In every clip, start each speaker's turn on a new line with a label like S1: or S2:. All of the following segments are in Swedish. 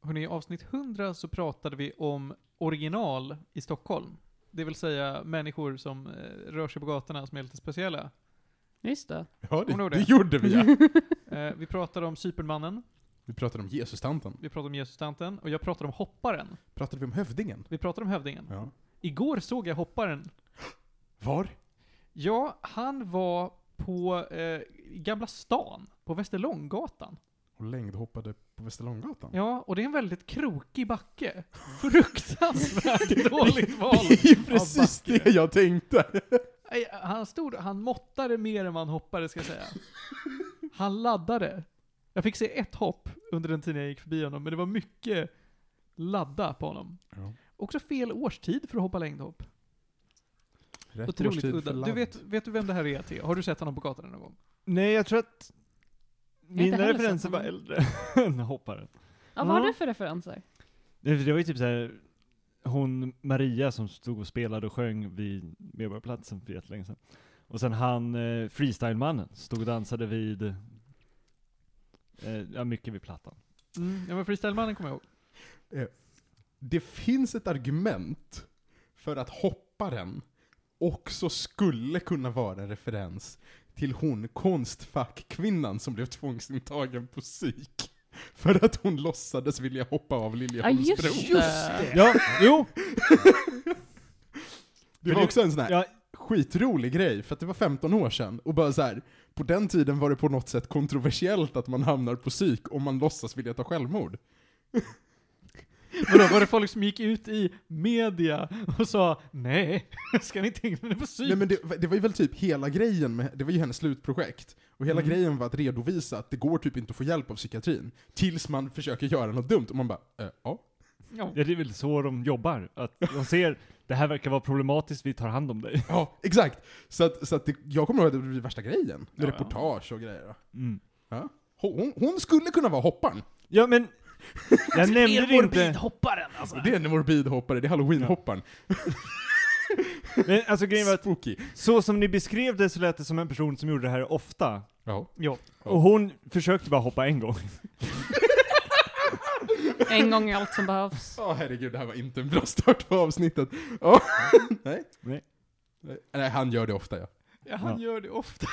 S1: Hörrni, i avsnitt 100 så pratade vi om original i Stockholm. Det vill säga människor som eh, rör sig på gatorna som är lite speciella.
S2: Just det.
S3: Ja,
S1: Kommer
S3: det,
S1: du ihåg
S3: det
S1: det?
S3: gjorde vi ja.
S1: Eh, vi pratade om Cypernmannen,
S3: Vi pratade om Jesus-tanten.
S1: vi pratade om Jesustanten, och jag pratade om Hopparen.
S3: Pratade vi om hövdingen?
S1: Vi pratade om Hövdingen.
S3: Ja.
S1: Igår såg jag Hopparen.
S3: Var?
S1: Ja, han var på eh, Gamla stan, på Västerlånggatan.
S3: Och längdhoppade på Västerlånggatan.
S1: Ja, och det är en väldigt krokig backe. Fruktansvärt dåligt val.
S3: Det är ju precis
S1: av backe.
S3: det jag tänkte.
S1: Nej, Han stod, han måttade mer än vad han hoppade ska jag säga. Han laddade. Jag fick se ett hopp under den tiden jag gick förbi honom, men det var mycket ladda på honom.
S3: Ja.
S1: Också fel årstid för att hoppa längdhopp.
S3: Rätt
S1: Otroligt
S3: årstid för
S1: udda. Du
S3: land.
S1: vet, vet du vem det här är Theo? Har du sett honom på gatan någon gång?
S4: Nej, jag tror att
S2: inte
S4: mina
S2: heller
S4: referenser
S2: sett
S4: var
S2: honom.
S4: äldre än hopparen.
S2: Ja, vad har
S4: Ja.
S2: du för referenser?
S4: Nej, för Det var ju typ så här hon Maria som stod och spelade och sjöng vid Medborgarplatsen för jättelänge sedan. Och sen han eh, freestylemannen stod och dansade vid, eh, ja mycket vid Plattan.
S1: Mm, ja men freestylemannen kommer jag ihåg.
S3: Det finns ett argument för att hopparen också skulle kunna vara en referens till hon konstfackkvinnan som blev tvångsintagen på psyk. För att hon låtsades vilja hoppa av Liljeholmsbron.
S2: det.
S4: Ja, jo!
S3: det var
S4: det-
S3: också en sån här
S4: Ja,
S3: skitrolig grej, för att det var 15 år sedan, och bara så här. på den tiden var det på något sätt kontroversiellt att man hamnar på psyk om man låtsas vilja ta självmord.
S1: Vadå, var det folk som gick ut i media och sa nej, ska ni inte ägna er på psyk?
S3: Nej men det, det var ju väl typ hela grejen, med, det var ju hennes slutprojekt. Och hela
S1: Mm.
S3: grejen var att redovisa att det går typ inte att få hjälp av psykiatrin, tills man försöker göra något dumt, och man bara eh, ja.
S1: ja.
S4: det är väl så de jobbar. Att de ser, det här verkar vara problematiskt, vi tar hand om dig.
S3: Ja, exakt! Så att, så att det, jag kommer ihåg att det blev värsta grejen.
S1: Ja, ja.
S3: Reportage och grejer.
S4: Mm.
S3: Hon, hon- hon skulle kunna vara hopparen.
S4: Ja men, jag nämnde det inte.
S1: hopparen alltså.
S3: Det är en morbid hoppare, det är halloween-hopparen.
S4: Men alltså grejen var att,
S3: Spooky.
S4: så som ni beskrev det så lät det som en person som gjorde det här ofta.
S3: Ja.
S1: Ja.
S4: Och hon försökte bara hoppa en gång.
S2: En gång är allt som behövs.
S3: Ja, herregud, det här var inte en bra start på avsnittet. Ja. Nej.
S4: Nej.
S3: Nej. Nej, han gör det ofta ja.
S1: Ja, han
S4: Ja.
S1: gör det ofta.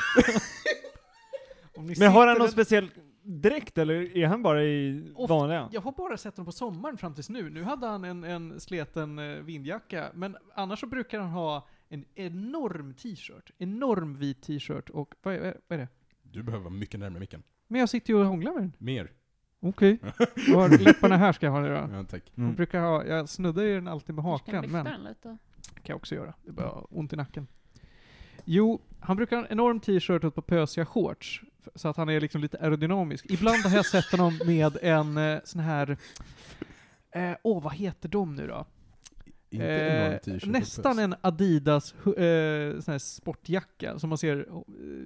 S1: Om ni
S4: Men har han
S1: sitter
S4: någon
S1: en-
S4: speciell dräkt eller är han bara i
S1: Ofta-
S4: vanliga?
S1: Jag har bara sett honom på sommaren fram tills nu. Nu hade han en, en sleten eh, vindjacka, men annars så brukar han ha en enorm t-shirt. Enorm vit t-shirt och vad är, vad är det?
S3: Du behöver vara mycket närmare micken.
S1: Men jag sitter ju och hånglar med den.
S3: Mer.
S1: Okej. Var läpparna här ska jag ha det då.
S3: Ja, tack.
S1: Jag
S4: Mm.
S1: brukar ha, jag snuddar ju den alltid med
S2: Du kan
S1: hakan,
S2: lyfta
S1: men
S2: den lite.
S1: kan jag också göra. Det är bara ont i nacken. Jo, han brukar ha en enorm t-shirt och ett par pösiga shorts. f- Så att han är liksom lite aerodynamisk. Ibland har jag sett honom med en eh, sån här... eh, Åh, vad heter de nu då?
S3: Inte
S1: Eh,
S3: enorm t-shirt. och
S1: nästan
S3: puss.
S1: en Adidas hu- eh, sån här sportjacka som man ser eh,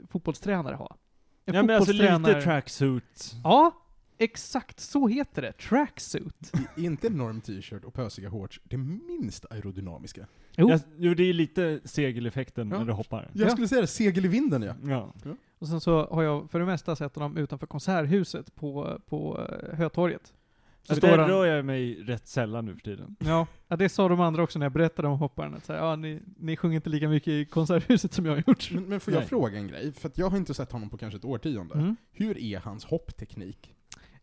S1: fotbollstränare ha. En
S4: Ja men alltså lite
S1: fotbollstränare-
S4: tracksuit.
S1: Ja, exakt så heter det. Tracksuit.
S3: I- Inte enorm t-shirt och pösiga shorts. Det minst aerodynamiska.
S1: Jo.
S4: Jag, jo det är lite segeleffekten
S3: Ja.
S4: när du hoppar.
S3: Jag
S1: Ja.
S3: skulle säga det, segel i vinden ja.
S4: Ja.
S1: Och sen så har jag för det mesta sett honom utanför Konserthuset på, på eh, Hötorget.
S4: Så
S1: står
S4: Alltså, där
S1: han-
S4: rör jag mig rätt sällan nu för tiden.
S1: Ja. ja, det sa de andra också när jag berättade om hopparen. Att så här, ja, ni, ni sjunger inte lika mycket i Konserthuset som jag har gjort.
S3: Men, men får jag
S4: Nej.
S3: fråga en grej? För att jag har inte sett honom på kanske ett årtionde.
S1: Mm.
S3: Hur är hans hoppteknik?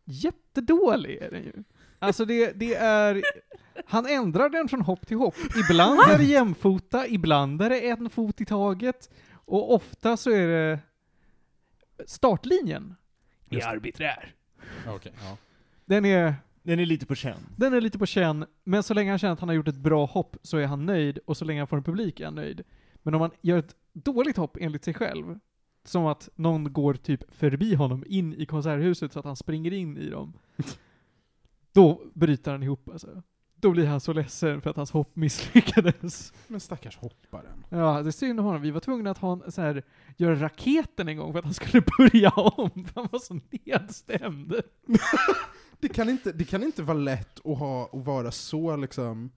S1: Jättedålig är den ju. Alltså det, det är... Han ändrar den från hopp till hopp. Ibland är det jämfota, ibland är det en fot i taget. Och ofta så är det startlinjen.
S3: Just det.
S1: arbiträr.
S3: Ja, Okej, ja.
S1: Den är,
S4: Den är lite på känn.
S1: den är lite på känn, men så länge han känner att han har gjort ett bra hopp så är han nöjd och så länge han får en publik är han nöjd. Men om han gör ett dåligt hopp enligt sig själv, som att någon går typ förbi honom in i konserthuset så att han springer in i dem, då bryter han ihop alltså. Då blir han så ledsen för att hans hopp misslyckades.
S3: Men stackars hopparen.
S1: Ja, det är synd om honom. Vi var tvungna att ha en, så här, göra raketen en gång för att han skulle börja om. Han var så nedstämd.
S3: Det kan inte, det kan inte vara lätt att, ha, att vara så liksom,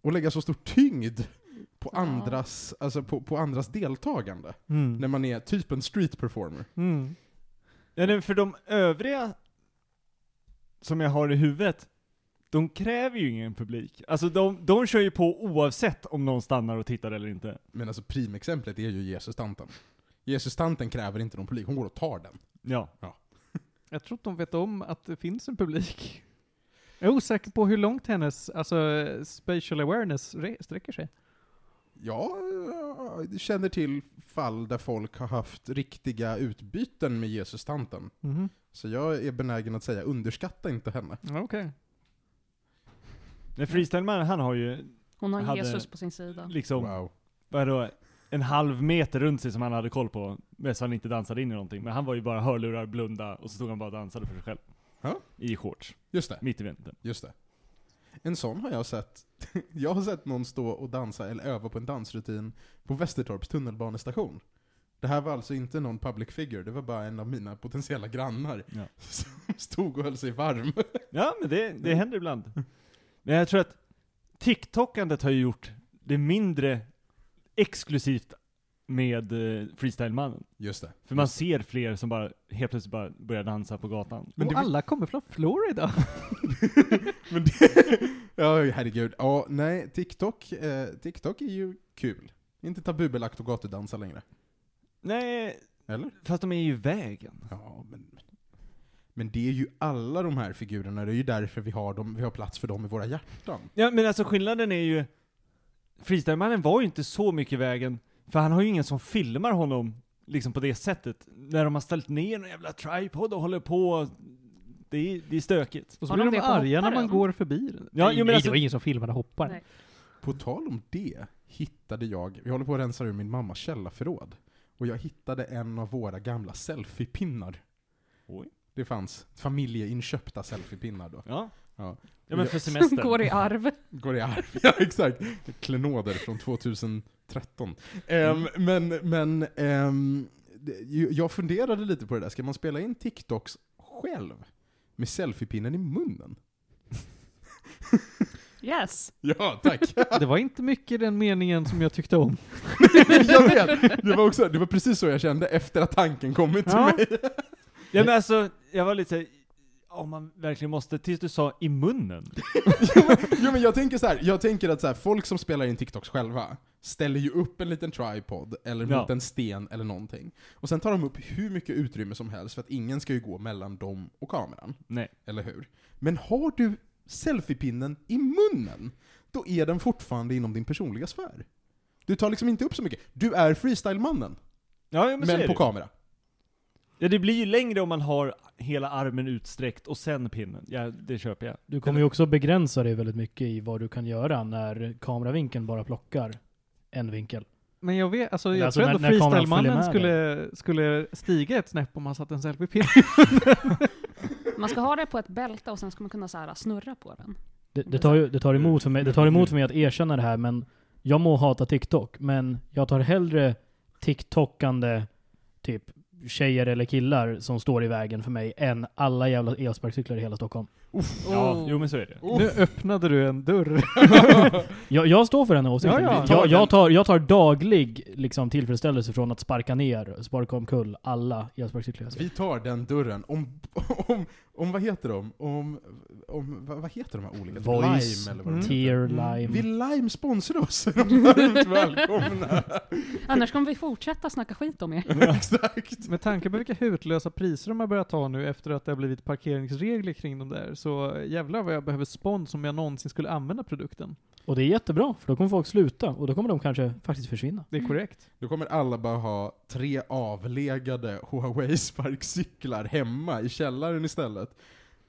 S3: och lägga så stor tyngd på
S2: Ja.
S3: andras, alltså på, på andras deltagande. När
S1: Mm.
S3: man är typ en street performer.
S1: Mm.
S4: Ja, nej, för de övriga som jag har i huvudet de kräver ju ingen publik. Alltså de, de kör ju på oavsett om någon stannar och tittar eller inte.
S3: Men alltså primexemplet är ju Jesus-tanten. Jesus-tanten kräver inte någon publik, hon går och tar den.
S4: Ja.
S1: Jag tror att de vet om att det finns en publik. Jag är osäker på hur långt hennes, alltså, spatial awareness re- sträcker sig.
S3: Jag eh, känner till fall där folk har haft riktiga utbyten med Jesus-tanten.
S1: Mhm.
S3: Så jag är benägen att säga underskatta inte henne.
S1: Okej.
S4: Men freestylemannen han har ju
S2: Hon har
S4: Hade-
S2: Jesus på sin sida.
S4: liksom,
S3: Wow.
S4: vadå, en halv meter runt sig som han hade koll på. Men så han inte dansade in i någonting. Men han var ju bara hörlurar, blunda och så stod han bara och dansade för sig själv.
S3: Ja.
S4: I shorts,
S3: Just det,
S4: mitt i vintern.
S3: just det. En sån har jag sett. Jag har sett någon stå och dansa eller öva på en dansrutin på Västertorps tunnelbanestation. Det här var alltså inte någon public figure, det var bara en av mina potentiella grannar
S4: Ja.
S3: som stod och höll sig varm.
S4: Ja, men det, det händer ibland. Men jag tror att TikTokandet har ju gjort det mindre exklusivt med eh, freestylemannen.
S3: Just det.
S4: För man ser fler som bara helt plötsligt bara börjar dansa på gatan.
S3: Men
S1: och
S3: det-
S1: alla kommer från Florida.
S3: Men det, ja, herregud. Ja, nej, TikTok, eh, TikTok är ju kul. Inte tabubelagt att gatudansa längre.
S4: Nej,
S3: Eller?
S4: fast de är ju i vägen.
S3: Ja, men... Men det är ju alla de här figurerna, det är ju därför vi har, dem, vi har plats för dem i våra hjärtan.
S4: Ja, men alltså skillnaden är ju... Freestylemannen var ju inte så mycket i vägen, för han har ju ingen som filmar honom liksom på det sättet. När de har ställt ner en jävla tripod och håller på. Det är, det är stökigt.
S1: Och så
S2: Har
S1: blir
S2: de
S1: de
S2: det på
S1: arga när man
S2: hopparen?
S1: går förbi den.
S4: Ja,
S1: nej,
S4: jo, men
S1: nej,
S4: alltså-
S1: det var ingen som filmade hopparen.
S2: Nej.
S3: På tal om det hittade jag, vi håller på att rensa ur min mammas källarförråd, och jag hittade en av våra gamla selfiepinnar.
S4: Oj.
S3: Det fanns familjeinköpta selfiepinnar då.
S4: Ja.
S3: Ja.
S4: Ja men för
S2: Som
S4: semestern.
S2: går i arv.
S3: Går i arv, ja exakt. Klenoder från 2013. Ehm, men men ehm, det- ju- jag funderade lite på det där, ska man spela in TikToks själv? Med selfiepinnen i munnen?
S2: Yes.
S3: Ja, tack!
S1: Det var inte mycket i den meningen som jag tyckte om.
S3: jag vet! Det var, också, det var precis så jag kände efter att tanken kommit till
S1: Ja.
S3: mig.
S4: Ja men alltså, jag var lite såhär, om man verkligen måste, tills du sa i munnen.
S3: Jo, men jag tänker så här, jag tänker att så här, folk som spelar in TikToks själva ställer ju upp en liten tripod eller
S4: Ja.
S3: mot en sten eller någonting. Och sen tar de upp hur mycket utrymme som helst för att ingen ska ju gå mellan dem och kameran.
S4: Nej.
S3: Eller hur? Men har du selfiepinnen i munnen, då är den fortfarande inom din personliga sfär. Du tar liksom inte upp så mycket. Du är freestylemannen,
S4: Ja, ja, men,
S3: men,
S4: så är
S3: på
S4: det. ju.
S3: kamera.
S4: Ja, det blir ju längre om man har hela armen utsträckt och sen pinnen. Ja, det köper jag.
S5: Du kommer ju också begränsa dig väldigt mycket i vad du kan göra när kameravinkeln bara plockar en vinkel.
S1: Men jag vet, alltså
S5: Men
S1: jag
S5: alltså
S1: tror
S5: när-
S1: ändå
S5: när kameran följer
S1: freestylemannen
S5: med
S1: skulle, skulle stiga ett snäpp om han satte en selfie-pin.
S2: Man ska ha det på ett bälte och sen ska man kunna så här, äh, snurra på den.
S5: Det, det, tar, ju- det,
S4: Mm.
S5: tar emot för mig, det tar emot för mig att erkänna det här, men jag må hata TikTok, men jag tar hellre TikTokande typ tjejer eller killar som står i vägen för mig än alla jävla elsparkcyklar i hela Stockholm.
S4: Ja,
S2: Oh.
S4: jo men så är det.
S1: Nu öppnade du en dörr.
S5: Jag, jag står för den här åsikten.
S1: Ja, ja.
S5: Jag, jag, tar, jag tar daglig liksom, tillfredsställelse från att sparka ner, sparka omkull alla elsparkcyklar jag ser.
S3: Vi tar den dörren. Om, om, om vad heter de? Om, om, vad vad heter de här olika?
S5: Voice,
S3: Lime eller vad
S1: Mm.
S3: de heter?
S5: Tear
S1: Mm.
S5: lime.
S3: Vill Lime sponsra oss? De är Varmt välkomna!
S2: Annars kommer vi fortsätta snacka skit om er.
S3: Exakt!
S1: Med tanke på vilka hutlösa priser de har börjat ta nu efter att det har blivit parkeringsregler kring de där, så jävlar vad jag behöver spons om jag någonsin skulle använda produkten.
S5: Och det är jättebra, för då kommer folk sluta och då kommer de kanske faktiskt försvinna.
S1: Det är korrekt.
S3: Då kommer alla bara ha tre avlegade Huawei-sparkcyklar hemma i källaren istället.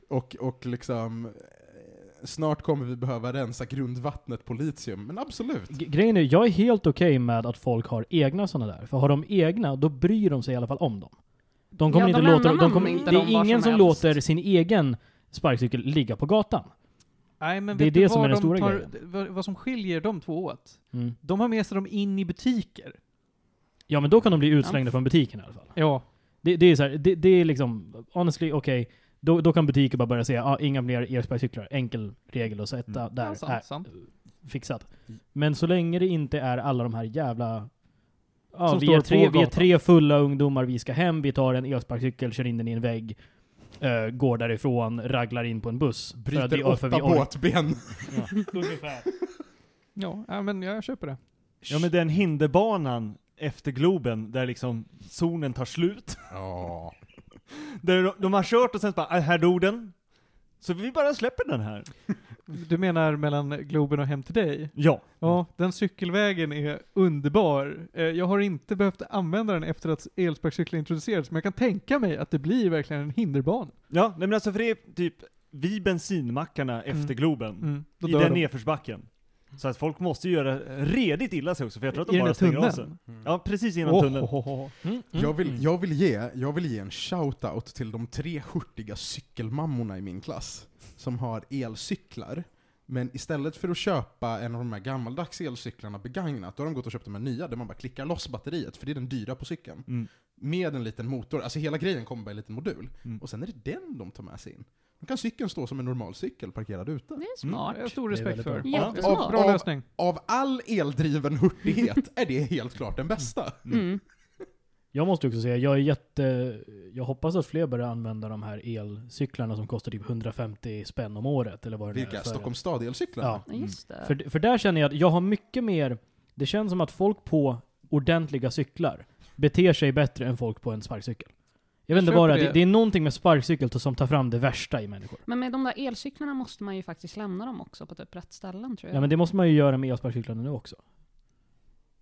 S3: Och, och liksom... eh, Snart kommer vi behöva rensa grundvattnet på litium, men absolut.
S5: G- grejen är, jag är helt okej med att folk har egna sådana där. För har de egna, då bryr de sig i alla fall om dem. De kommer
S2: Ja, de
S5: inte låta...
S2: lämnar
S5: De kommer,
S2: man inte
S5: det
S2: dem
S5: är
S2: var
S5: ingen
S2: som
S5: som
S2: helst.
S5: låter sin egen sparkcykel ligga på gatan.
S1: Nej, men
S5: Det är
S1: vet
S5: det
S1: du
S5: som
S1: vad
S5: är
S1: de
S5: den stora
S1: tar,
S5: grejen.
S1: vad, vad som skiljer de två åt?
S5: Mm.
S1: De har med sig dem in i butiker.
S5: Ja, men då kan de bli utslängda
S2: Ja.
S5: från butiken i alla fall.
S1: Ja.
S5: Det, det är så här, det, det är liksom, honestly, okej. Då, då kan butiker bara börja säga ah, inga fler elsparkcyklar. Enkel regel och sätta
S4: Mm.
S5: där.
S1: Ja, sant,
S5: är
S1: sant.
S5: Fixat. Men så länge det inte är alla de här jävla... Ja,
S1: Som
S5: vi
S1: står
S5: är,
S1: på
S5: tre, vi är
S1: gatan.
S5: tre fulla ungdomar, vi ska hem, vi tar en elsparkcykel, kör in den i en vägg. eh, går därifrån, raglar in på en buss.
S3: Bryter
S5: vi-
S3: åtta
S5: vi ork-
S3: båtben.
S5: Ja, ungefär.
S1: Ja, ja, men jag köper det.
S4: Ja men den hinderbanan efter Globen där liksom zonen tar slut.
S3: Ja.
S4: Där de, de har kört och sen bara, "Ah, här dog den. Så vi bara släpper den här.
S1: Du menar mellan Globen och hem till dig?
S4: Ja.
S1: Ja, den cykelvägen är underbar. Eh, Jag har inte behövt använda den efter att elsparkcyklar introducerades, men jag kan tänka mig att det blir verkligen en hinderbana.
S4: Ja, nej men alltså för det är typ vid bensinmackarna efter
S1: Mm.
S4: Globen.
S1: Mm, då
S4: I
S1: dör
S4: den
S1: de.
S4: nedförsbacken. Så att folk måste ju göra redigt illa sig också för jag tror att de
S1: I den
S4: bara
S1: här
S4: stänger av sig.
S1: tunneln.
S3: Mm.
S4: Ja, precis innan
S1: Oh,
S4: tunneln.
S1: ho, ho, ho.
S3: Jag
S5: Mm.
S3: vill, jag, vill ge, jag vill ge en shout-out till de tre hurtiga cykelmammorna i min klass som har elcyklar. Men istället för att köpa en av de här gammaldags elcyklarna begagnat, då har de gått och köpt de här nya där man bara klickar loss batteriet, för det är den dyra på cykeln.
S4: Mm.
S3: Med en liten motor, alltså hela grejen kommer bara i en liten modul.
S4: Mm.
S3: Och sen är det den de tar med sig in. Då kan cykeln stå som en normal cykel parkerad ute.
S2: Det är
S4: Mm.
S1: Ja,
S2: smart.
S1: jag har stor
S5: Det är
S1: respekt
S5: väldigt
S1: för.
S2: bra. Jättesmart.
S1: Ja, Bra
S3: Av- av-
S1: lösning.
S3: Av all eldriven hurtighet är det helt klart den bästa.
S2: Mm.
S5: Jag måste också säga, jag är jätte... Jag hoppas att fler börjar använda de här elcyklarna som kostar typ 150 spänn om året, eller vad det nu är
S3: Vilka?
S5: för-
S3: Stockholms stad-elcyklarna?
S5: Ja.
S2: Ja, Just det.
S5: För, för där känner jag att jag har mycket mer... Det känns som att folk på ordentliga cyklar beter sig bättre än folk på en sparkcykel. Jag vet inte
S1: Köper
S5: vad det är.
S1: det.
S5: Det- Det är någonting med sparkcykel som tar fram det värsta i människor.
S2: Men med de där elcyklarna måste man ju faktiskt lämna dem också på typ rätt ställen tror jag.
S5: Ja men det måste man ju göra med elsparkcyklarna nu också.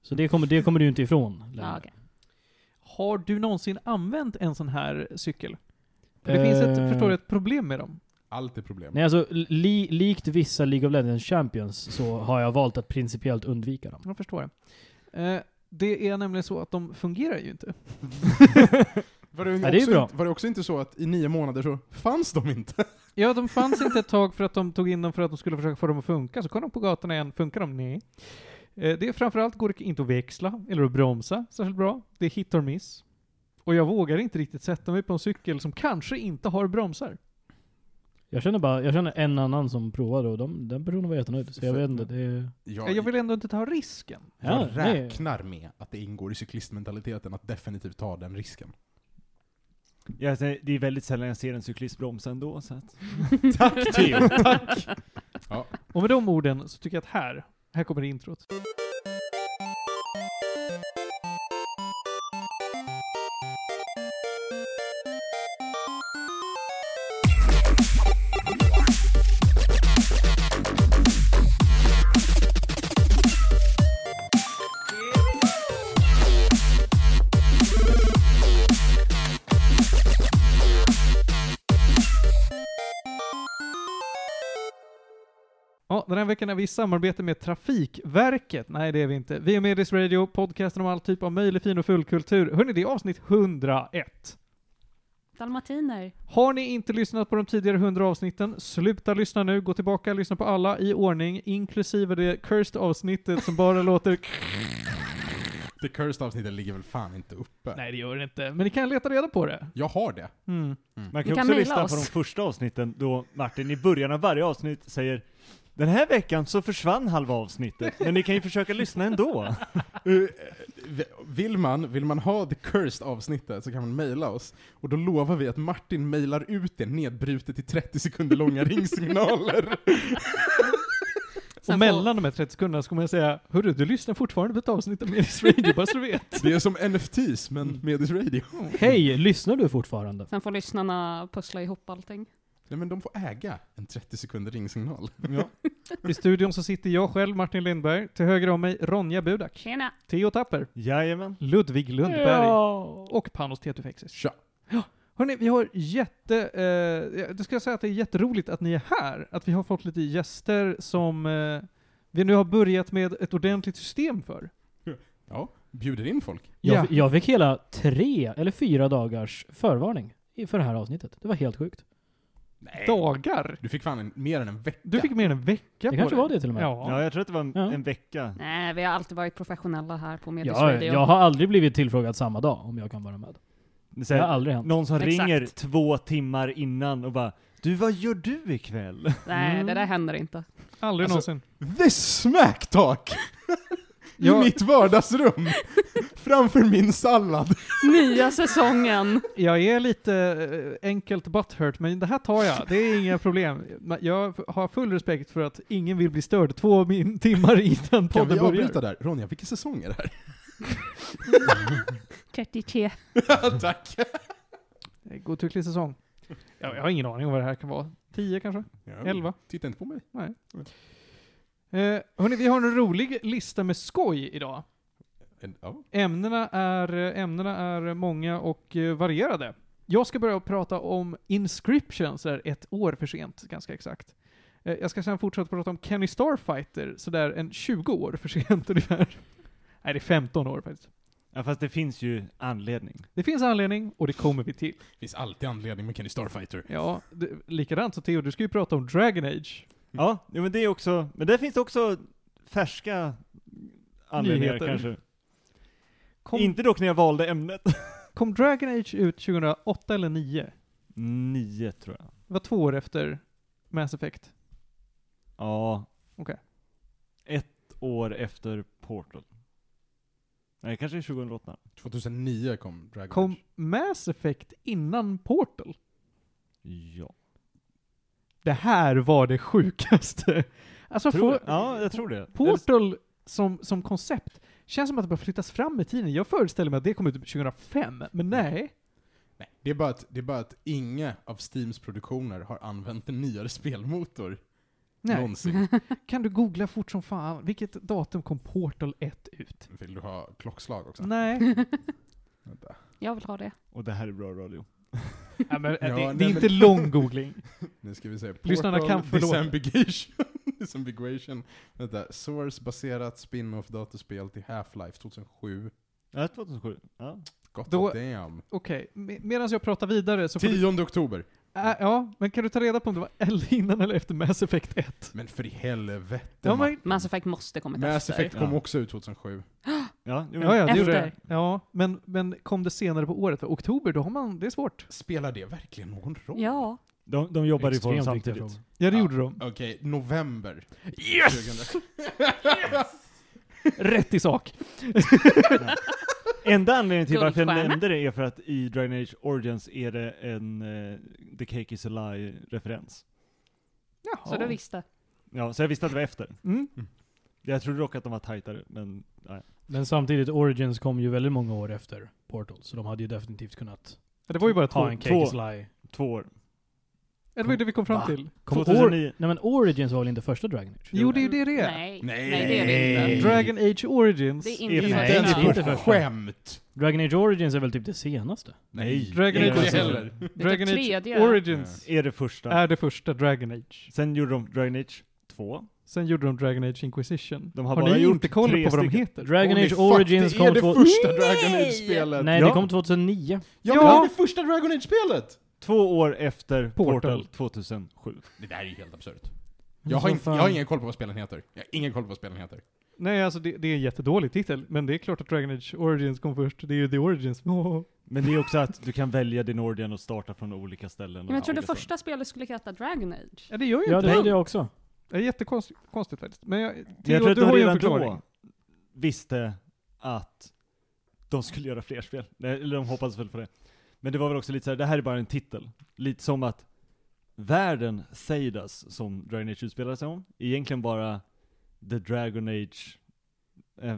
S5: Så det kommer, det kommer du ju inte ifrån längre.
S2: Ja, okej.
S1: Har du någonsin använt en sån här cykel? För det finns ett,
S5: Eh.
S1: förstår du, ett problem med dem.
S3: Allt är problem.
S5: Nej alltså, li, likt vissa League of Legends Champions så har jag valt att principiellt undvika dem.
S1: Jag förstår det. Eh, Det är nämligen så att de fungerar ju inte.
S3: Var det,
S5: Ja, det är
S3: också
S5: bra.
S3: Inte, var det också inte så att i nio månader så fanns de inte?
S1: Ja, de fanns inte ett tag för att de tog in dem för att de skulle försöka få dem att funka. Så kom de på gatorna igen, funkar de? Nej. Eh, Det är framförallt går det inte att växla eller att bromsa särskilt bra. Det är hit or miss. Och jag vågar inte riktigt sätta mig på en cykel som kanske inte har bromsar.
S5: Jag känner bara, jag känner en annan som provade och de, den personen var jättenöjd. Så jag vet inte, det är...
S1: Eh, Jag vill ändå inte ta risken.
S5: Ja,
S3: jag
S5: nej.
S3: räknar med att det ingår i cyklistmentaliteten att definitivt ta den risken.
S4: Ja, alltså, det är väldigt sällan jag ser en cyklist bromsa ändå så att...
S3: Tack Theo, tack!
S1: Och med de orden så tycker jag att här, här kommer introt. Ja, den här veckan är vi i samarbete med Trafikverket. Nej, det är vi inte. Vi är Medis Radio, podcasten om all typ av möjlig fin och full kultur. Hörrni, det är avsnitt 101.
S2: Dalmatiner.
S1: Har ni inte lyssnat på de tidigare 100 avsnitten, sluta lyssna nu, gå tillbaka och lyssna på alla i ordning, inklusive det cursed avsnittet som bara låter
S3: Det cursed avsnittet ligger väl fan inte uppe?
S1: Nej, det gör det inte. Men ni kan leta reda på det.
S3: Jag har det.
S1: Mm.
S4: Man
S2: Ni
S4: kan
S2: kan
S4: också
S2: mejla
S4: lyssna på de
S2: oss.
S4: första avsnitten då Martin i början av varje avsnitt säger Den här veckan så försvann halva avsnittet, men ni kan ju försöka lyssna ändå.
S3: Uh, vill, man, vill man ha det cursed avsnittet så kan man mejla oss. Och då lovar vi att Martin mejlar ut det nedbrutet i 30 sekunder långa ringsignaler.
S2: Sen
S1: Och
S2: får-
S1: mellan de här 30 sekunderna så kommer jag säga Hörru, du lyssnar fortfarande på ett avsnitt av Medis Radio, bara så du vet.
S3: Det är som NFTs,
S5: Mm.
S3: men med this radio.
S5: Hej, lyssnar du fortfarande?
S2: Sen får lyssnarna pussla ihop allting.
S3: Nej men de får äga en 30 sekunder ringsignal.
S1: I studion så sitter jag själv, Martin Lindberg. Till höger om mig, Ronja Budak.
S2: Tjena!
S1: Theo Tapper.
S4: Jajamän.
S1: Ludvig Lundberg. Och Panos Tetufexis.
S3: Tja!
S1: Hörni, vi har jätte... Eh, jag ska säga att det är jätteroligt att ni är här. Att vi har fått lite gäster som eh, vi nu har börjat med ett ordentligt system för.
S3: Ja, bjuder in folk.
S5: Jag,
S1: Ja.
S5: fi- jag fick hela tre eller fyra dagars förvarning i- för det här avsnittet. Det var helt sjukt.
S3: Nej.
S1: Dagar!
S3: Du fick fan en, mer än en vecka.
S1: Du fick mer än en vecka på
S5: Det kanske var det till och med.
S4: Ja, jag tror att det var en,
S5: Ja.
S4: en vecka.
S2: Nej, vi har alltid varit professionella här på Medis
S5: Ja,
S2: Radio.
S5: jag har aldrig blivit tillfrågad samma dag om jag kan vara med.
S4: Så
S5: Det har
S4: här,
S5: aldrig hänt.
S4: någon som
S2: Exakt.
S4: ringer två timmar innan och bara Du, vad gör du ikväll?
S2: Nej, det där händer inte.
S1: Aldrig
S3: Alltså-
S1: någonsin.
S3: This smack talk!
S1: Jag-
S3: i mitt vardagsrum. framför min sallad.
S2: Nya säsongen.
S1: Jag är lite eh, enkelt butthurt, men det här tar jag. Det är inga problem. Men Jag har full respekt för att ingen vill bli störd två min- timmar innan
S3: Kan
S1: podden
S3: vi
S1: börjar.
S3: avbryta där? Ronja, vilken säsong är det här?
S2: 33.
S3: Tack.
S1: Det är en Godtycklig Eh, säsong. Jag, jag har ingen aning om vad det här kan vara. Tio kanske? Elva?
S3: Titta inte på mig.
S1: Eh, hörni, vi har en rolig lista med skoj idag.
S3: En- Ja.
S1: Ämnena är, ämnena är många och eh, varierade. Jag ska börja prata om Inscription, sådär ett år för sent, ganska exakt. Eh, Jag ska sen fortsätta prata om Kenny Starfighter, sådär en 20 år för sent ungefär. Nej, det är 15 år faktiskt.
S4: Ja, fast det finns ju anledning.
S1: Det finns anledning, och det kommer vi till.
S3: Det finns alltid anledning med Kenny Starfighter.
S1: Ja, det, likadant så Theo, du ska ju prata om Dragon Age.
S4: Ja, jo, men det är också, men där finns det också färska anledningar
S1: Nyheter.
S4: kanske.
S1: Kom,
S4: Inte dock när jag valde ämnet.
S1: kom Dragon Age ut 2008 eller 2009?
S4: Nio tror jag.
S1: Det var två år efter Mass Effect.
S4: Ja.
S1: Okej.
S4: Ett år efter Portal. Nej, kanske är 2008.
S3: 2009 kom Dragon
S1: Kom
S3: Age.
S1: Mass Effect innan Portal?
S4: Ja.
S1: Det här var det sjukaste. Alltså,
S4: Tror
S1: för,
S4: det. ja, jag tror det.
S1: Portal som, som koncept känns som att det bara flyttas fram i tiden. Jag föreställer mig att det kom ut typ 2005, men nej.
S3: Nej, det är, bara att, det är bara att inga av Steams produktioner har använt en nyare spelmotor
S1: nej.
S3: någonsin.
S1: Kan du googla fort som fan, vilket datum kom Portal 1 ut?
S3: Vill du ha klockslag också?
S1: Nej.
S3: Vänta.
S2: Jag vill ha det.
S4: Och det här är bra radio.
S1: ja, men, det, det
S3: Ja,
S1: är
S3: nej,
S1: inte
S3: men-
S1: lång googling.
S3: Nu ska vi se. Portal,
S1: Lyssnarna kan förlåta.
S3: Disambigation. Disambiguation. Vänta. Source baserat spin-off datorspel till Half-Life 2007.
S4: Ja, 2007. Ja.
S3: God
S1: Då-
S3: damn.
S1: Okej, med, medan jag pratar vidare så... får du-
S3: 10 oktober.
S1: Äh, ja, men kan du ta reda på om det var eller innan eller efter Mass Effect 1?
S3: Men för i helvete.
S1: Ja, men-
S3: Martin.
S2: Mass Effect måste kommit
S3: Mass
S2: efter.
S3: Effect kom
S4: Ja.
S3: också ut 2007.
S4: Ja, jo, men-
S1: Ja, ja, det gjorde det.
S2: Efter.
S1: Ja, men, men kom det senare på året? Oktober, då har man... Det är svårt.
S3: Spelar det verkligen någon roll?
S2: Ja.
S4: De, de jobbade ju på dem
S5: Extremt viktiga
S4: samtidigt.
S1: Ja, det
S3: Ja.
S1: gjorde de.
S3: Okej, november. Yes!
S1: Rätt i sak.
S4: Enda anledningen till varför jag
S2: Guldstjärna.
S4: nämnde det är för att i Dragon Age Origins är det en eh, The Cake is a Lie-referens.
S1: Jaha.
S2: Så du visste.
S4: Ja, så jag visste att det var efter.
S1: Mm.
S4: Jag trodde dock att de var tajtare, men nej.
S5: Men samtidigt, Origins kom ju väldigt många år efter Portal, så de hade ju definitivt kunnat
S1: Ja, Det var ju bara två.
S5: ha en
S1: Ja,
S5: cake is a lie.
S4: Två år.
S1: det var ju det vi kom fram
S5: Va?
S1: till.
S5: Kom
S4: 2009.
S5: Or- Nej men Origins var väl inte första Dragon Age?
S1: Jo, det är ju det det är.
S2: Nej.
S3: Nej.
S2: Nej, det är det inte.
S1: Dragon Age Origins.
S2: Det är
S4: Det är
S2: inte
S4: inte
S2: första.
S5: ens
S3: ens
S5: Nej, inte
S3: på
S5: första.
S3: skämt!
S5: Dragon Age Origins är väl typ det senaste?
S4: Nej.
S1: Dragon
S3: Inte
S1: Age
S3: det
S5: Origins.
S3: heller.
S1: Dragon
S2: Det
S1: Age
S2: tredje.
S1: Origins
S4: Är det första.
S1: är det första Dragon Age.
S4: Sen gjorde de Dragon Age 2.
S1: Sen gjorde de Dragon Age Inquisition.
S4: De har
S1: har
S4: bara
S1: ni
S4: gjort
S1: inte koll
S4: tre
S1: på vad de
S4: stycken.
S1: heter?
S5: Dragon
S3: Holy
S5: Age
S3: fuck,
S5: Origins kom
S3: Det är
S5: två...
S3: det första Dragon
S2: Nej!
S3: Age-spelet!
S5: Nej,
S4: Ja.
S5: det kom 2009.
S1: Ja.
S3: Ja, men det är det första Dragon Age-spelet!
S4: Två år efter Portal,
S1: Portal
S4: 2007.
S3: Det där är ju helt absurt. Jag har,
S5: Men
S3: inte,
S5: fan.
S3: jag har ingen koll på vad spelen heter. Jag har ingen koll på vad spelen heter.
S1: Nej, alltså det, det är en jättedålig titel, men det är klart att Dragon Age Origins kom först. Det är ju The Origins. Åh.
S4: Men det är också att du kan välja din Ordian och starta från olika ställen.
S2: Men jag trodde
S4: olika ställen.
S2: första spelet skulle heta Dragon Age.
S1: Ja, det gör ju
S5: Ja,
S1: inte
S5: det
S1: det.
S5: trodde jag också.
S1: Det är jättekonstigt konstigt faktiskt. Men jag,
S4: Men jag
S1: Theo,
S4: tror att
S1: du har
S4: de
S1: ju en
S4: redan
S1: förklaring.
S4: då visste att de skulle göra fler spel. Nej, Eller de hoppades väl på det. Men det var väl också lite så här, det här är bara en titel. Lite som att världen Seidas, som Dragon Age utspelar sig om, är egentligen bara The Dragon Age... Eh,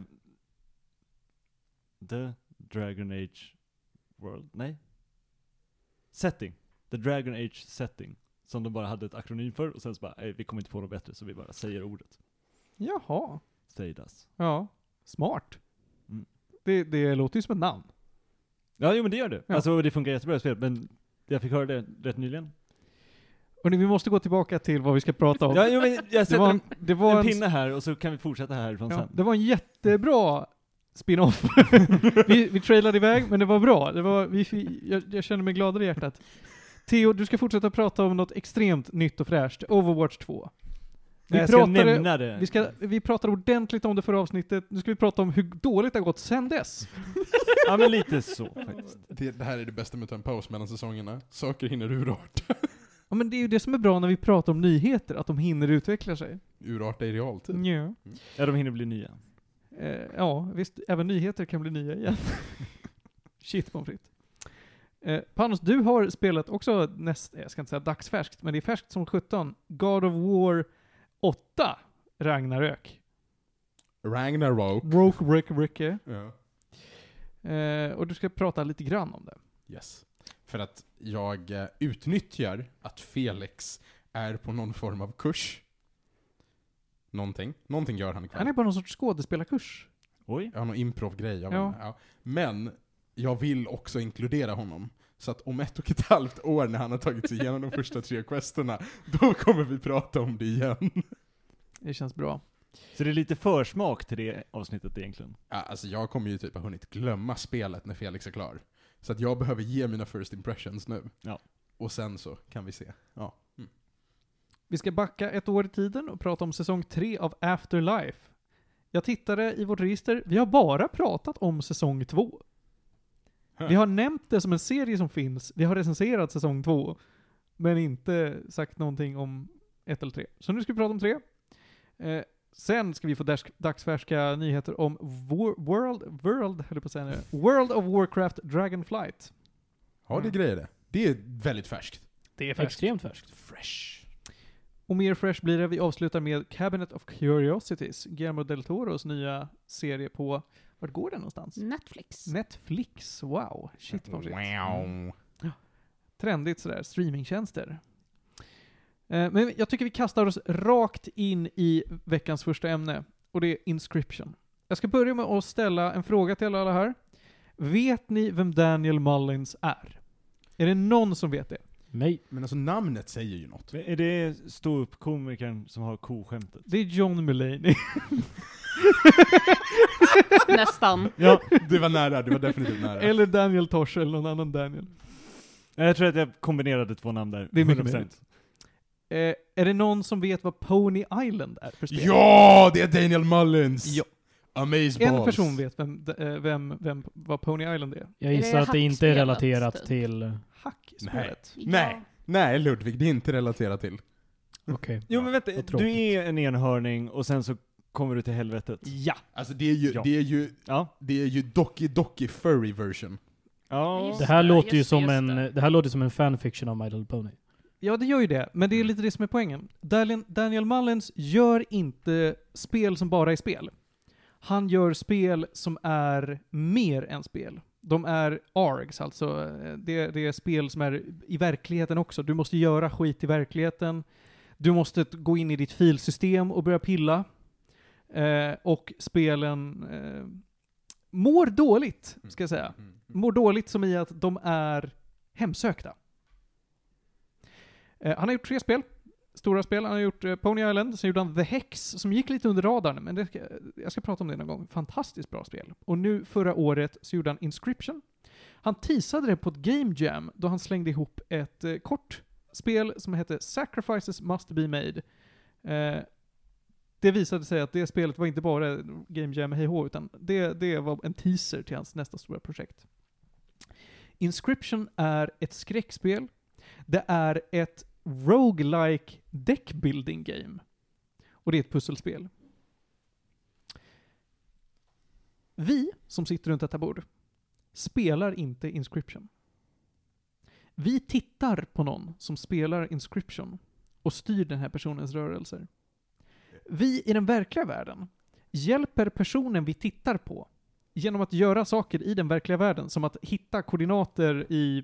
S4: the Dragon Age World? Nej? Setting. The Dragon Age Setting. Som de bara hade ett akronym för, och sen så bara, "Nej, vi kommer inte på något bättre, så vi bara säger ordet.
S1: Jaha.
S4: Seidas.
S1: Ja. Smart.
S4: Mm.
S1: Det, det låter ju som ett namn.
S4: Ja, jo men det gör det.
S1: Ja.
S4: Alltså det funkar jättebra i spelet, men jag fick höra det rätt nyligen.
S1: Hörni, vi måste gå tillbaka till vad vi ska prata om.
S4: Ja, jo, men jag
S1: det
S4: sätter
S1: var
S4: en,
S1: en, det var
S4: en,
S1: en,
S4: pinne här och så kan vi fortsätta härifrån
S1: ja,
S4: sen.
S1: det var en jättebra spin-off. vi, vi trailade iväg, men det var bra. Det var, vi, fi- jag, jag känner mig gladare i hjärtat. Theo, du ska fortsätta prata om något extremt nytt och fräscht. Overwatch 2.
S4: Vi
S1: Vi
S4: jag ska
S1: pratade-
S4: nämna det.
S1: Vi, ska, vi pratade ordentligt om det förra avsnittet. Nu ska vi prata om hur dåligt det har gått sen dess.
S4: Ja men lite så faktiskt.
S3: Det, det här är det bästa med att ta en paus mellan säsongerna. Saker hinner urarta.
S1: Ja, men det är ju det som är bra när vi pratar om nyheter, att de hinner utveckla sig.
S3: Urarta i realtid.
S1: Ja.
S4: Ja de hinner bli nya.
S1: Eh, ja, visst, även nyheter kan bli nya igen. Shit pommes frites. Eh, Panos, du har spelat också näst, jag ska inte säga dagsfärskt, men det är färskt som 17. God of War 8, Ragnarök.
S3: Ragnarok.
S1: Roke Rick Ricke.
S3: Ja.
S1: Eh, och du ska prata lite grann om det.
S3: Yes. För att jag eh, utnyttjar att Felix är på någon form av kurs. Någonting. Någonting gör han ikväll.
S1: Han är på någon sorts skådespelarkurs.
S4: Oj.
S3: Jag har någon improv-grej. jag vet
S1: Ja.
S3: inte, Ja. Men jag vill också inkludera honom. Så att om ett och ett halvt år när han har tagit sig igenom de första tre questerna, då kommer vi prata om det igen.
S1: Det känns bra.
S4: Så det är lite försmak till det avsnittet egentligen.
S3: Ja, alltså jag kommer ju typ ha hunnit glömma spelet när Felix är klar. Så att jag behöver ge mina first impressions nu.
S4: Ja.
S3: Och sen så kan vi se. Ja. Mm.
S1: Vi ska backa ett år i tiden och prata om säsong 3 av Afterlife. Jag tittade i vårt register, vi har bara pratat om säsong 2. Vi har nämnt det som en serie som finns, vi har recenserat säsong 2, men inte sagt någonting om 1 eller 3. Så nu ska vi prata om 3. Eh, sen ska vi få dags- dagsfärska nyheter om Wo- World, World, höll jag på att säga nu, World of Warcraft Dragonflight.
S3: Ja, det är
S1: Mm.
S3: grejer det. Det är väldigt färskt.
S1: Det är
S5: Extremt färskt.
S3: Fresh.
S1: Och mer fresh blir det. Vi avslutar med Cabinet of Curiosities, Guillermo del Toros nya serie på, vart går den någonstans?
S2: Mm. Netflix.
S1: Netflix, wow. Shit vad Mm. fritt.
S3: Wow.
S1: Trendigt sådär, streamingtjänster. Eh, Men jag tycker vi kastar oss rakt in i veckans första ämne, och det är Inscription. Jag ska börja med att ställa en fråga till alla här. Vet ni vem Daniel Mullins är? Är det någon som vet det?
S5: Nej.
S3: Men alltså namnet säger ju något.
S4: Men är det ståuppkomikern som har koskämtet?
S1: Det är John Mulaney.
S2: Nästan.
S4: Ja,
S3: Det var nära, det var definitivt nära.
S1: Eller Daniel Tosh, eller någon annan Daniel.
S4: jag tror att jag kombinerade två namn där.
S1: Det är mycket
S4: 100%.
S1: möjligt. Eh, är det någon som vet vad Pony Island är för spel?
S3: Ja, det är Daniel Mullins!
S1: Ja.
S3: Amazeballs.
S1: En person vet vem, d- eh, vem, vem, vad Pony Island är.
S5: Jag
S2: Är
S5: gissar
S2: det
S5: att det inte är
S2: hackspelet,
S5: relaterat
S2: typ?
S5: till...
S1: Hackspelet.
S3: Nej. Nej Ludvig, det är inte relaterat till.
S5: Okej.
S4: Jo men
S5: vad
S4: vänta,
S5: tråkigt.
S4: du är en enhörning och sen så kommer du till helvetet.
S1: Ja.
S3: Alltså det är ju,
S4: Ja.
S3: det är ju,
S4: Ja.
S3: det är ju Doki Doki Furry version.
S4: Ja.
S5: Det här
S2: det,
S5: låter ju
S2: just det,
S5: som
S2: just
S5: en...
S2: det.
S5: Det här låter som en fanfiction av My Little Pony.
S1: Ja, det gör ju det. Men det är lite det som är poängen. Daniel, Daniel Mullins gör inte spel som bara är spel. Han gör spel som är mer än spel. De är ARGs, alltså. eh, Det, det är spel som är i verkligheten också. Du måste göra skit i verkligheten. Du måste t- gå in i ditt filsystem och börja pilla. Eh, och spelen eh, mår dåligt, ska jag säga. Mår dåligt som i att de är hemsökta. Eh, han har gjort tre spel. Stora spel. Han har gjort eh, Pony Island, sen gjorde han The Hex, som gick lite under radarn, men det ska, jag ska prata om det någon gång. Fantastiskt bra spel. Och nu förra året så gjorde han Inscription. Han teasade det på ett Game Jam, då han slängde ihop ett eh, kort spel som hette Sacrifices Must Be Made. Eh, det visade sig att det spelet var inte bara Game Jam hej hå, utan det, det var en teaser till hans nästa stora projekt. Inscription är ett skräckspel det är ett roguelike deckbuilding game. Och det är ett pusselspel. Vi som sitter runt detta bord spelar inte Inscription. Vi tittar på någon som spelar Inscription och styr den här personens rörelser. Vi i den verkliga världen hjälper personen vi tittar på genom att göra saker i den verkliga världen, som att hitta koordinater i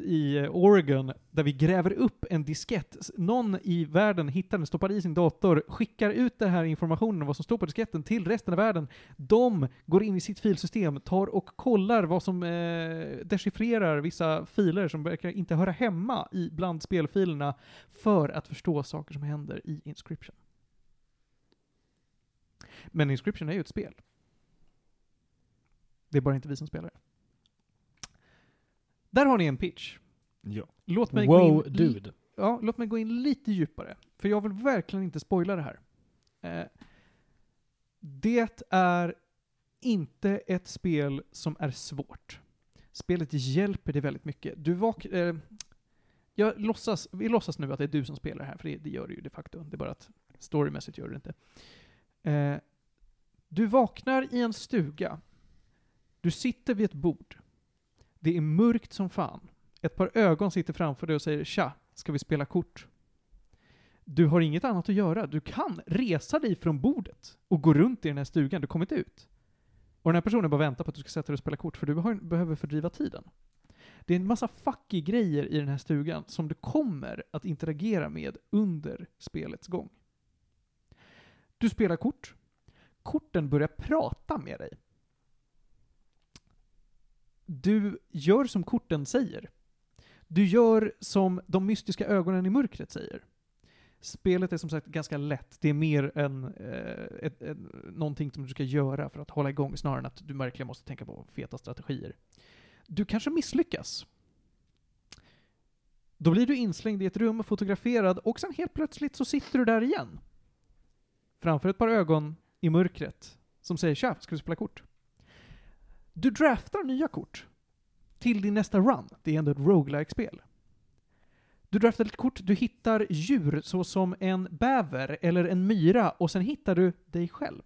S1: i Oregon där vi gräver upp en diskett. S- Någon i världen hittar den, stoppar i sin dator, skickar ut den här informationen, vad som står på disketten, till resten av världen. De går in i sitt filsystem, tar och kollar vad som eh, dechiffrerar vissa filer som verkar inte höra hemma i, bland spelfilerna för att förstå saker som händer i Inscription. Men Inscription är ju ett spel. Det är bara inte vi som spelar det. Där har ni en pitch.
S4: ja.
S1: Låt mig gå
S5: Wow,
S1: in
S5: dude.
S1: ja, låt mig gå in lite djupare. För jag vill verkligen inte spoila det här. Eh, det är inte ett spel som är svårt. Spelet hjälper dig väldigt mycket. Du vak... Eh, jag låtsas, vi låtsas nu att det är du som spelar här, för det, det gör du ju de facto. Det är bara att storymässigt gör du det inte. Eh, Du vaknar i en stuga. Du sitter vid ett bord. Det är mörkt som fan. Ett par ögon sitter framför dig och säger tja, ska vi spela kort? Du har inget annat att göra. Du kan resa dig från bordet och gå runt i den här stugan. Du kommer inte ut. Och den här personen bara väntar på att du ska sätta dig och spela kort för du har, behöver fördriva tiden. Det är en massa fucky grejer i den här stugan som du kommer att interagera med under spelets gång. Du spelar kort. Korten börjar prata med dig. Du gör som korten säger. Du gör som de mystiska ögonen i mörkret säger. Spelet är som sagt ganska lätt. Det är mer än eh, ett, ett, någonting som du ska göra för att hålla igång snarare än att du verkligen måste tänka på feta strategier. Du kanske misslyckas. Då blir du inslängd i ett rum, fotograferad och sen helt plötsligt så sitter du där igen. Framför ett par ögon i mörkret som säger “Tja, ska vi spela kort?” Du draftar nya kort till din nästa run. Det är ändå ett roguelike spel Du draftar ett kort, du hittar djur såsom en bäver eller en myra och sen hittar du dig själv.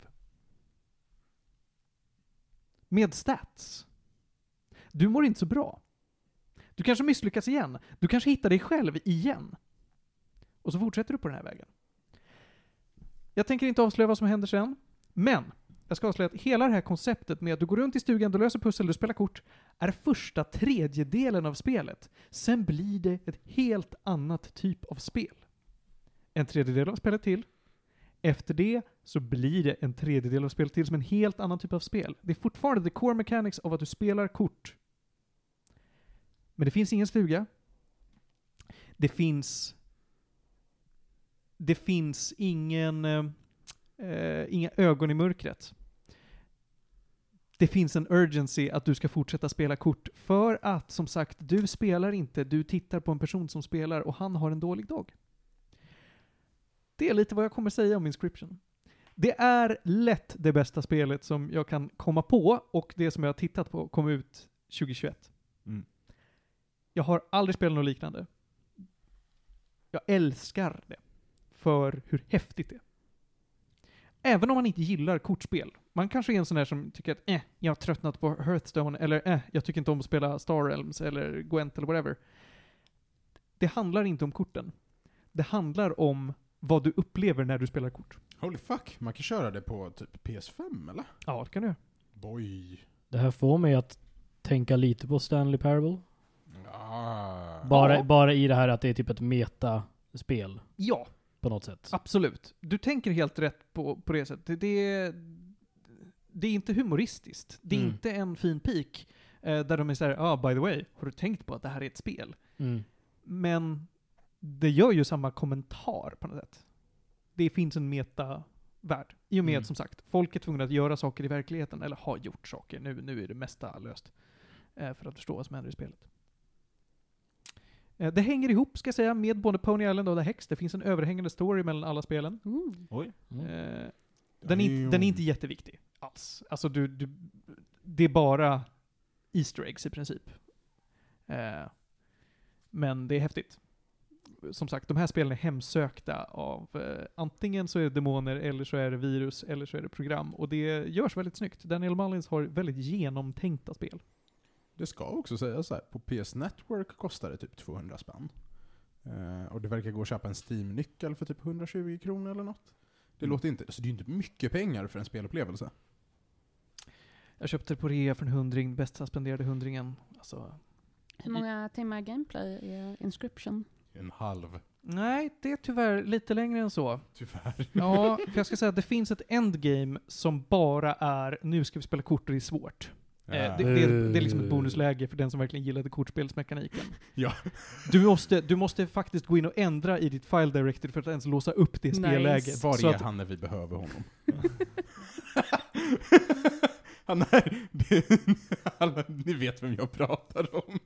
S1: Med stats. Du mår inte så bra. Du kanske misslyckas igen. Du kanske hittar dig själv igen. Och så fortsätter du på den här vägen. Jag tänker inte avslöja vad som händer sen, men jag ska avslöja att hela det här konceptet med att du går runt i stugan, du löser pussel, du spelar kort, är första tredjedelen av spelet. Sen blir det ett helt annat typ av spel. En tredjedel av spelet till. Efter det så blir det en tredjedel av spelet till som en helt annan typ av spel. Det är fortfarande the core mechanics av att du spelar kort. Men det finns ingen stuga. Det finns... Det finns ingen... eh, Eh, inga ögon i mörkret. Det finns en urgency att du ska fortsätta spela kort för att, som sagt, du spelar inte, du tittar på en person som spelar och han har en dålig dag. Det är lite vad jag kommer säga om Inscription. Det är lätt det bästa spelet som jag kan komma på och det som jag har tittat på kom ut 2021.
S4: Mm.
S1: Jag har aldrig spelat något liknande. Jag älskar det. För hur häftigt det är. Även om man inte gillar kortspel. Man kanske är en sån där som tycker att eh, jag har tröttnat på Hearthstone eller eh, jag tycker inte om att spela Star Realms eller Gwent eller whatever. Det handlar inte om korten. Det handlar om vad du upplever när du spelar kort.
S3: Holy fuck, man kan köra det på typ PS5 eller?
S1: Ja, det kan du göra.
S3: Boy.
S5: Det här får mig att tänka lite på Stanley Parable.
S3: Ah.
S5: Bara,
S1: Ja.
S5: bara i det här att det är typ ett metaspel
S1: Ja,
S5: på något sätt.
S1: absolut. Du tänker helt rätt på, på det sättet. Det, det, är- det är inte humoristiskt. Det är
S5: Mm.
S1: inte en fin pik eh, där de är såhär, ah, by the way, har du tänkt på att det här är ett spel?
S5: Mm.
S1: Men det gör ju samma kommentar på något sätt. Det finns en meta-värld. I och med
S5: Mm.
S1: att som sagt, folk är tvungna att göra saker i verkligheten, eller har gjort saker. Nu, nu är det mesta löst. Eh, för att förstå vad som händer i spelet. Eh, det hänger ihop, ska jag säga, med både Pony Island och The Hex. Det finns en överhängande story mellan alla spelen.
S2: Ooh.
S4: Oj.
S5: Mm.
S1: Eh, den, är inte, den är inte jätteviktig alls. Alltså du, du, det är bara Easter eggs i princip. Eh, men det är häftigt. Som sagt, de här spelen är hemsökta av eh, antingen så är det demoner, eller så är det virus, eller så är det program. Och det görs väldigt snyggt. Daniel Mullins har väldigt genomtänkta spel.
S3: Det ska också sägas så här, på PS Network kostar det typ 200 spänn. Eh, och det verkar gå att köpa en Steam-nyckel för typ 120 kronor eller något. Det
S4: Mm.
S3: låter inte, så det är ju inte mycket pengar för en spelupplevelse.
S1: Jag köpte det på rea för en hundring, bästa spenderade hundringen. Alltså,
S2: Hur många timmar gameplay är Inscription?
S3: En halv,
S1: nej, det är tyvärr lite längre än så.
S3: tyvärr.
S1: Ja, för jag ska säga att det finns ett endgame som bara är nu ska vi spela kort och det är svårt. Eh, det, det, det är liksom ett bonusläge för den som verkligen gillade kortspelsmekaniken.
S3: Ja.
S1: Du måste, du måste faktiskt gå in och ändra i ditt file directory för att ens låsa upp det
S2: Nice.
S1: spelläget.
S3: Var
S1: Så
S3: är
S1: att,
S3: han när vi behöver honom? han är... Det, alla, ni vet vem jag pratar om.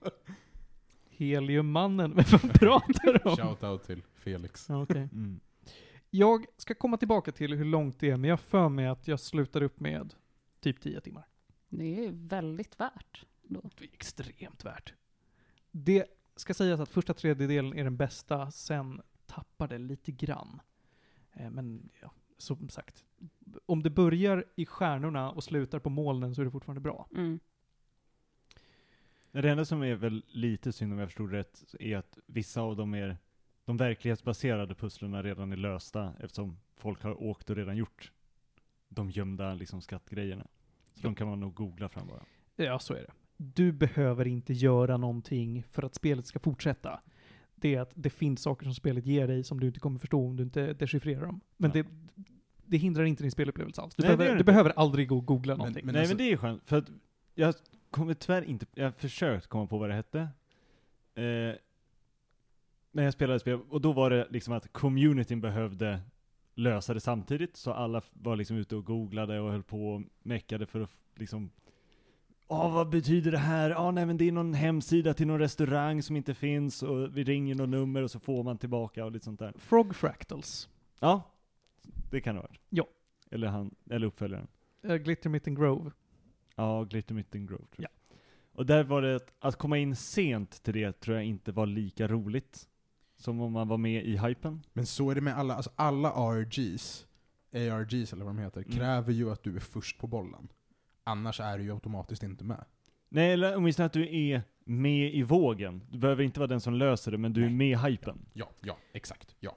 S1: Heliummannen, vem fan pratar du om?
S3: Shoutout till Felix.
S1: Ja, okej.
S4: Mm.
S1: Jag ska komma tillbaka till hur långt det är, men jag har för mig att jag slutar upp med typ 10 timmar.
S2: Det är ju väldigt värt.
S1: Det är extremt värt. Det ska sägas att första tredjedelen är den bästa, sen tappar det lite grann. Eh, Men ja, som sagt, om det börjar i stjärnorna och slutar på molnen så är det fortfarande bra.
S2: Mm.
S4: Nej, Det enda som är väl lite synd om jag förstod rätt är att vissa av dem är de verklighetsbaserade pusslerna redan är lösta eftersom folk har åkt och redan gjort de gömda liksom skattgrejerna. Så de kan man nog googla fram bara.
S1: Ja, så är det. Du behöver inte göra någonting för att spelet ska fortsätta. Det är att det finns saker som spelet ger dig som du inte kommer förstå om du inte dechiffrerar dem. Men
S4: Nej.
S1: det, det hindrar inte din spelupplevelse alls. Du,
S4: Nej, det gör
S1: behöver,
S4: det
S1: du
S4: inte.
S1: behöver aldrig gå och googla
S3: Men-
S1: någonting.
S3: men-
S4: Nej
S3: alltså-
S4: men det är ju skönt, för att jag kommer tyvärr inte, jag har försökt komma på vad det hette. Eh, när jag spelade spel, och då var det liksom att communityn behövde lösa det samtidigt, så alla f- var liksom ute och googlade och höll på och meckade för att f- liksom Ja, vad betyder det här? Ja, nej men det är någon hemsida till någon restaurang som inte finns och vi ringer något nummer och så får man tillbaka och lite sånt där.
S1: Frog Fractals.
S4: Ja, det kan det ha varit.
S1: Ja.
S4: Eller han, eller uppföljaren.
S1: Eh, Glitter Mitten Grove.
S4: Ja, Glitter Mitten Grove tror jag. Och där var det att, att komma in sent till det tror jag inte var lika roligt. Som om man var med i hypen.
S3: Men så är det med alla, alltså alla ARGs, ARGs eller vad de heter,
S4: Mm.
S3: kräver ju att du är först på bollen. Annars är du ju automatiskt inte med.
S4: Nej, eller åtminstone att du är med i vågen. Du behöver inte vara den som löser det, men du är med i hypen.
S3: Ja, ja, exakt, ja.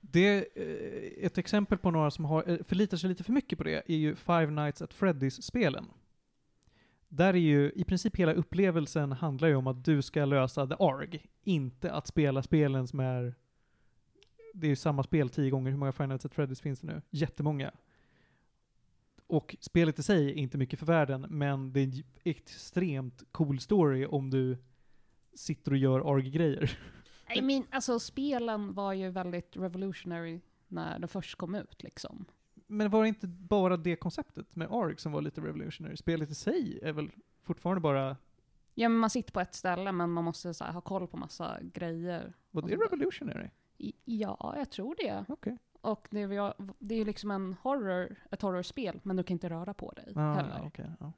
S1: Det är eh, ett exempel på några som har, eh, förlitar sig lite för mycket på det är ju Five Nights at Freddy's-spelen. Där är ju i princip hela upplevelsen handlar ju om att du ska lösa The Arg, inte att spela spelen som är... Det är ju samma spel tio gånger, hur många Five Nights at Freddy's finns det nu? Jättemånga. Och spelet i sig är inte mycket för världen, men det är en extremt cool story om du sitter och gör ARG-grejer.
S2: I mean, alltså spelen var ju väldigt revolutionary när de först kom ut liksom.
S1: Men var det inte bara det konceptet med ARG som var lite revolutionary? Spelet i sig är väl fortfarande bara...
S2: Ja, men man sitter på ett ställe men man måste så här, ha koll på massa grejer.
S1: Var det revolutionary?
S2: I, ja, jag tror det.
S1: Okej.
S2: Och det, är ju- det är ju liksom en horror, ett horrorspel, men du kan inte röra på dig
S1: Ah,
S2: heller.
S1: ja, okej. ja.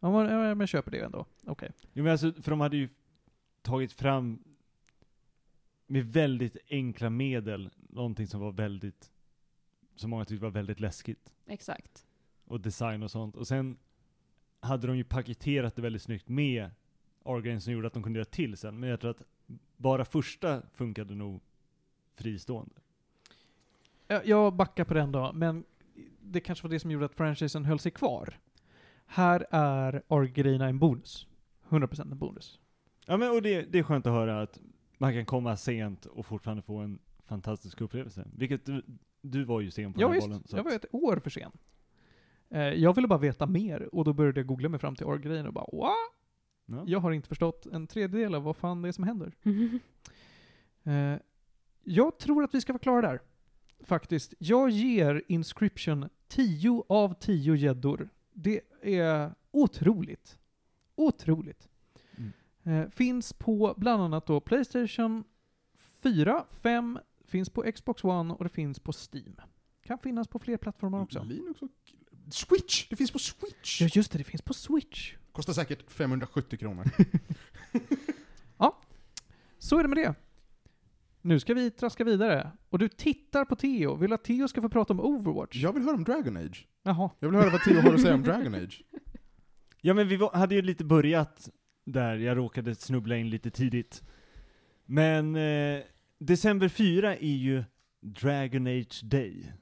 S1: Ja, men- ja, men jag köper det ändå. Okej.
S4: Jo, men alltså, för de hade ju tagit fram med väldigt enkla medel någonting som var väldigt, som många tyckte var väldigt läskigt.
S2: Exakt.
S4: och design och sånt. Och sen hade de ju paketerat det väldigt snyggt med Argane som gjorde att de kunde göra till sen. Men jag tror att bara första funkade nog fristående.
S1: Ja, Jag backar på den då, men det kanske var det som gjorde att franchisen höll sig kvar. Här är ARG-grejerna en bonus. 100% en bonus.
S4: Ja men och det, det är skönt att höra att man kan komma sent och fortfarande få en fantastisk upplevelse. Vilket du, du var ju sen på
S1: Ja,
S4: den här
S1: visst,
S4: bollen. så
S1: jag var
S4: att-
S1: ett år för sen. Eh, Jag ville bara veta mer och då började jag googla mig fram till ARG-grejen och bara wow,
S4: Ja.
S1: jag har inte förstått en tredjedel av vad fan det är som händer. Eh, jag tror att vi ska vara klara där. Faktiskt. Jag ger Inscription 10 av 10 gäddor. Det är otroligt. Otroligt.
S4: Mm.
S1: Eh, finns på bland annat då Playstation 4, 5, finns på Xbox One och det finns på Steam. Kan finnas på fler plattformar också.
S3: Linux och... Switch! Det finns på Switch!
S1: Ja just det, det finns på Switch.
S3: Kostar säkert 570 kronor.
S1: Så är det med det. Nu ska vi traska vidare. Och du tittar på Theo. Vill du att Theo ska få prata om Overwatch?
S3: Jag vill höra om Dragon Age.
S1: Jaha.
S3: Jag vill höra vad Theo har att säga om Dragon Age.
S4: Ja men vi var, hade ju lite börjat där, jag råkade snubbla in lite tidigt. Men eh, december 4 är ju Dragon Age Day.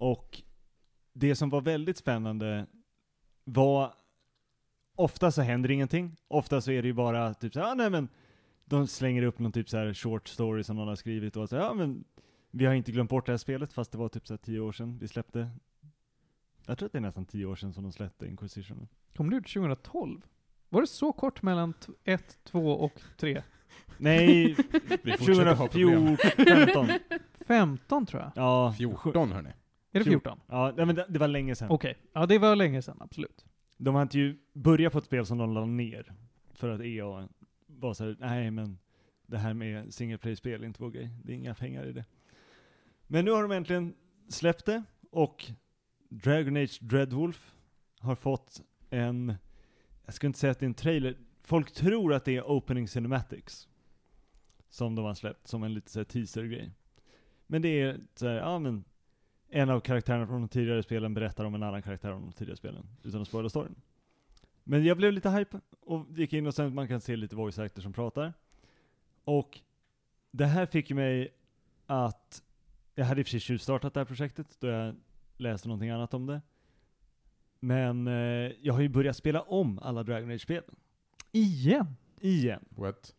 S4: Och det som var väldigt spännande var, ofta så händer ingenting, ofta så är det ju bara typ såhär, ah, nej men de slänger upp någon typ såhär short story som någon har skrivit och så ja men vi har inte glömt bort det här spelet fast det var typ såhär tio år sedan vi släppte. Jag tror att det är nästan tio år sedan som de släppte Inquisition.
S1: Kom det ut 2012? Var det så kort mellan 1, 2 och 3?
S4: Nej,
S3: Vi fortsätter ha problem.
S4: 2014, 15.
S1: 15 tror jag.
S4: Ja, sju-
S3: 14 hörni.
S1: Är det
S4: Fjort-
S1: 14?
S4: ja nej, men det, det var länge sedan.
S1: Okej. Ja, det var länge sedan, absolut.
S4: De hade ju börjat på ett spel som de la ner. För att EA var såhär, nej men det här med single play-spel är inte vår grej. Det är inga pengar i det. Men nu har de äntligen släppt det och Dragon Age Dreadwolf har fått en, jag ska inte säga att det är en trailer, folk tror att det är Opening Cinematics. Som de har släppt som en lite såhär teaser-grej. Men det är såhär, ja men en av karaktärerna från de tidigare spelen berättar om en annan karaktär från de tidigare spelen, utan att spoila storyn. Men jag blev lite hype och gick in och sen man kan se lite voice actors som pratar. Och det här fick ju mig att, jag hade i och för sig tjuvstartat det här projektet då jag läste någonting annat om det. Men eh, jag har ju börjat spela om alla Dragon Age-spel.
S1: Igen?
S4: Igen.
S3: What?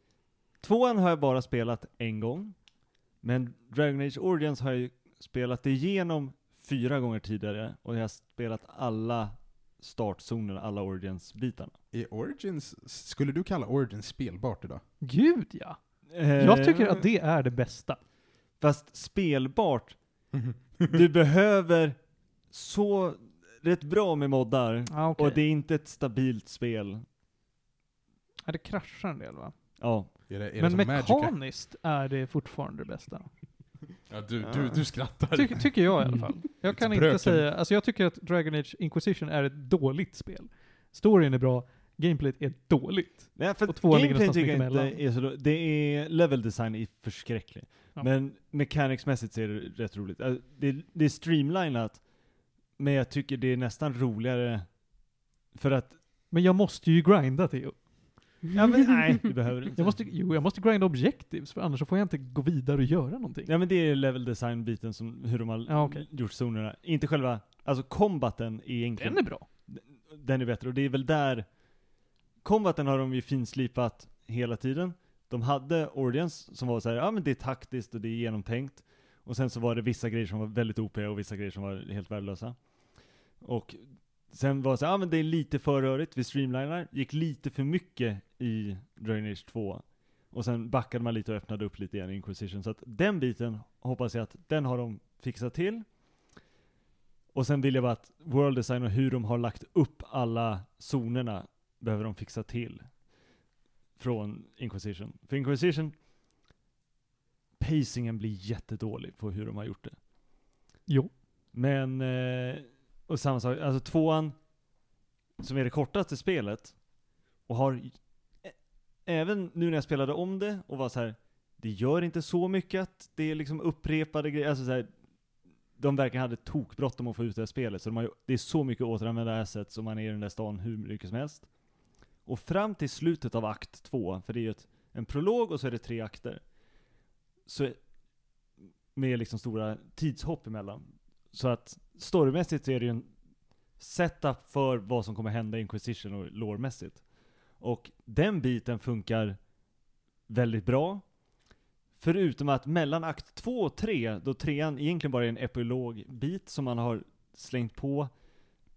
S4: Tvåan har jag bara spelat en gång. Men Dragon Age Origins har jag ju spelat igenom fyra gånger tidigare och jag har spelat alla startzoner, alla Origins-bitarna.
S3: Är Origins, skulle du kalla Origins spelbart idag?
S1: Gud ja. Jag tycker att
S4: Eh,
S1: det är det bästa.
S4: Fast spelbart, du behöver så rätt bra med moddar
S1: Ah,
S4: och det är inte ett stabilt spel.
S1: ja, det kraschar en del va?
S4: Ja.
S3: Är det, är det
S1: Men
S3: som Magica?
S1: mekaniskt är det fortfarande det bästa.
S3: Ja, du, du, du skrattar.
S1: Tyck, tycker jag i
S2: Mm.
S1: alla fall. Jag kan inte
S3: Bröken.
S1: säga, alltså jag tycker att Dragon Age Inquisition är ett dåligt spel. Storyn är bra, gameplayt är dåligt.
S4: Nej, för
S1: Och tvåan ligger
S4: gameplay
S1: någonstans
S4: tycker jag
S1: mittemellan.
S4: inte är så då- Det är, level design är förskräcklig.
S1: Ja.
S4: Men mechanicsmässigt så är det rätt roligt. Alltså, Det är, det är streamlinat, men jag tycker det är nästan roligare för att,
S1: Men jag måste ju grinda Theo.
S4: ja men nej, det behöver du inte.
S1: Jag måste, jo, jag måste grinda objectives för annars så får jag inte gå vidare och göra någonting.
S4: Ja men det är level design-biten som, hur de har
S1: Ja, okej.
S4: gjort zonerna. Inte själva, alltså kombaten är egentligen,
S1: Den är bra.
S4: den är bättre och det är väl där, kombaten har de ju finslipat hela tiden. De hade Ordians som var så här, ja men det är taktiskt och det är genomtänkt. Och sen så var det vissa grejer som var väldigt OP och vissa grejer som var helt värdelösa. Och sen var det så här, ja men det är lite för rörigt, vi streamlinar, gick lite för mycket i Dragon Age 2. Och sen backade man lite och öppnade upp lite igen i Inquisition. Så att den biten hoppas jag att den har de fixat till. Och sen vill jag bara att World Design och hur de har lagt upp alla zonerna behöver de fixa till. Från Inquisition. För Inquisition, pacingen blir jättedålig på hur de har gjort det.
S1: Jo.
S4: Men, eh, och samma sak, alltså tvåan, som är det kortaste spelet, och har, ä- även nu när jag spelade om det och var så här, det gör inte så mycket att det är liksom upprepade grejer, alltså så här, de verkar hade tokbråttom att få ut det här spelet, så de har, ju- det är så mycket återanvända assets och man är i den där stan hur mycket som helst. Och fram till slutet av akt två, för det är ju ett, en prolog och så är det tre akter, så med liksom stora tidshopp emellan. Så att storymässigt så är det ju en setup för vad som kommer hända i Inquisition och lårmässigt. Och den biten funkar väldigt bra. Förutom att mellan akt 2 och 3, då trean egentligen bara är en epilogbit som man har slängt på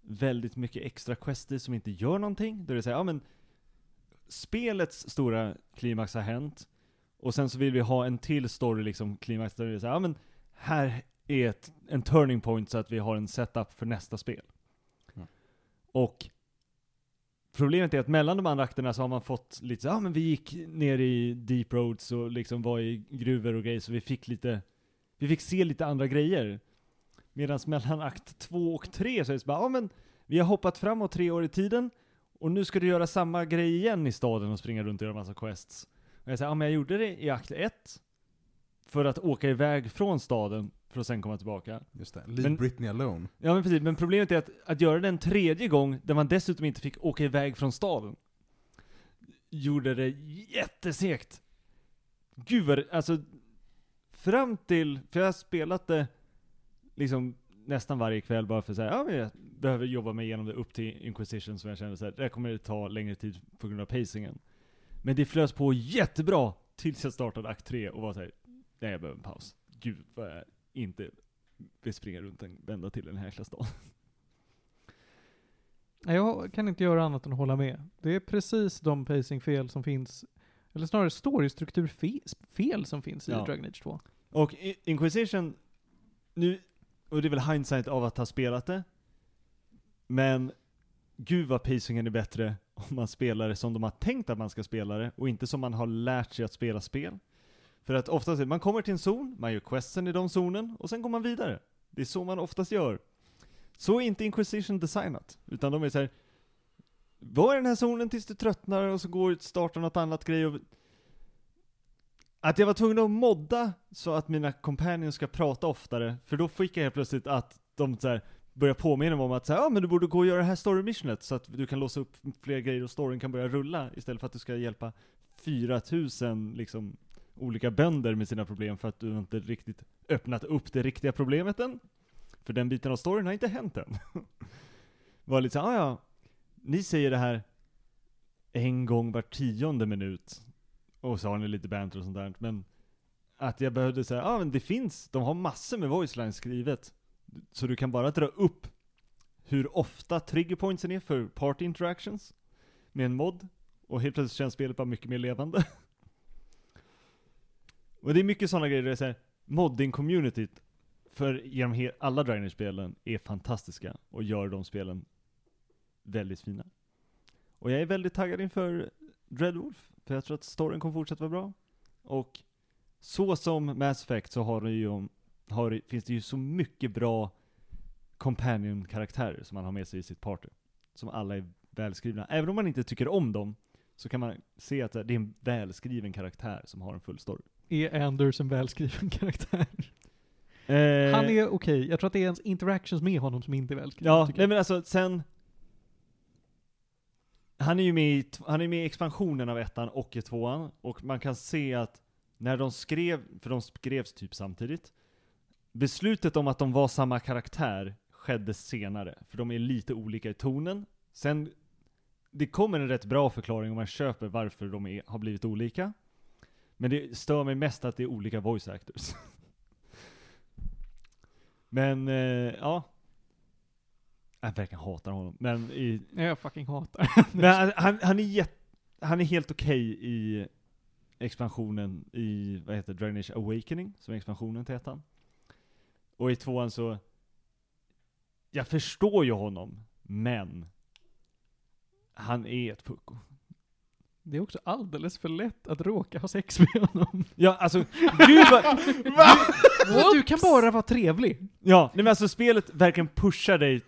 S4: väldigt mycket extra quest i som inte gör någonting. Då är det säger ja men spelets stora klimax har hänt och sen så vill vi ha en till story liksom klimax där det är så här, ja men här är ett, en turning point så att vi har en setup för nästa spel.
S3: Ja.
S4: Och problemet är att mellan de andra akterna så har man fått lite så, ja ah, men vi gick ner i deep roads och liksom var i gruvor och grejer så vi fick lite, vi fick se lite andra grejer. Medan mellan akt två och tre så är det så bara, ja ah, men vi har hoppat framåt tre år i tiden och nu ska du göra samma grej igen i staden och springa runt och göra massa quests. Och jag säger, ja ah, men jag gjorde det i akt ett för att åka iväg från staden för att sen komma tillbaka.
S3: Just det, leave
S4: Men-
S3: Britney alone.
S4: Ja men precis, men problemet är att, att göra det en tredje gång, där man dessutom inte fick åka iväg från staden, gjorde det jättesegt. Gud vad det- alltså, fram till, för jag har spelat det liksom nästan varje kväll bara för att säga, ja men jag behöver jobba mig igenom det upp till Inquisition som jag kände så här, det här kommer det ta längre tid på grund av pacingen. Men det flös på jättebra tills jag startade akt 3 och var såhär, nej jag behöver en paus. Gud vad jag inte vi springer runt en vända till den här jäkla stan.
S1: Nej, Jag kan inte göra annat än att hålla med. Det är precis de pacingfel som finns, eller snarare storystrukturfel som finns i
S4: Ja.
S1: Dragon Age 2.
S4: Och I- Inquisition, nu, och det är väl hindsight av att ha spelat det, men gud vad pacingen är bättre om man spelar det som de har tänkt att man ska spela det och inte som man har lärt sig att spela spel. För att oftast, är det- man kommer till en zon, man gör questen i den zonen och sen går man vidare. Det är så man oftast gör. Så är inte Inquisition designat, utan de är så här. var i den här zonen tills du tröttnar och så går startar något annat grej och Att jag var tvungen att modda så att mina companions ska prata oftare, för då fick jag helt plötsligt att de så här börjar påminna mig om att så här, ja men du borde gå och göra det här story missionet så att du kan låsa upp fler grejer och storyn kan börja rulla istället för att du ska hjälpa 4000 liksom olika bönder med sina problem för att du inte riktigt öppnat upp det riktiga problemet än. För den biten av storyn har inte hänt än. Var lite så här, "Ah, ja, ni säger det här en gång var tionde minut. Och så har ni lite banter och sånt där. Men att jag behövde säga, ja ah, men det finns, de har massor med voice lines skrivet. Så du kan bara dra upp hur ofta triggerpointsen är för party interactions med en mod. Och helt plötsligt känns spelet bara mycket mer levande. och det är mycket sådana grejer där det är så här, modding-communityt för genom he- alla Dragon Age-spelen är fantastiska och gör de spelen väldigt fina. Och jag är väldigt taggad inför Dreadwolf, för jag tror att storyn kommer fortsätta vara bra. Och så som Mass Effect så har det ju, har, det- finns det ju så mycket bra companion-karaktärer som man har med sig i sitt party. Som alla är välskrivna. Även om man inte tycker om dem, så kan man se att det är en välskriven karaktär som har en full story.
S1: Är E. Anders en välskriven karaktär? Han
S4: Eh,
S1: är okej. Jag tror att det är ens interactions med honom som inte är välskrivna.
S4: Ja,
S1: tycker
S4: nej
S1: jag.
S4: men alltså sen... Han är ju med i, t- han är med i expansionen av ettan och i tvåan, och man kan se att när de skrev, för de skrevs typ samtidigt, beslutet om att de var samma karaktär skedde senare, för de är lite olika i tonen. Sen, det kommer en rätt bra förklaring om man köper varför de är, har blivit olika. Men det stör mig mest att det är olika voice actors. Men, eh, ja. Jag verkligen hatar honom. Men i,
S1: Nej, Jag fucking hatar
S4: men han, han, han, är jätt, han är helt okej i expansionen i, vad heter det, Dragon Age Awakening, som är expansionen till ettan. Och i tvåan så, jag förstår ju honom, men han är ett pucko.
S1: Det är också alldeles för lätt att råka ha sex med honom.
S4: Ja, alltså, gud vad,
S1: Du kan bara vara trevlig.
S4: ja, nej men alltså spelet verkligen pushar dig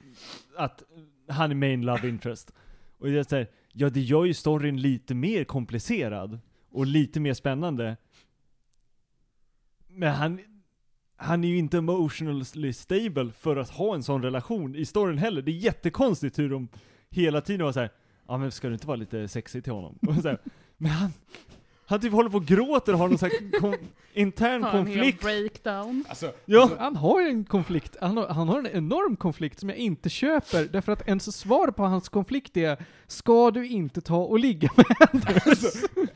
S4: att han är main love interest. Och jag säger, ja det gör ju storyn lite mer komplicerad och lite mer spännande. Men han, han är ju inte emotionally stable för att ha en sån relation i storyn heller. Det är jättekonstigt hur de hela tiden var så här. ja men ska du inte vara lite sexig till honom? Och så här, men han, han typ håller på och gråter och har någon så här kon, intern
S2: Har en hel
S4: konflikt.
S2: breakdown.
S3: Alltså,
S4: Ja.
S1: Han har ju en konflikt. Han har, han har en enorm konflikt som jag inte köper därför att ens svar på hans konflikt är Ska du inte ta och ligga med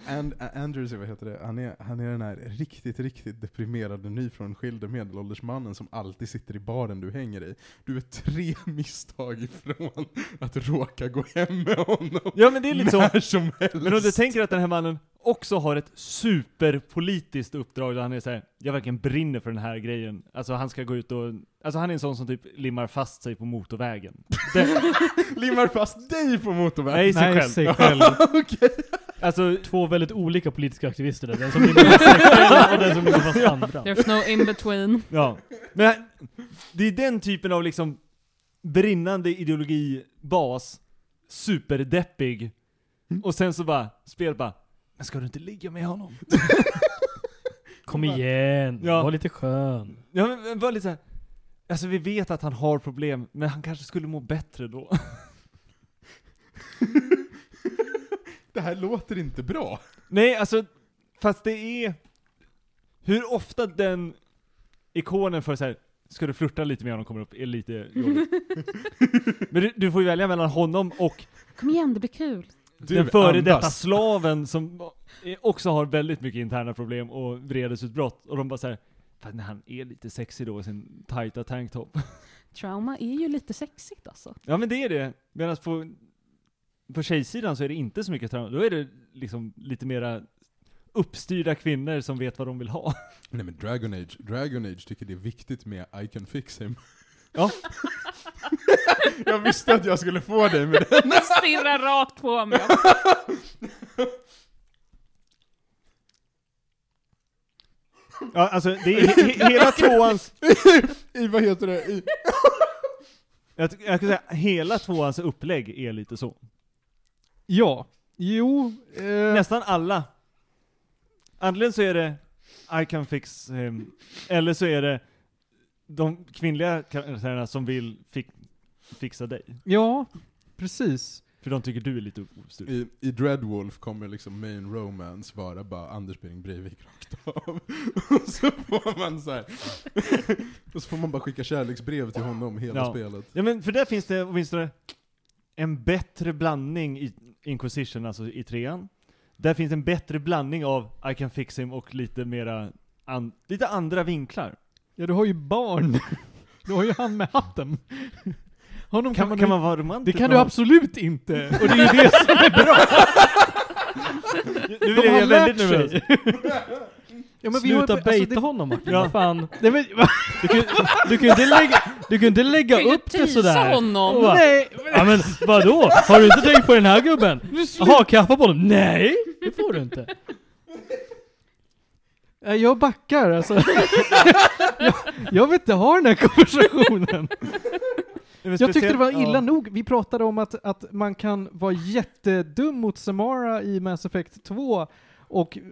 S3: And, Andrews, vad heter det, han är, han är den här riktigt, riktigt deprimerade nyfrånskilde medelålders mannen som alltid sitter i baren du hänger i. Du är tre misstag ifrån att råka gå hem med honom.
S4: ja men det är lite så.
S3: När som helst.
S4: Men om du tänker att den här mannen också har ett superpolitiskt uppdrag där han är såhär, jag verkligen brinner för den här grejen. Alltså han ska gå ut och, alltså han är en sån som typ limmar fast sig på motorvägen.
S3: Limmar fast dig på motorvägen.
S4: Nej, sig
S1: Nej,
S4: själv.
S1: sig själv.
S4: Alltså,
S5: Två väldigt olika politiska aktivister där. Den som ligger fast sig själv och den som ligger fast andra.
S2: There's no in between.
S4: ja. Men han- det är den typen av liksom brinnande ideologibas, superdeppig,
S1: Mm.
S4: och sen så bara, spel bara, men ska du inte ligga med honom?
S5: Kom igen,
S4: Ja.
S5: var lite skön.
S4: Ja men- men var lite såhär, alltså vi vet att han har problem, men han kanske skulle må bättre då.
S3: Det här låter inte bra.
S4: Nej, alltså, fast det är... Hur ofta den ikonen för så här, ska du flirta lite med honom kommer upp, är lite jobbigt. Men du, du får ju välja mellan honom och
S2: Kom igen, det blir kul.
S3: Du,
S4: den före
S3: andas.
S4: detta slaven som också har väldigt mycket interna problem och vredesutbrott. Och de bara såhär, fast nej, han är lite sexig då i sin tajta tanktop.
S2: Trauma är ju lite sexigt alltså.
S4: Ja men det är det. Medan på, på tjejsidan så är det inte så mycket trauma. Då är det liksom lite mera uppstyrda kvinnor som vet vad de vill ha.
S3: Nej men Dragon Age, Dragon Age tycker det är viktigt med I can fix him.
S4: Ja.
S3: jag visste att jag skulle få dig med det.
S2: Stirrar rakt på mig.
S4: Ja, alltså det är he- he- hela tvåans...
S3: I vad heter det? I,
S4: Jag, ty- jag kan säga, hela tvåans upplägg är lite så.
S1: Ja. Jo. Eh,
S4: Nästan alla. Antingen så är det, I can fix him. Eller så är det de kvinnliga karaktärerna som vill fi fixa dig.
S1: Ja, precis.
S4: För de tycker du är lite ostulen.
S3: I, I Dreadwolf kommer liksom main romance vara bara Anders Behring Breivik rakt av. och så får man så här. och så får man bara skicka kärleksbrev till honom hela
S4: Ja.
S3: spelet.
S4: Ja men för där finns det åtminstone en bättre blandning i Inquisition, alltså i trean. Där finns en bättre blandning av I can fix him och lite mera, an lite andra vinklar.
S1: Ja, du har ju barn. Du har ju han med hatten. Honom
S4: Kan,
S1: kan,
S4: man,
S1: man,
S4: kan man vara romantisk?
S1: Det kan
S4: med
S1: du
S4: honom?
S1: absolut inte! Och det är ju det som är bra! De
S4: Nu blir
S1: har
S4: jag väldigt
S1: lärt
S4: nervös.
S1: sig! Ja, men vi har,
S5: Sluta
S1: alltså,
S5: baita
S1: det,
S5: honom Martin,
S4: Ja.
S5: vad fan.
S1: nej, men,
S5: Du kan, du kan ju inte lägga, du kan inte lägga
S2: kan ju
S5: upp det
S2: teasa
S5: sådär.
S2: honom.
S5: Och bara,
S1: nej!
S5: Ja men vadå? Har du inte tänkt på den här gubben? Jaha, kaffa på honom? Nej! Det får du inte.
S1: Nej, Jag backar alltså. jag, jag vill inte ha den här konversationen. Jag tyckte det var illa nog. Vi pratade om att, att man kan vara jättedum mot Samara i Mass Effect 2 och eh,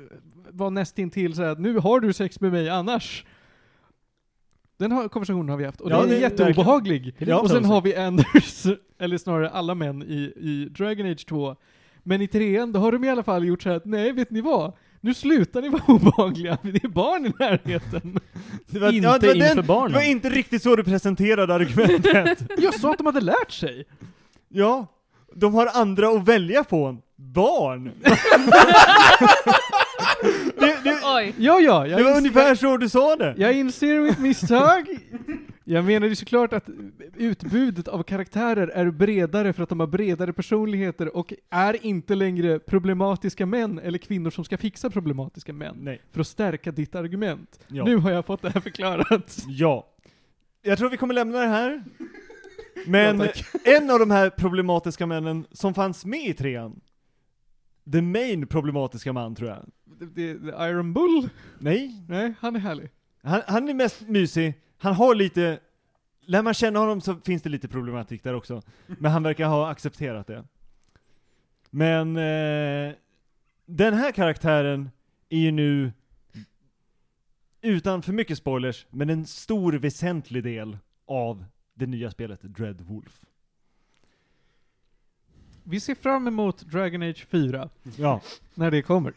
S1: vara nästintill såhär att nu har du sex med mig annars. Den har, konversationen har vi haft och
S4: Ja,
S1: den är
S4: det-
S1: jätteobehaglig.
S5: Det är lite
S1: och sen
S5: toxic.
S1: har vi Anders, eller snarare alla män i, i Dragon Age 2. Men i trean, då har de i alla fall gjort så här att nej, vet ni vad? Nu slutar ni vara obehagliga, det är barn i närheten.
S4: Det
S5: Inte
S4: ja, det var
S5: inför
S4: den- Det
S5: barnen.
S4: var inte riktigt så du presenterade argumentet.
S1: Jag sa att de hade lärt sig.
S4: ja, de har andra att välja på. Barn! det, det,
S2: Oj.
S1: Ja, ja. Jag
S4: det var
S1: inser-
S4: ungefär så du sa det.
S1: Jag inser mitt misstag. Jag menar ju såklart att utbudet av karaktärer är bredare för att de har bredare personligheter och är inte längre problematiska män eller kvinnor som ska fixa problematiska män.
S4: Nej.
S1: För att stärka ditt argument.
S4: Ja.
S1: Nu har jag fått det här förklarat.
S4: ja. Jag tror vi kommer lämna det här. Men
S3: Ja,
S4: en av de här problematiska männen som fanns med i trean, the main problematiska man tror jag.
S1: Det, det, det, Iron Bull?
S4: Nej,
S1: Nej, han är härlig.
S4: Han, han är mest mysig, han har lite, lär man känna honom så finns det lite problematik där också. Men han verkar ha accepterat det. Men eh, den här karaktären är ju nu, utan för mycket spoilers, men en stor väsentlig del av det nya spelet Dreadwolf.
S1: Vi ser fram emot Dragon Age 4,
S4: Ja,
S1: när det kommer.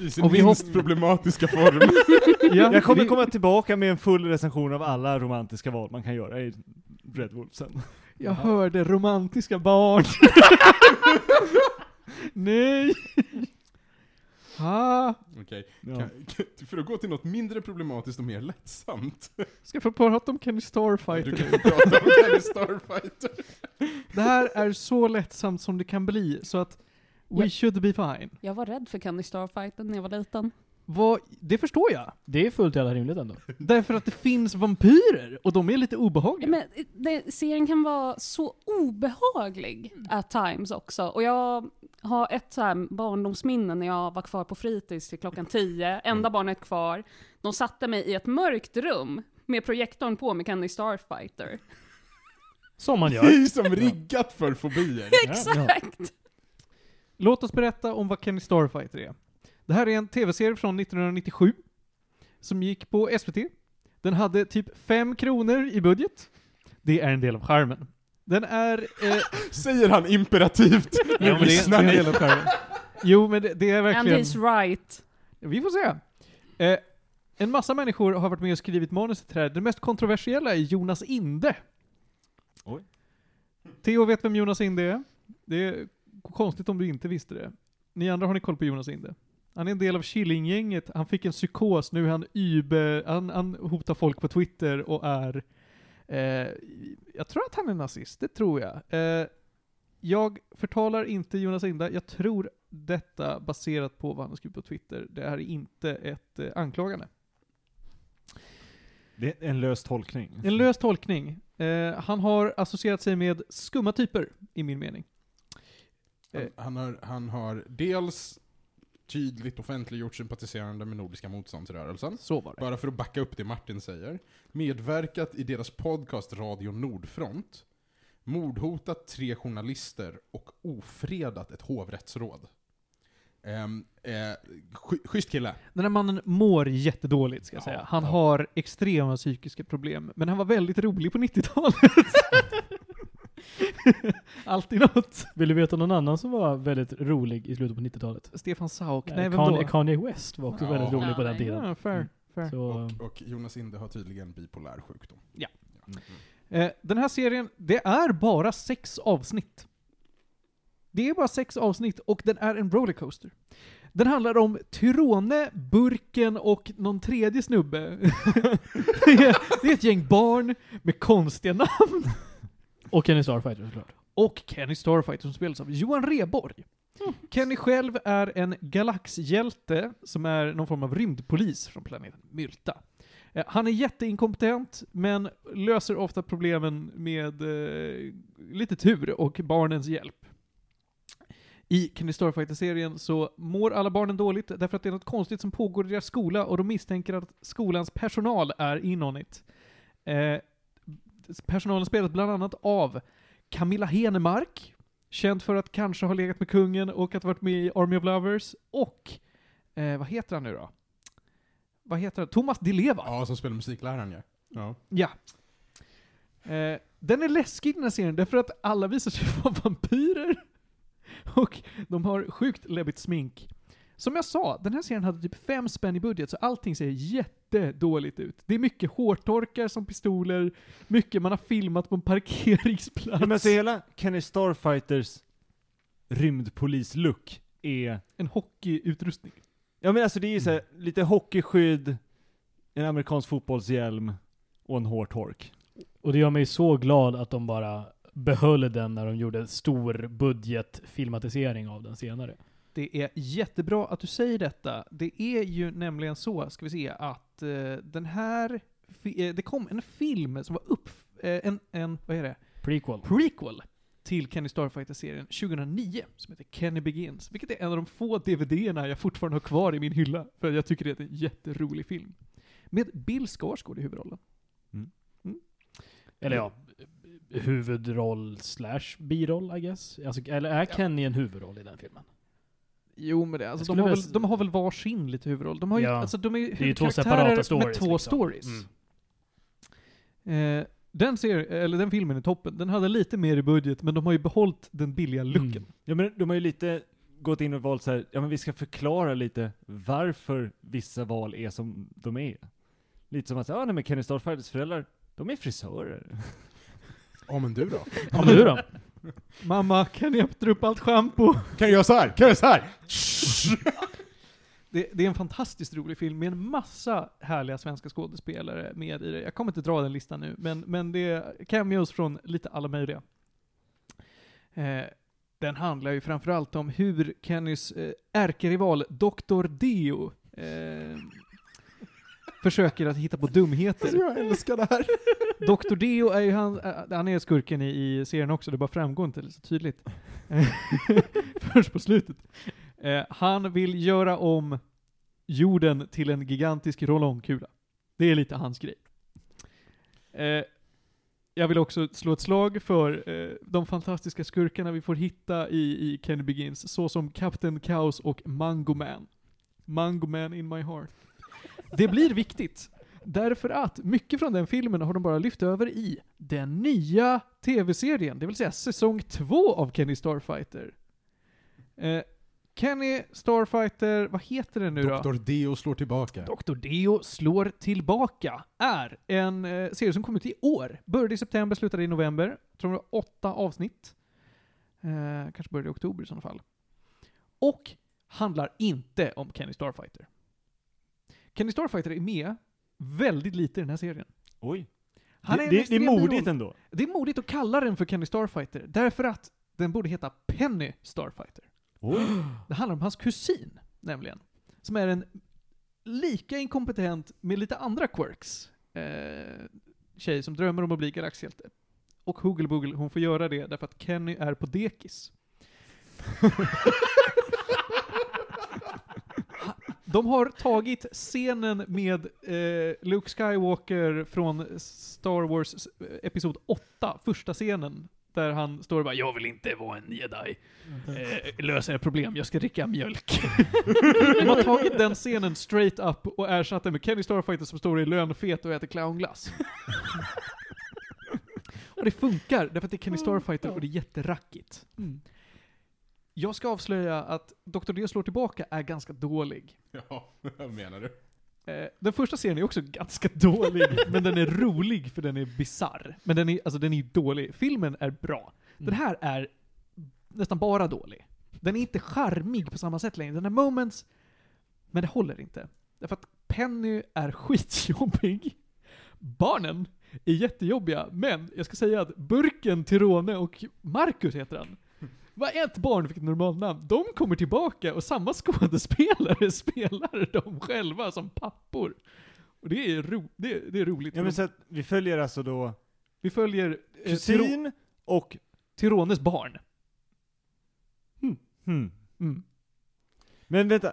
S3: I sin
S1: Och vi
S3: minst problematiska form.
S1: Ja,
S4: jag kommer
S1: vi-
S4: komma tillbaka med en full recension av alla romantiska val man kan göra i Dreadwolf sen.
S1: Jag hörde romantiska barn. Nej. Ha.
S3: Okej.
S4: Ja.
S3: Kan- För att gå till något mindre problematiskt och mer lättsamt.
S1: Ska få prata om Kenny Starfighter.
S3: Du kan få prata om Kenny Starfighter.
S1: Det här är så lättsamt som det kan bli, så att we
S2: Ja.
S1: should be fine.
S2: Jag var rädd för Candy Starfighter när jag var liten.
S1: Vad, det förstår jag.
S5: Det är fullt jävla rimligt ändå.
S1: Därför att det finns vampyrer, och de är lite obehagliga.
S2: Men eh, det, serien kan vara så obehaglig at times också. Och jag har ett så här barndomsminne när jag var kvar på fritids till klockan tio, enda barnet kvar. De satte mig i ett mörkt rum med projektorn på med Candy Starfighter.
S5: Som man
S3: Det är
S5: gör.
S3: ju som riggat för fobier.
S2: Exakt!
S1: Låt oss berätta om vad Kenny Starfighter är. Det här är en tv-serie från 1997, som gick på SVT. Den hade typ 5 kronor i budget. Det är en del av charmen. Den är... Eh,
S3: Säger han imperativt.
S1: jo, men det, det
S3: lyssnar
S1: är en
S3: ni?
S1: del av charmen. Jo, men det, det är
S2: And
S1: verkligen...
S2: he's right.
S1: Vi får se. Eh, en massa människor har varit med och skrivit manuset till det här. Den mest kontroversiella är Jonas Inde.
S4: Oj.
S1: Theo vet vem Jonas Inde är. Det är konstigt om du inte visste det. Ni andra har ni koll på Jonas Inde. Han är en del av Killinggänget. Han fick en psykos. Nu är han Uber. Han, han hotar folk på Twitter och är... Eh, jag tror att han är nazist. Det tror jag. Eh, jag förtalar inte Jonas Inde. Jag tror detta baserat på vad han har skrivit på Twitter. Det här är inte ett eh, anklagande.
S4: Det är en lös tolkning.
S3: Mm.
S1: En lös tolkning. Eh, han har associerat sig med skumma typer, i min mening.
S3: Han, han, har, han har dels tydligt offentliggjort sympatiserande med Nordiska motståndsrörelsen.
S1: Så var det.
S3: Bara för att backa upp det Martin säger. Medverkat i deras podcast Radio Nordfront. Mordhotat tre journalister och ofredat ett hovrättsråd. Ehm, eh, schy- schysst kille.
S1: Den här mannen mår jättedåligt ska jag
S3: Ja,
S1: säga. Han
S3: ja.
S1: har extrema psykiska problem, men han var väldigt rolig på 90-talet. Alltid något.
S5: Vill du veta någon annan som var väldigt rolig i slutet på 90-talet?
S1: Stefan Sauk, nej,
S5: Eh,
S1: vem
S5: Kanye,
S1: då?
S5: Kanye West var också
S3: Ja.
S5: väldigt rolig på den
S2: Ja,
S5: tiden.
S1: Ja, fair,
S5: Mm.
S1: fair.
S5: Så,
S3: Och, och Jonas Inde har tydligen bipolär sjukdom.
S1: Ja.
S3: Mm.
S1: Eh, den här serien, det är bara sex avsnitt. Det är bara sex avsnitt och den är en rollercoaster. Den handlar om Tyrone, Burken och någon tredje snubbe. det, är, det är ett gäng barn med konstiga namn.
S5: eh, och Kenny Starfighter såklart.
S1: och Kenny Starfighter som spelas av Johan Reborg. Kenny själv är en galaxhjälte som är någon form av rymdpolis från planeten Mylta. Eh, Han är jätteinkompetent, men löser ofta problemen med eh, lite tur och barnens hjälp. I Kenny Starfighter-serien så mår alla barnen dåligt därför att det är något konstigt som pågår i deras skola och de misstänker att skolans personal är in on it. Eh, personalen spelas bland annat av Camilla Henemark, känd för att kanske ha legat med kungen och att ha varit med i Army of Lovers, och eh, vad heter han nu då? Vad heter han? Thomas Di Leva.
S3: Ja, som spelar musikläraren ja. ja.
S1: Ja. Eh, den är läskig den här serien, därför att alla visar sig vara vampyrer. Och de har sjukt läbbigt smink. Som jag sa, den här serien hade typ fem spänn i budget, så allting ser jättedåligt ut. Det är mycket hårtorkar som pistoler, mycket man har filmat på en parkeringsplats.
S4: Men alltså hela Kenny Starfighters rymdpolis-look är...
S1: En hockeyutrustning.
S4: Ja men alltså det är ju såhär, lite hockeyskydd, en amerikansk fotbollshjälm och en hårtork.
S5: Och det gör mig så glad att de bara behöll den när de gjorde stor budgetfilmatisering av den senare.
S1: Det är jättebra att du säger detta. Det är ju nämligen så, ska vi se, att eh, den här... Fi- eh, det kom en film som var upp... Eh, en, en... Vad är det?
S5: Prequel.
S1: prequel till Kenny Starfighter-serien 2009 som heter Kenny Begins, vilket är en av de få DVD-erna jag fortfarande har kvar i min hylla, för jag tycker det är en jätterolig film. Med Bill Skarsgård i huvudrollen.
S5: Eller ja, Eh, huvudroll slash biroll I guess. Alltså, eller är Kenny en huvudroll i den filmen?
S1: Jo men det, alltså
S5: Jag
S1: de har,
S5: skulle
S1: väl,
S5: väl-
S1: de har väl varsin lite huvudroll? De har ju,
S5: Ja.
S1: alltså de är ju
S5: Det är ju två
S1: huvudkaraktärer
S5: separata
S1: med
S5: stories,
S1: två
S5: liksom. Mm.
S1: stories. Eh, den, ser, eller den filmen är toppen. Den hade lite mer i budget, men de har ju behållit den billiga looken.
S5: Mm.
S4: Ja men de har ju lite gått in och valt så här, ja men vi ska förklara lite varför vissa val är som de är. Lite som att, ja nej men Kenny Starfighters föräldrar, de är frisörer.
S3: Ja men du då?
S5: Ja, men du då?
S1: Mamma, kan ni öppna upp allt schampo?
S3: Kan jag göra så här? Kan jag göra så här?
S1: Det, det är en fantastiskt rolig film med en massa härliga svenska skådespelare med i det. Jag kommer inte dra den listan nu, men, men det är cameos från lite alla möjliga. Eh, den handlar ju framförallt om hur Kennys eh, ärkerival Dr. Dio eh, försöker att hitta på dumheter.
S3: Alltså, jag älskar det här.
S1: Dr. Deo är ju han, äh, han är skurken i, i serien också, det bara framgår inte så tydligt. Först på slutet. Eh, han vill göra om jorden till en gigantisk roll-on-kula. Det är lite hans grej. Eh, jag vill också slå ett slag för eh, de fantastiska skurkarna vi får hitta i, i Kenny Begins, såsom Captain Chaos och Mango Man. Mango Man in my heart. Det blir viktigt. Därför att mycket från den filmen har de bara lyft över i den nya tv-serien, det vill säga säsong två av Kenny Starfighter. Eh, Kenny Starfighter, vad heter den nu då?
S3: Dr. Deo slår tillbaka.
S1: Dr. Deo slår tillbaka är en eh, serie som kom ut i år. Började i september, slutade i november. Tror det var åtta avsnitt. Eh, kanske började i oktober i sådana fall. Och handlar inte om Kenny Starfighter. Kenny Starfighter är med väldigt lite i den här serien.
S4: Oj.
S1: Han
S4: det,
S1: är en
S4: det, det är
S1: extrem
S4: modigt
S1: biroll.
S4: ändå.
S1: Det är modigt att kalla den för Kenny Starfighter, därför att den borde heta Penny Starfighter.
S4: Oj.
S1: Det handlar om hans kusin, nämligen. Som är en lika inkompetent, med lite andra quirks, eh, tjej som drömmer om att bli galaxhjälte. Och Hoogelboogel, hon får göra det därför att Kenny är på dekis. De har tagit scenen med eh, Luke Skywalker från Star Wars eh, Episod 8, första scenen, där han står och bara “Jag vill inte vara en jedi. Eh, lös era problem, jag ska dricka mjölk”. De har tagit den scenen straight up och ersatt den med Kenny Starfighter som står i lönfet och äter clownglass. och det funkar, därför att det är Kenny Starfighter och det är jätterackigt. Jag ska avslöja att Dr. D slår tillbaka är ganska dålig.
S3: Ja, vad menar du?
S1: Eh, Den första serien är också ganska dålig, men den är rolig för den är bizarr. Men den är, alltså den är dålig. Filmen är bra. Mm. Den här är nästan bara dålig. Den är inte charmig på samma sätt längre. Den har moments, men det håller inte. Därför att Penny är skitjobbig. Barnen är jättejobbiga, men jag ska säga att Burken, Tirone och Marcus heter han. Vad är ett barn fick ett normalnamn. De kommer tillbaka och samma skådespelare spelar dem själva som pappor. Och det är, ro, det, är- det är roligt.
S6: Ja, men så att vi följer alltså då
S1: Vi följer eh, Tiro-
S6: kusin och...
S1: Tirones barn.
S6: Hmm.
S1: Mm.
S6: Men vänta.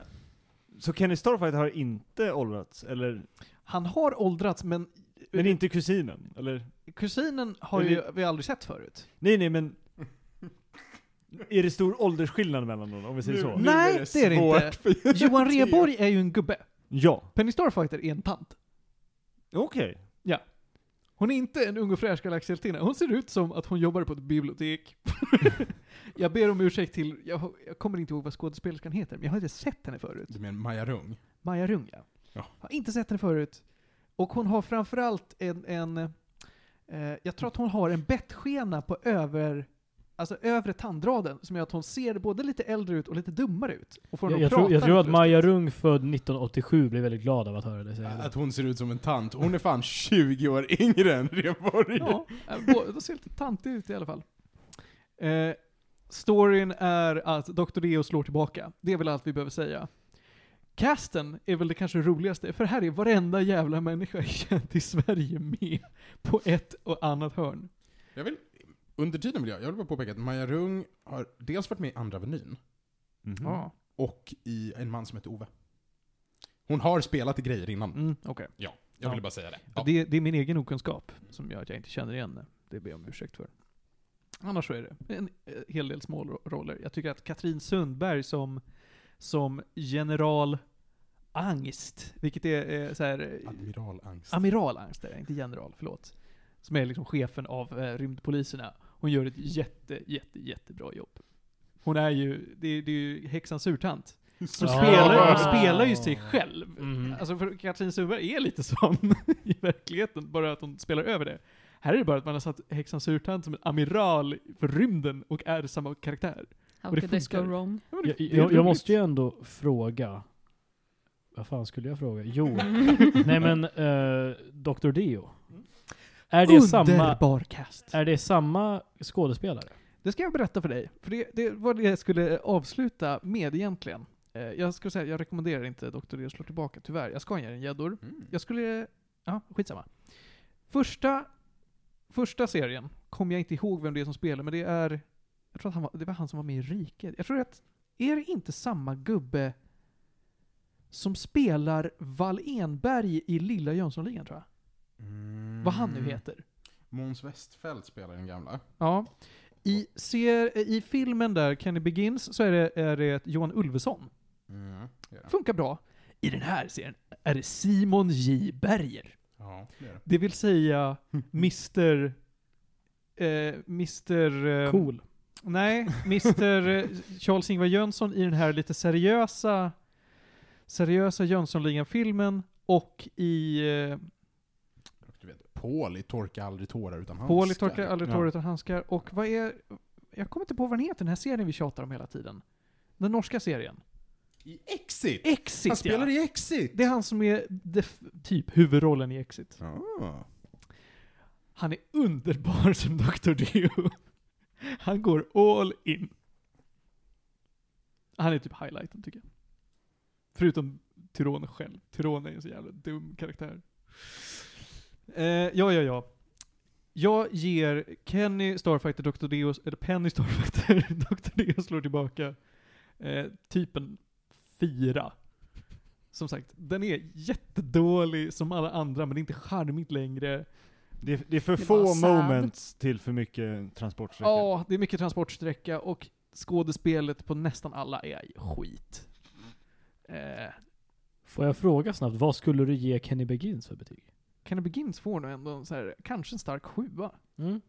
S6: Så Kenny Starfighter har inte åldrats? Eller?
S1: Han har åldrats, men,
S6: Men inte kusinen? Eller?
S1: kusinen har
S6: Eller-
S1: ju vi aldrig sett förut.
S6: Nej, nej, men... Är det stor åldersskillnad mellan dem, om vi säger så?
S1: nu- Nej, det är det inte.
S3: svårt för-
S1: Johan Rheborg är ju en gubbe.
S6: Ja.
S1: Penny Starfighter är en tant.
S6: Okej.
S1: Hon är inte en ung och fräsch galaxhjältinna. Hon ser ut som att hon jobbar på ett bibliotek. jag ber om ursäkt till, jag, jag kommer inte ihåg vad skådespelerskan heter, men jag har inte sett henne förut.
S3: Du menar Maja Rung?
S1: Maja Rung, ja.
S3: Ja.
S1: Har inte sett henne förut. Och hon har framförallt en, en eh, jag tror att hon har en bettskena på över, alltså övre tandraden som gör att hon ser både lite äldre ut och lite dummare ut. Och får
S5: Jag,
S1: henne
S5: jag,
S1: att
S5: tror,
S1: prata
S5: jag tror att
S1: lite
S5: Maja Rung född 1987 blev väldigt glad av att höra det säga.
S3: Att hon ser ut som en tant. Hon är fan 20 år yngre än Rheborg.
S1: Ja, eh, bå- de ser lite tantiga ut i alla fall. Eh, storyn är att Dr. Deo slår tillbaka. Det är väl allt vi behöver säga. Casten är väl det kanske roligaste, för här är varenda jävla människa känd i Sverige med på ett och annat hörn.
S3: Jag vill, under tiden vill jag, jag vill bara påpeka att Maja Rung har dels varit med i Andra Avenyn
S6: Mhm.
S1: Ja.
S3: och i En man som heter Ove. Hon har spelat i grejer innan.
S1: Mm, okej.
S3: Ja, jag
S1: Ja.
S3: ville bara säga det. Ja.
S1: Det, det är min egen okunskap som gör att jag inte känner igen det. Det ber jag om ursäkt för. Annars så är det en eh, hel del små ro- roller. Jag tycker att Katrin Sundberg som, som general Angst, vilket är eh, så här, eh,
S3: Admiral Angst.
S1: amiral Angst är det, inte general, förlåt. Som är liksom chefen av eh, rymdpoliserna. Hon gör ett jätte, jätte, jättebra jobb. Hon är ju, det, är- det är ju häxans surtant. Hon,
S5: Ja.
S1: spelar, hon spelar ju sig själv.
S5: Mhm.
S1: Alltså för Katrin Sundberg är lite sån i verkligheten, bara att hon spelar över det. Här är det bara att man har satt häxan Surtant som en amiral för rymden och är samma karaktär.
S2: How
S1: Och det
S2: could this go
S1: funkar.
S2: wrong?
S1: Ja, men det-
S5: Jag,
S1: det är
S5: jag, jag
S1: roligt.
S5: måste ju ändå fråga. Vad fan skulle jag fråga? Jo. Nej men, eh, Dr. Dio.
S1: Mm.
S5: Är det, samma,
S1: Underbar cast.
S5: är det samma skådespelare?
S1: Det ska jag berätta för dig, för det, det var det jag skulle avsluta med egentligen. Eh, Jag skulle säga, jag rekommenderar inte Dr. D slår tillbaka, tyvärr. Jag ska ge den gäddor.
S3: Mm.
S1: Jag skulle... Ja, skitsamma. Första, första serien kommer jag inte ihåg vem det är som spelar, men det är... Jag tror att han var, det var han som var med i Riket. Jag tror att... Är det inte samma gubbe som spelar Wall Enberg i Lilla Jönssonligan, tror jag?
S3: Mm.
S1: Vad han nu heter.
S3: Måns Westfält spelar den gamla.
S1: Ja. I, ser, I filmen där, Kenny Begins, så är det, är det Johan Ulveson.
S3: Mm. det är det.
S1: Funkar bra. I den här serien är det Simon J. Berger.
S3: Ja, det är det.
S1: Det vill säga Mr... Eh, Mr... Eh,
S5: Cool.
S1: Nej, Mr. eh, Charles-Ingvar Jönsson i den här lite seriösa seriösa Jönssonligan-filmen och i eh,
S3: Och Du vet, Paul i Torka aldrig tårar utan handskar.
S1: Paul i Torkar aldrig
S6: Ja.
S1: tårar utan handskar. Och vad är... Jag kommer inte på vad den heter, den här serien vi tjatar om hela tiden. Den norska serien.
S3: I Exit!
S1: Exit
S3: han spelar
S1: ja.
S3: i Exit!
S1: Det är han som är def- typ huvudrollen i Exit.
S3: Ah.
S1: Han är underbar som Dr. Dio. Han går all in. Han är typ highlighten tycker jag. Förutom Tyrone själv. Tyrone är en så jävla dum karaktär. Eh, ja, ja, ja. Jag ger Kenny Starfighter, Dr. Deos, eller Penny Starfighter, Dr. Deo slår tillbaka, eh, typen fyra. Som sagt, den är jättedålig som alla andra, men det är inte charmigt längre.
S4: Det, är- det är för
S2: Det är bara
S4: få
S2: sad.
S4: moments till för mycket transportsträckor.
S1: Ja, det är mycket transportsträcka och skådespelet på nästan alla är skit. Eh,
S5: Får jag fråga snabbt, vad skulle du ge Kenny Begins för betyg?
S1: Can It Begins får nog ändå en så här, kanske en stark sjua.
S5: Mm.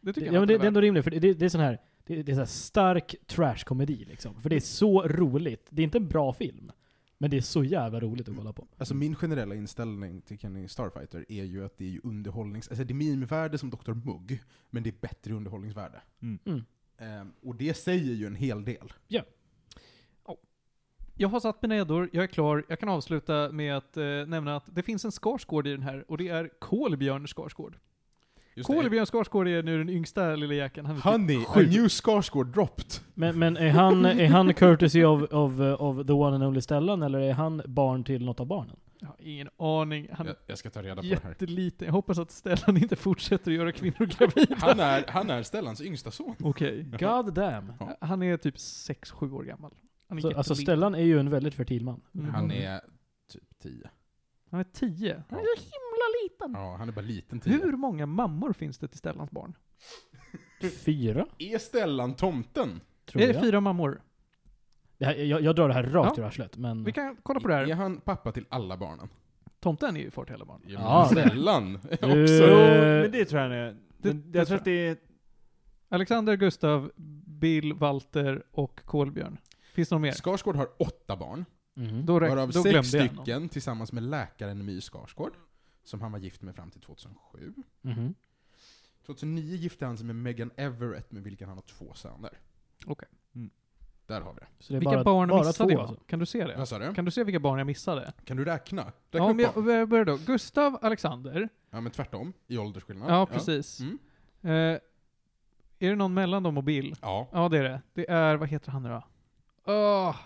S1: Det tycker
S5: Ja,
S1: jag
S5: men det,
S1: inte
S5: det är ändå rimligt, för det, det är sån här, det, det är så här stark trash-komedi liksom. För det är så roligt. Det är inte en bra film, men det är så jävla roligt att kolla på.
S3: Alltså min generella inställning till Kenny Starfighter är ju att det är ju underhållnings... Alltså det är mimvärde som Dr. Mugg, men det är bättre underhållningsvärde.
S4: Mm.
S5: Mm.
S3: Ehm, och det säger ju en hel del.
S1: Jag har satt mina gäddor, jag är klar. Jag kan avsluta med att eh, nämna att det finns en Skarsgård i den här och det är Kolbjörn Skarsgård. Kolbjörn Skarsgård är nu den yngsta lilla jäkeln. Han är typ
S3: Honey, a
S1: sju.
S3: new Skarsgård dropped.
S5: Men, men är, han, är han courtesy of, of, eh, of the one and only Stellan, eller är han barn till något av barnen?
S1: Jag har ingen aning. Han är
S3: Jag, jag ska ta reda på det här.
S1: jätteliten. Jag hoppas att Stellan inte fortsätter att göra kvinnor gravida.
S3: Han är, han är Stellans yngsta son.
S1: Okej.
S5: God damn.
S1: Han är typ 6-7 år gammal. Han är
S5: Så, alltså
S1: jätteliten.
S5: Stellan är ju en väldigt fertil man.
S1: Mm.
S3: Han är typ 10.
S1: Han är 10. Han är
S3: Ja.
S1: så himla liten.
S3: Ja, han är bara liten 10.
S1: Hur många mammor finns det till Stellans barn?
S5: Fyra,
S3: Är Stellan tomten?
S5: tror
S1: är det
S5: jag.
S1: fyra mammor?
S5: Det här, jag. Jag drar det här rakt
S1: Ja.
S5: ur arslet, men...
S1: Vi kan kolla på det
S3: Är
S1: här.
S3: han pappa till alla barnen?
S1: Tomten är ju fort hela barn.
S5: Ja.
S3: Stellan
S5: Du-
S3: också.
S4: Jo,
S5: Eh,
S4: men det tror jag han är. Men
S1: det
S4: jag
S1: tror
S4: tror att det är...
S1: Alexander, Gustav, Bill, Walter och Kolbjörn. Finns det någon mer?
S3: Skarsgård har åtta barn,
S5: Mhm.
S1: Då, räk-
S3: varav
S1: då glömde
S3: sex
S1: jag någon.
S3: stycken tillsammans med läkaren My Skarsgård, som han var gift med fram till 2007.
S5: Mhm.
S3: 2009 gifte han sig med Megan Everett, med vilken han har två söner.
S1: Okej.
S4: Mm.
S3: Där har vi det.
S5: Så det är
S1: Vilka
S5: bara,
S1: barn
S5: bara
S1: missade
S5: två,
S1: jag?
S5: alltså.
S1: Kan du se det?
S3: Vad sa du?
S1: Kan du se vilka barn jag missade?
S3: Kan du räkna? Räkna
S1: ja,
S3: upp
S1: men
S3: barn.
S1: jag, jag börjar då. Gustav, Alexander.
S3: ja, men tvärtom. I åldersskillnad.
S1: Ja, precis.
S3: Mm.
S1: Eh, är det någon mellan dem och Bill?
S3: Ja.
S1: Ja, det är det. Det är, vad heter han nu då? Åh,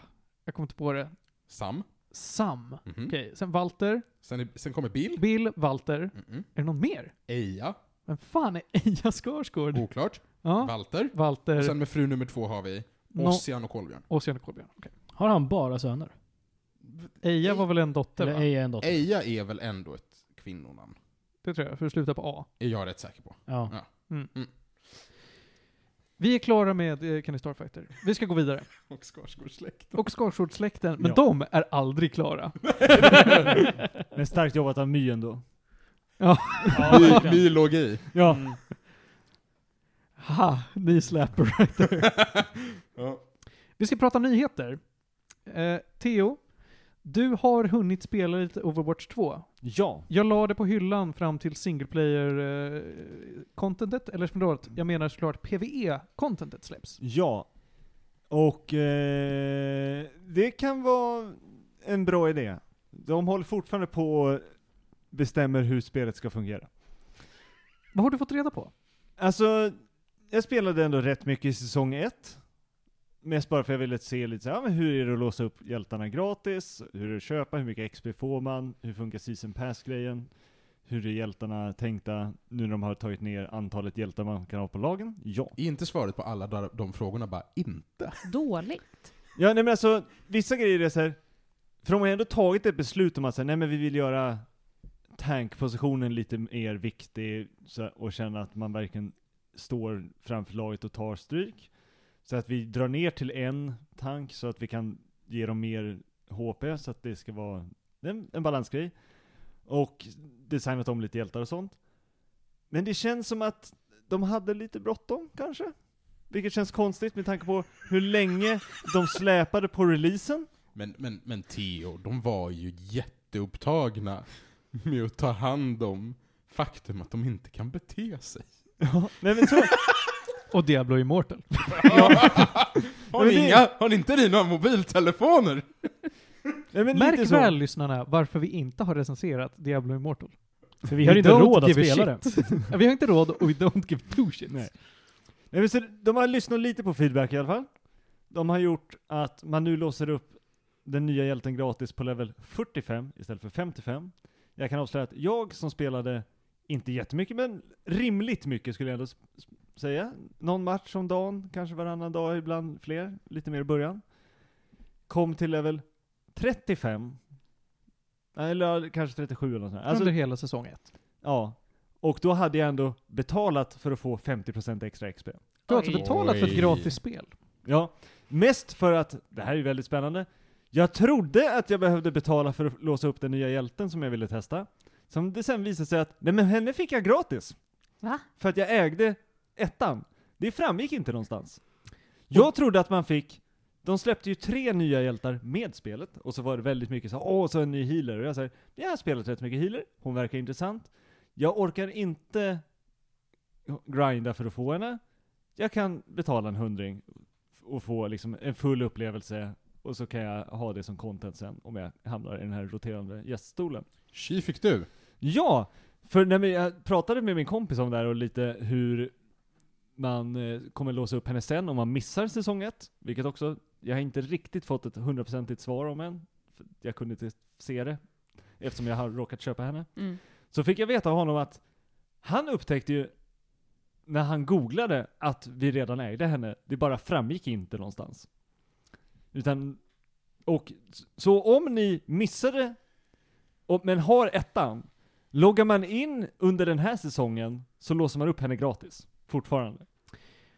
S1: jag kommer inte på det.
S3: Sam.
S1: Sam.
S3: Mhm.
S1: Okej, sen Walter.
S3: Sen, är- sen kommer Bill.
S1: Bill, Walter. Är
S3: Mhm.
S1: det någon mer?
S3: Eja.
S1: Vem fan är Eja Skarsgård?
S3: Oklart.
S1: Ja,
S3: Walter.
S1: Walter,
S3: Och Oh. sen med fru nummer två har vi
S1: no,
S3: Ossian och Kolbjörn.
S1: Ossian och Kolbjörn. Okej.
S5: Har han bara söner?
S1: Eja var väl en dotter,
S5: Eller
S1: va?
S5: är jag en dotter?
S3: Eja är väl ändå ett kvinnonamn?
S1: Det tror jag, för att sluta på A.
S3: Är jag rätt säker på.
S5: Ja.
S1: Vi är klara med eh, Kenny Starfighter. Vi ska gå vidare.
S3: Och Skarsgårdssläkten.
S1: Och Skarsgårdssläkten, men
S4: Ja.
S1: de är aldrig klara.
S4: Men starkt jobbat av My ändå.
S3: Ny, ny låg i.
S4: Ja.
S1: Ha, ni släpper right there.
S3: Ja.
S1: Vi ska prata nyheter. Eh, Theo, du har hunnit spela lite Overwatch 2.
S4: Ja.
S1: Jag la det på hyllan fram till single player-contentet, eller förlåt, jag menar såklart PVE-contentet släpps.
S4: Ja. Och eh, det kan vara en bra idé. De håller fortfarande på och bestämmer hur spelet ska fungera.
S1: Vad har du fått reda på?
S4: Alltså, jag spelade ändå rätt mycket i säsong ett. Mest bara för jag ville se lite så här, ja, men hur är det att låsa upp hjältarna gratis? Hur är det att köpa? Hur mycket XP får man? Hur funkar season pass-grejen? Hur är hjältarna tänkta nu när de har tagit ner antalet hjältar man kan ha på lagen? Ja.
S3: Är inte svaret på alla där- de frågorna bara inte?
S2: Dåligt.
S4: Ja, nej men alltså, vissa grejer är så här, för de har ändå tagit ett beslut om att säga, nej men vi vill göra tankpositionen lite mer viktig så, här, och känna att man verkligen står framför laget och tar stryk. Så att vi drar ner till en tank så att vi kan ge dem mer HP så att det ska vara en, en balansgrej. Och designat om lite hjältar och sånt. Men det känns som att de hade lite bråttom kanske? Vilket känns konstigt med tanke på hur länge de släpade på releasen.
S3: Men, men, men Theo, de var ju jätteupptagna med att ta hand om faktum att de inte kan bete sig.
S4: Nej men så,
S1: Och Diablo Immortal.
S3: Har,
S4: Men
S3: ni
S4: det-
S3: inga, har ni inte ni några mobiltelefoner?
S4: nej, men lite
S1: Märk
S4: så.
S1: väl lyssnarna varför vi inte har recenserat Diablo Immortal.
S5: För vi har
S1: We
S5: inte
S1: don't
S5: råd att
S1: give a
S5: spela det.
S1: vi har inte råd och we don't give two shits.
S4: Nej. Nej, men så, de har lyssnat lite på feedback i alla fall. De har gjort att man nu låser upp den nya hjälten gratis på level 45 istället för 55. Jag kan avslöja att jag som spelade, inte jättemycket men rimligt mycket skulle jag ändå s- s- säga. Någon match om dagen, kanske varannan dag, ibland fler, lite mer i början. Kom till level 35. Eller ja, kanske 37 eller något sånt. här. Alltså,
S1: Under hela säsong ett.
S4: Ja. Och då hade jag ändå betalat för att få 50% extra XP.
S1: Du har alltså betalat för ett
S3: Oj.
S1: gratis spel.
S4: Ja, mest för att, det här är ju väldigt spännande, jag trodde att jag behövde betala för att låsa upp den nya hjälten som jag ville testa. Som det sen visade sig att, nej men henne fick jag gratis!
S2: Va?
S4: För att jag ägde ettan. Det framgick inte någonstans. Jag trodde att man fick, de släppte ju tre nya hjältar med spelet, och så var det väldigt mycket så här, åh så en ny healer, och jag säger, jag har spelat rätt mycket healer, hon verkar intressant, jag orkar inte grinda för att få henne, jag kan betala en hundring och få liksom en full upplevelse och så kan jag ha det som content sen om jag hamnar i den här roterande gäststolen.
S3: Tji fick du.
S4: Ja! För när vi- jag pratade med min kompis om det här och lite hur man eh, kommer låsa upp henne sen om man missar säsong ett, vilket också, jag har inte riktigt fått ett hundraprocentigt svar om än. För jag kunde inte se det, eftersom jag har råkat köpa henne.
S2: Mm.
S4: Så fick jag veta av honom att han upptäckte ju när han googlade att vi redan ägde henne. Det bara framgick inte någonstans. Utan, och så om ni missade, och, men har ettan, loggar man in under den här säsongen så låser man upp henne gratis. Fortfarande.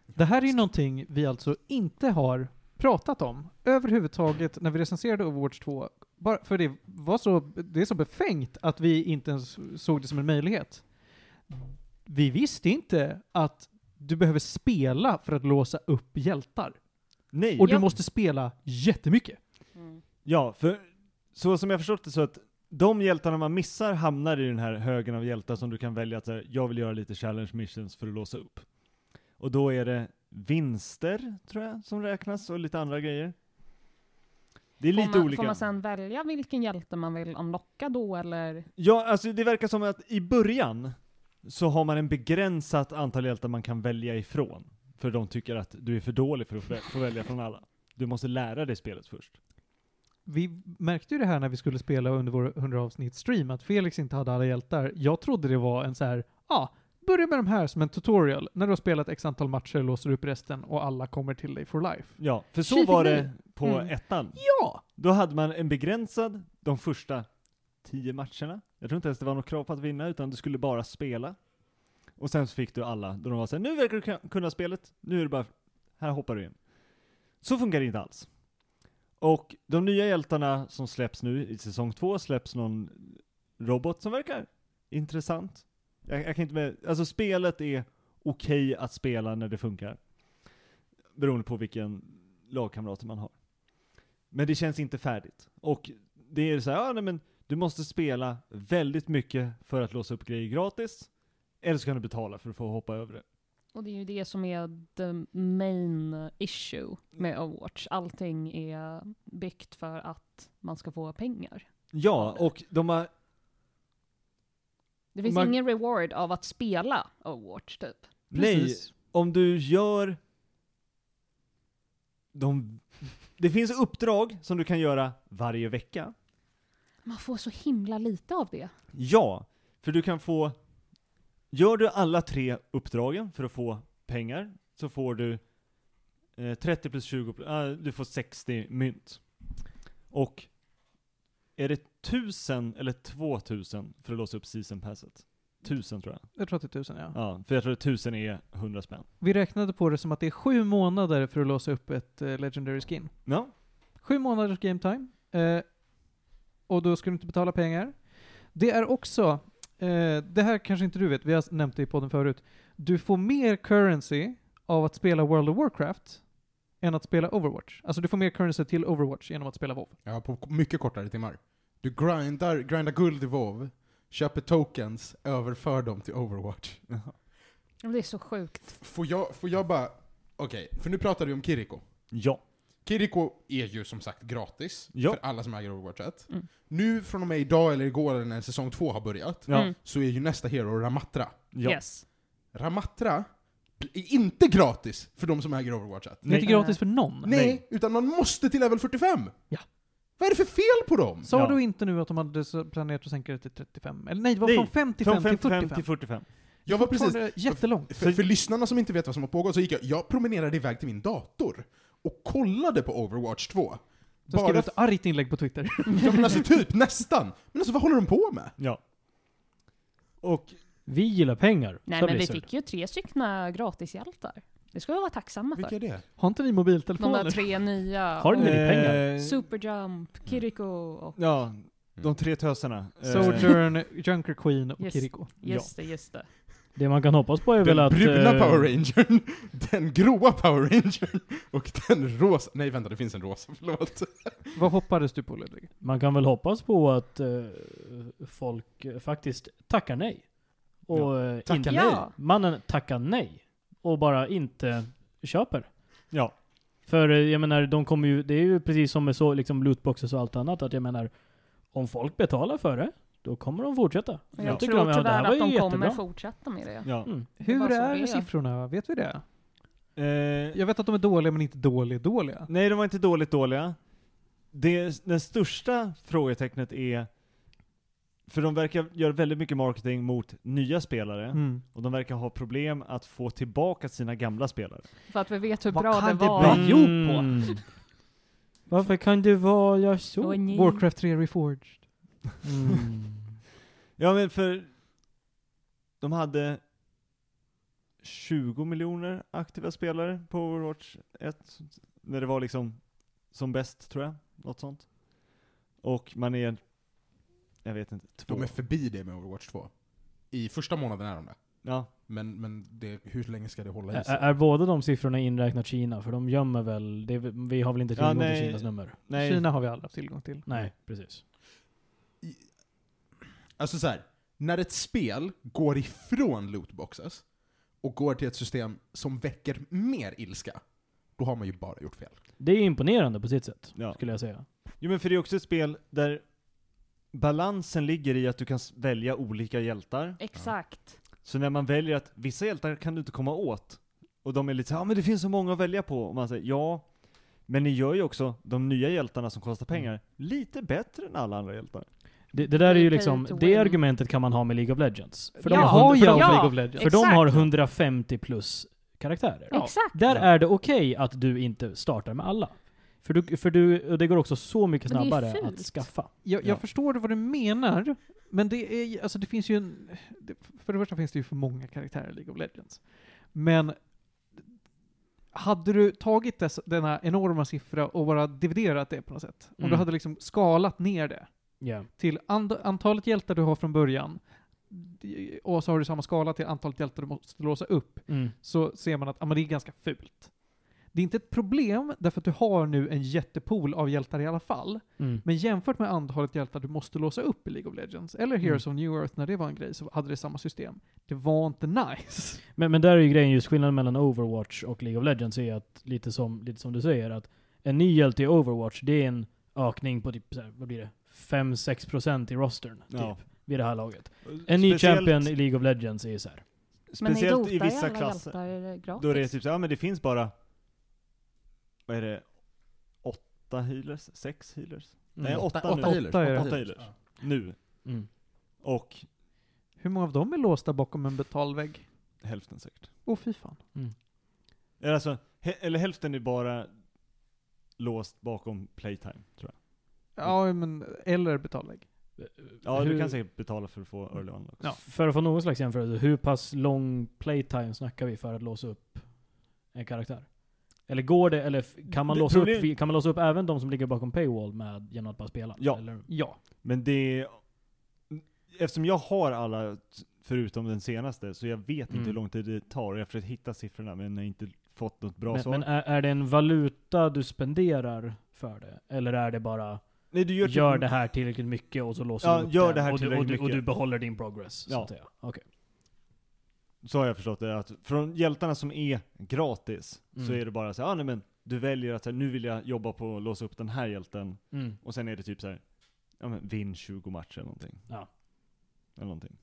S1: Det här är ju någonting vi alltså inte har pratat om överhuvudtaget när vi recenserade Overwatch 2. Bara för det var så, det är så befängt att vi inte ens såg det som en möjlighet. Vi visste inte att du behöver spela för att låsa upp hjältar.
S4: Nej.
S1: Och du
S2: Ja.
S1: måste spela jättemycket.
S2: Mm.
S4: Ja, för så som jag förstått det så att de hjältarna man missar hamnar i den här högen av hjältar som du kan välja att så här, jag vill göra lite challenge missions för att låsa upp. Och då är det vinster, tror jag, som räknas och lite andra grejer. Det är
S2: Får,
S4: lite
S2: man,
S4: olika.
S2: får man sen välja vilken hjälte man vill unlocka då eller?
S4: Ja, alltså det verkar som att i början så har man en begränsat antal hjältar man kan välja ifrån. För de tycker att du är för dålig för att få- få välja från alla. Du måste lära dig spelet först.
S1: Vi märkte ju det här när vi skulle spela under vår 100 avsnitt stream att Felix inte hade alla hjältar. Jag trodde det var en så här, ja, börja med de här som en tutorial. När du har spelat x antal matcher låser du upp resten och alla kommer till dig for life.
S4: Ja, för så
S1: Tjej, fick
S4: var
S1: ni?
S4: det på
S2: Mm.
S4: ettan.
S1: Ja!
S4: Då hade man en begränsad, de första tio matcherna. Jag tror inte ens det var något krav på att vinna, utan du skulle bara spela. Och sen så fick du alla, då de var såhär, nu verkar du kun- kunna spelet, nu är det bara, här hoppar du in. Så funkar det inte alls. Och de nya hjältarna som släpps nu i säsong två släpps någon robot som verkar intressant. Jag, jag kan inte med, alltså spelet är okej att spela när det funkar. Beroende på vilken lagkamrater man har. Men det känns inte färdigt. Och det är så här, ja, nej, men du måste spela väldigt mycket för att låsa upp grejer gratis. Eller så kan du betala för att få hoppa över det.
S2: Och det är ju det som är the main issue med Overwatch. Allting är byggt för att man ska få pengar.
S4: Ja, och de har,
S2: Det finns
S4: Man-
S2: ingen reward av att spela Overwatch typ.
S4: nej, om du gör... De, det finns uppdrag som du kan göra varje vecka.
S2: Man får så himla lite av det.
S4: Ja, för du kan få... Gör du alla tre uppdragen för att få pengar så får du eh, 30 plus 20, pl- ah, du får 60 mynt. Och är det 1000 eller 2000 för att låsa upp season passet? 1000 tror jag.
S1: Jag tror att det är tusen, ja.
S4: Ja, för jag tror att 1000 är 100 spänn.
S1: Vi räknade på det som att det är sju månader för att låsa upp ett eh, Legendary Skin.
S4: Ja.
S1: Sju månaders game time. Eh, och då ska du inte betala pengar. Det är också, eh, det här kanske inte du vet, vi har nämnt det i podden förut. Du får mer currency av att spela World of Warcraft än att spela Overwatch. Alltså du får mer currency till Overwatch genom att spela WoW.
S3: Ja, på k- mycket kortare timmar. Du grindar, grindar guld i WoW, köper tokens, överför dem till Overwatch.
S2: Och Det är så sjukt.
S3: F- Får jag, får jag bara... Okej, för nu pratar vi om Kiriko.
S4: Ja.
S3: Kiriko är ju som sagt gratis
S4: Ja.
S3: för alla som äger Overwatch 1.
S2: Mm.
S3: Nu från och med idag eller igår eller när säsong två har börjat,
S4: Ja.
S2: Mm.
S3: så är ju nästa hero Ramatra.
S4: ja.
S2: Yes.
S3: Ramatra är inte gratis för de som äger Overwatch 1.
S1: Det är inte
S2: Nej.
S1: gratis för någon.
S3: Nej, utan man måste till level 45!
S1: Ja.
S3: Vad är det för fel på dem?
S1: Sa
S4: Ja.
S1: du inte nu att de hade så- planerat att sänka det till 35? Eller nej, det var
S4: Nej,
S1: från 55
S4: Från 55
S1: till 45.
S4: till 45.
S3: Jag var precis...
S1: Fortfarande Jättelångt.
S3: För, för lyssnarna som inte vet vad som har pågått så gick jag, jag promenerade iväg till min dator och kollade på Overwatch 2.
S1: Sen skrev du
S3: Bara
S1: ett argt inlägg på Twitter.
S3: ja, men alltså typ, nästan. Men alltså vad håller de på med?
S4: Ja. Och
S5: Vi gillar pengar.
S7: Nej
S5: sa
S7: men vi
S5: Blizzard.
S7: fick ju tre styckna gratishjältar. Det ska vi vara tacksamma
S2: Alltså.
S3: Vilka
S7: för.
S3: är det?
S1: Har inte vi
S7: De där
S1: mobiltelefoner?
S7: tre nya.
S5: Har ni
S7: och
S5: det? pengar.
S4: Eh,
S7: Superjump, Kiriko och...
S4: Ja,
S3: Mm.
S4: de tre tösarna. Eh,
S1: Sojourn, Junker Queen och
S7: Yes.
S1: Kiriko.
S7: Just det, just det.
S5: Det man kan hoppas på är väl
S3: Den
S5: att...
S3: bruna
S5: eh,
S3: Power Rangern, den gråa Power Rangern och den rosa... Nej vänta, det finns en rosa, förlåt.
S1: Vad hoppades du på Ludvig?
S5: Man kan väl hoppas på att eh, folk eh, faktiskt tackar nej. Och eh,
S3: Tackar
S5: inte,
S3: nej.
S7: Ja.
S5: mannen tackar nej. Och bara inte köper.
S4: Ja.
S5: För eh, jag menar, de kommer ju, det är ju precis som med så, liksom lootboxes och allt annat, att jag menar, om folk betalar för det, då kommer de fortsätta.
S7: Och
S5: Jag
S7: jag
S5: tycker
S7: tror
S5: de- ja, det här
S7: tyvärr
S5: var
S7: att
S5: ju
S7: de kommer
S5: jättebra.
S7: fortsätta med det.
S4: ja.
S5: Mm.
S1: Hur
S7: bara så
S1: är
S7: det är.
S1: siffrorna? Vet vi det?
S4: Eh,
S1: Jag vet att de är dåliga men inte dålig-dåliga.
S4: Nej, de var inte dåligt dåliga. Det, den största frågetecknet är, för de verkar göra väldigt mycket marketing mot nya spelare,
S1: Mm.
S4: och de verkar ha problem att få tillbaka sina gamla spelare.
S7: För att vi vet hur
S1: Vad
S7: bra det
S1: kan
S7: var.
S1: det
S3: Mm.
S1: bli? Jo på.
S5: Varför kan det vara så?
S7: Åh, nej.
S1: Warcraft 3 Reforged.
S3: Mm.
S4: Ja men för, de hade 20 miljoner aktiva spelare på Overwatch 1, när det var liksom som bäst tror jag, något sånt. Och man är, jag vet inte, två.
S3: De är förbi det med Overwatch 2. I första månaden är de det.
S4: ja.
S3: Men, men det, hur länge ska det hålla i
S5: Är,
S3: sig?
S5: är båda de siffrorna inräknat Kina? För de gömmer väl, det, är väl- vi har väl inte
S4: Ja,
S5: tillgång till
S4: nej.
S5: Kinas nummer?
S4: Nej.
S1: Kina har vi aldrig haft tillgång till.
S5: Nej, precis.
S3: Alltså så här, när ett spel går ifrån lootboxes och går till ett system som väcker mer ilska, då har man ju bara gjort fel.
S5: Det är imponerande på sitt sätt,
S4: Ja.
S5: skulle jag säga.
S4: Jo men för det är också ett spel där balansen ligger i att du kan s- välja olika hjältar.
S7: Exakt.
S4: Så när man väljer att vissa hjältar kan du inte komma åt, och de är lite såhär, ja men det finns så många att välja på, och man säger ja, men ni gör ju också de nya hjältarna som kostar pengar
S5: Mm.
S4: lite bättre än alla andra hjältar.
S5: Det, det där är ju
S7: Pay
S5: liksom,
S7: to
S5: det
S7: win.
S5: argumentet kan man ha med League of Legends. För de,
S7: Ja,
S5: har, hundra- för de,
S7: ja,
S5: League of Legends. För de
S7: exakt.
S5: har 150 plus karaktärer.
S7: Exakt.
S5: Där är det okej att du inte startar med alla. För, du, för du, och det går också så mycket
S7: Men det är
S5: snabbare
S7: fult.
S5: att skaffa.
S1: Jag, jag
S4: Ja.
S1: förstår vad du menar, men det är ju- alltså det finns ju en... Det, för det första finns det ju för många karaktärer i League of Legends. Men hade du tagit dess, denna enorma siffra och bara dividerat det på något sätt, om du
S5: Mm.
S1: hade liksom skalat ner det
S5: Ja.
S1: till and, antalet hjältar du har från början, och så har du samma skala till antalet hjältar du måste låsa upp,
S5: Mm.
S1: så ser man att ah, men det är ganska fult. Det är inte ett problem, därför att du har nu en jättepool av hjältar i alla fall.
S5: Mm.
S1: Men jämfört med antalet hjältar du måste låsa upp i League of Legends, eller Heroes of New Earth när det var en grej, så hade det samma system. Det var inte nice.
S5: Men, men där är ju grejen just skillnaden mellan Overwatch och League of Legends är att, lite som, lite som du säger, att en ny hjälte i Overwatch, det är en ökning på typ, så här, vad blir det? 5-6% i rostern, typ.
S4: Ja.
S5: Vid det här laget. En ny champion i League of Legends är så här.
S7: Men i
S4: speciellt
S7: Dota
S4: i,
S7: är
S4: vissa
S7: alla
S4: klasser.
S7: hjältar är gratis.
S4: Då är det typ såhär, ja men det finns bara, vad är det, åtta healers? Sex healers? Nej,
S5: Mm.
S4: åtta, nu.
S3: åtta healers.
S1: Åtta är det.
S4: Åtta healers. Nu.
S5: Mm.
S4: Och
S1: Hur många av dem är låsta bakom en betalvägg?
S4: hälften säkert.
S1: Åh fy fan.
S4: Eller Alltså, he- eller hälften är bara låst bakom playtime, tror jag.
S1: Ja, men, eller betalvägg.
S4: Ja,
S5: Hur-
S4: du kan säkert betala för att få early on också.
S1: Ja.
S5: För att få någon slags jämförelse, hur pass lång playtime snackar vi för att låsa upp en karaktär? Eller går det, eller f- kan man,
S4: Det-
S5: låsa,
S4: problem-
S5: upp, kan man låsa upp även de som ligger bakom paywall med, genom att bara spela?
S4: Ja.
S5: Eller?
S1: Ja.
S4: Men det... Eftersom jag har alla, t- förutom den senaste, så jag vet
S5: Mm.
S4: inte hur lång tid det tar. Jag har försökt hitta siffrorna, men jag har inte fått något bra
S5: Men,
S4: svar.
S5: men äh, är, är det en valuta du spenderar för det? Eller är det bara,
S4: Nej, du
S5: gör,
S4: gör, typ-
S5: det här tillräckligt mycket och så låser
S4: Ja,
S5: du upp
S4: gör
S5: den,
S4: det här
S5: och, du, och, du,
S4: tillräckligt
S5: och du
S4: mycket.
S5: behåller din progress, så
S4: Ja.
S5: att säga. Okej.
S4: Så har jag förstått det, att från hjältarna som är gratis, så
S5: Mm.
S4: är det bara så här, ah, nej men du väljer att så här, nu vill jag jobba på att låsa upp den här hjälten,
S5: Mm.
S4: och sen är det typ så här, ja men vinn 20 matcher eller någonting.
S5: Ja.
S4: Eller någonting.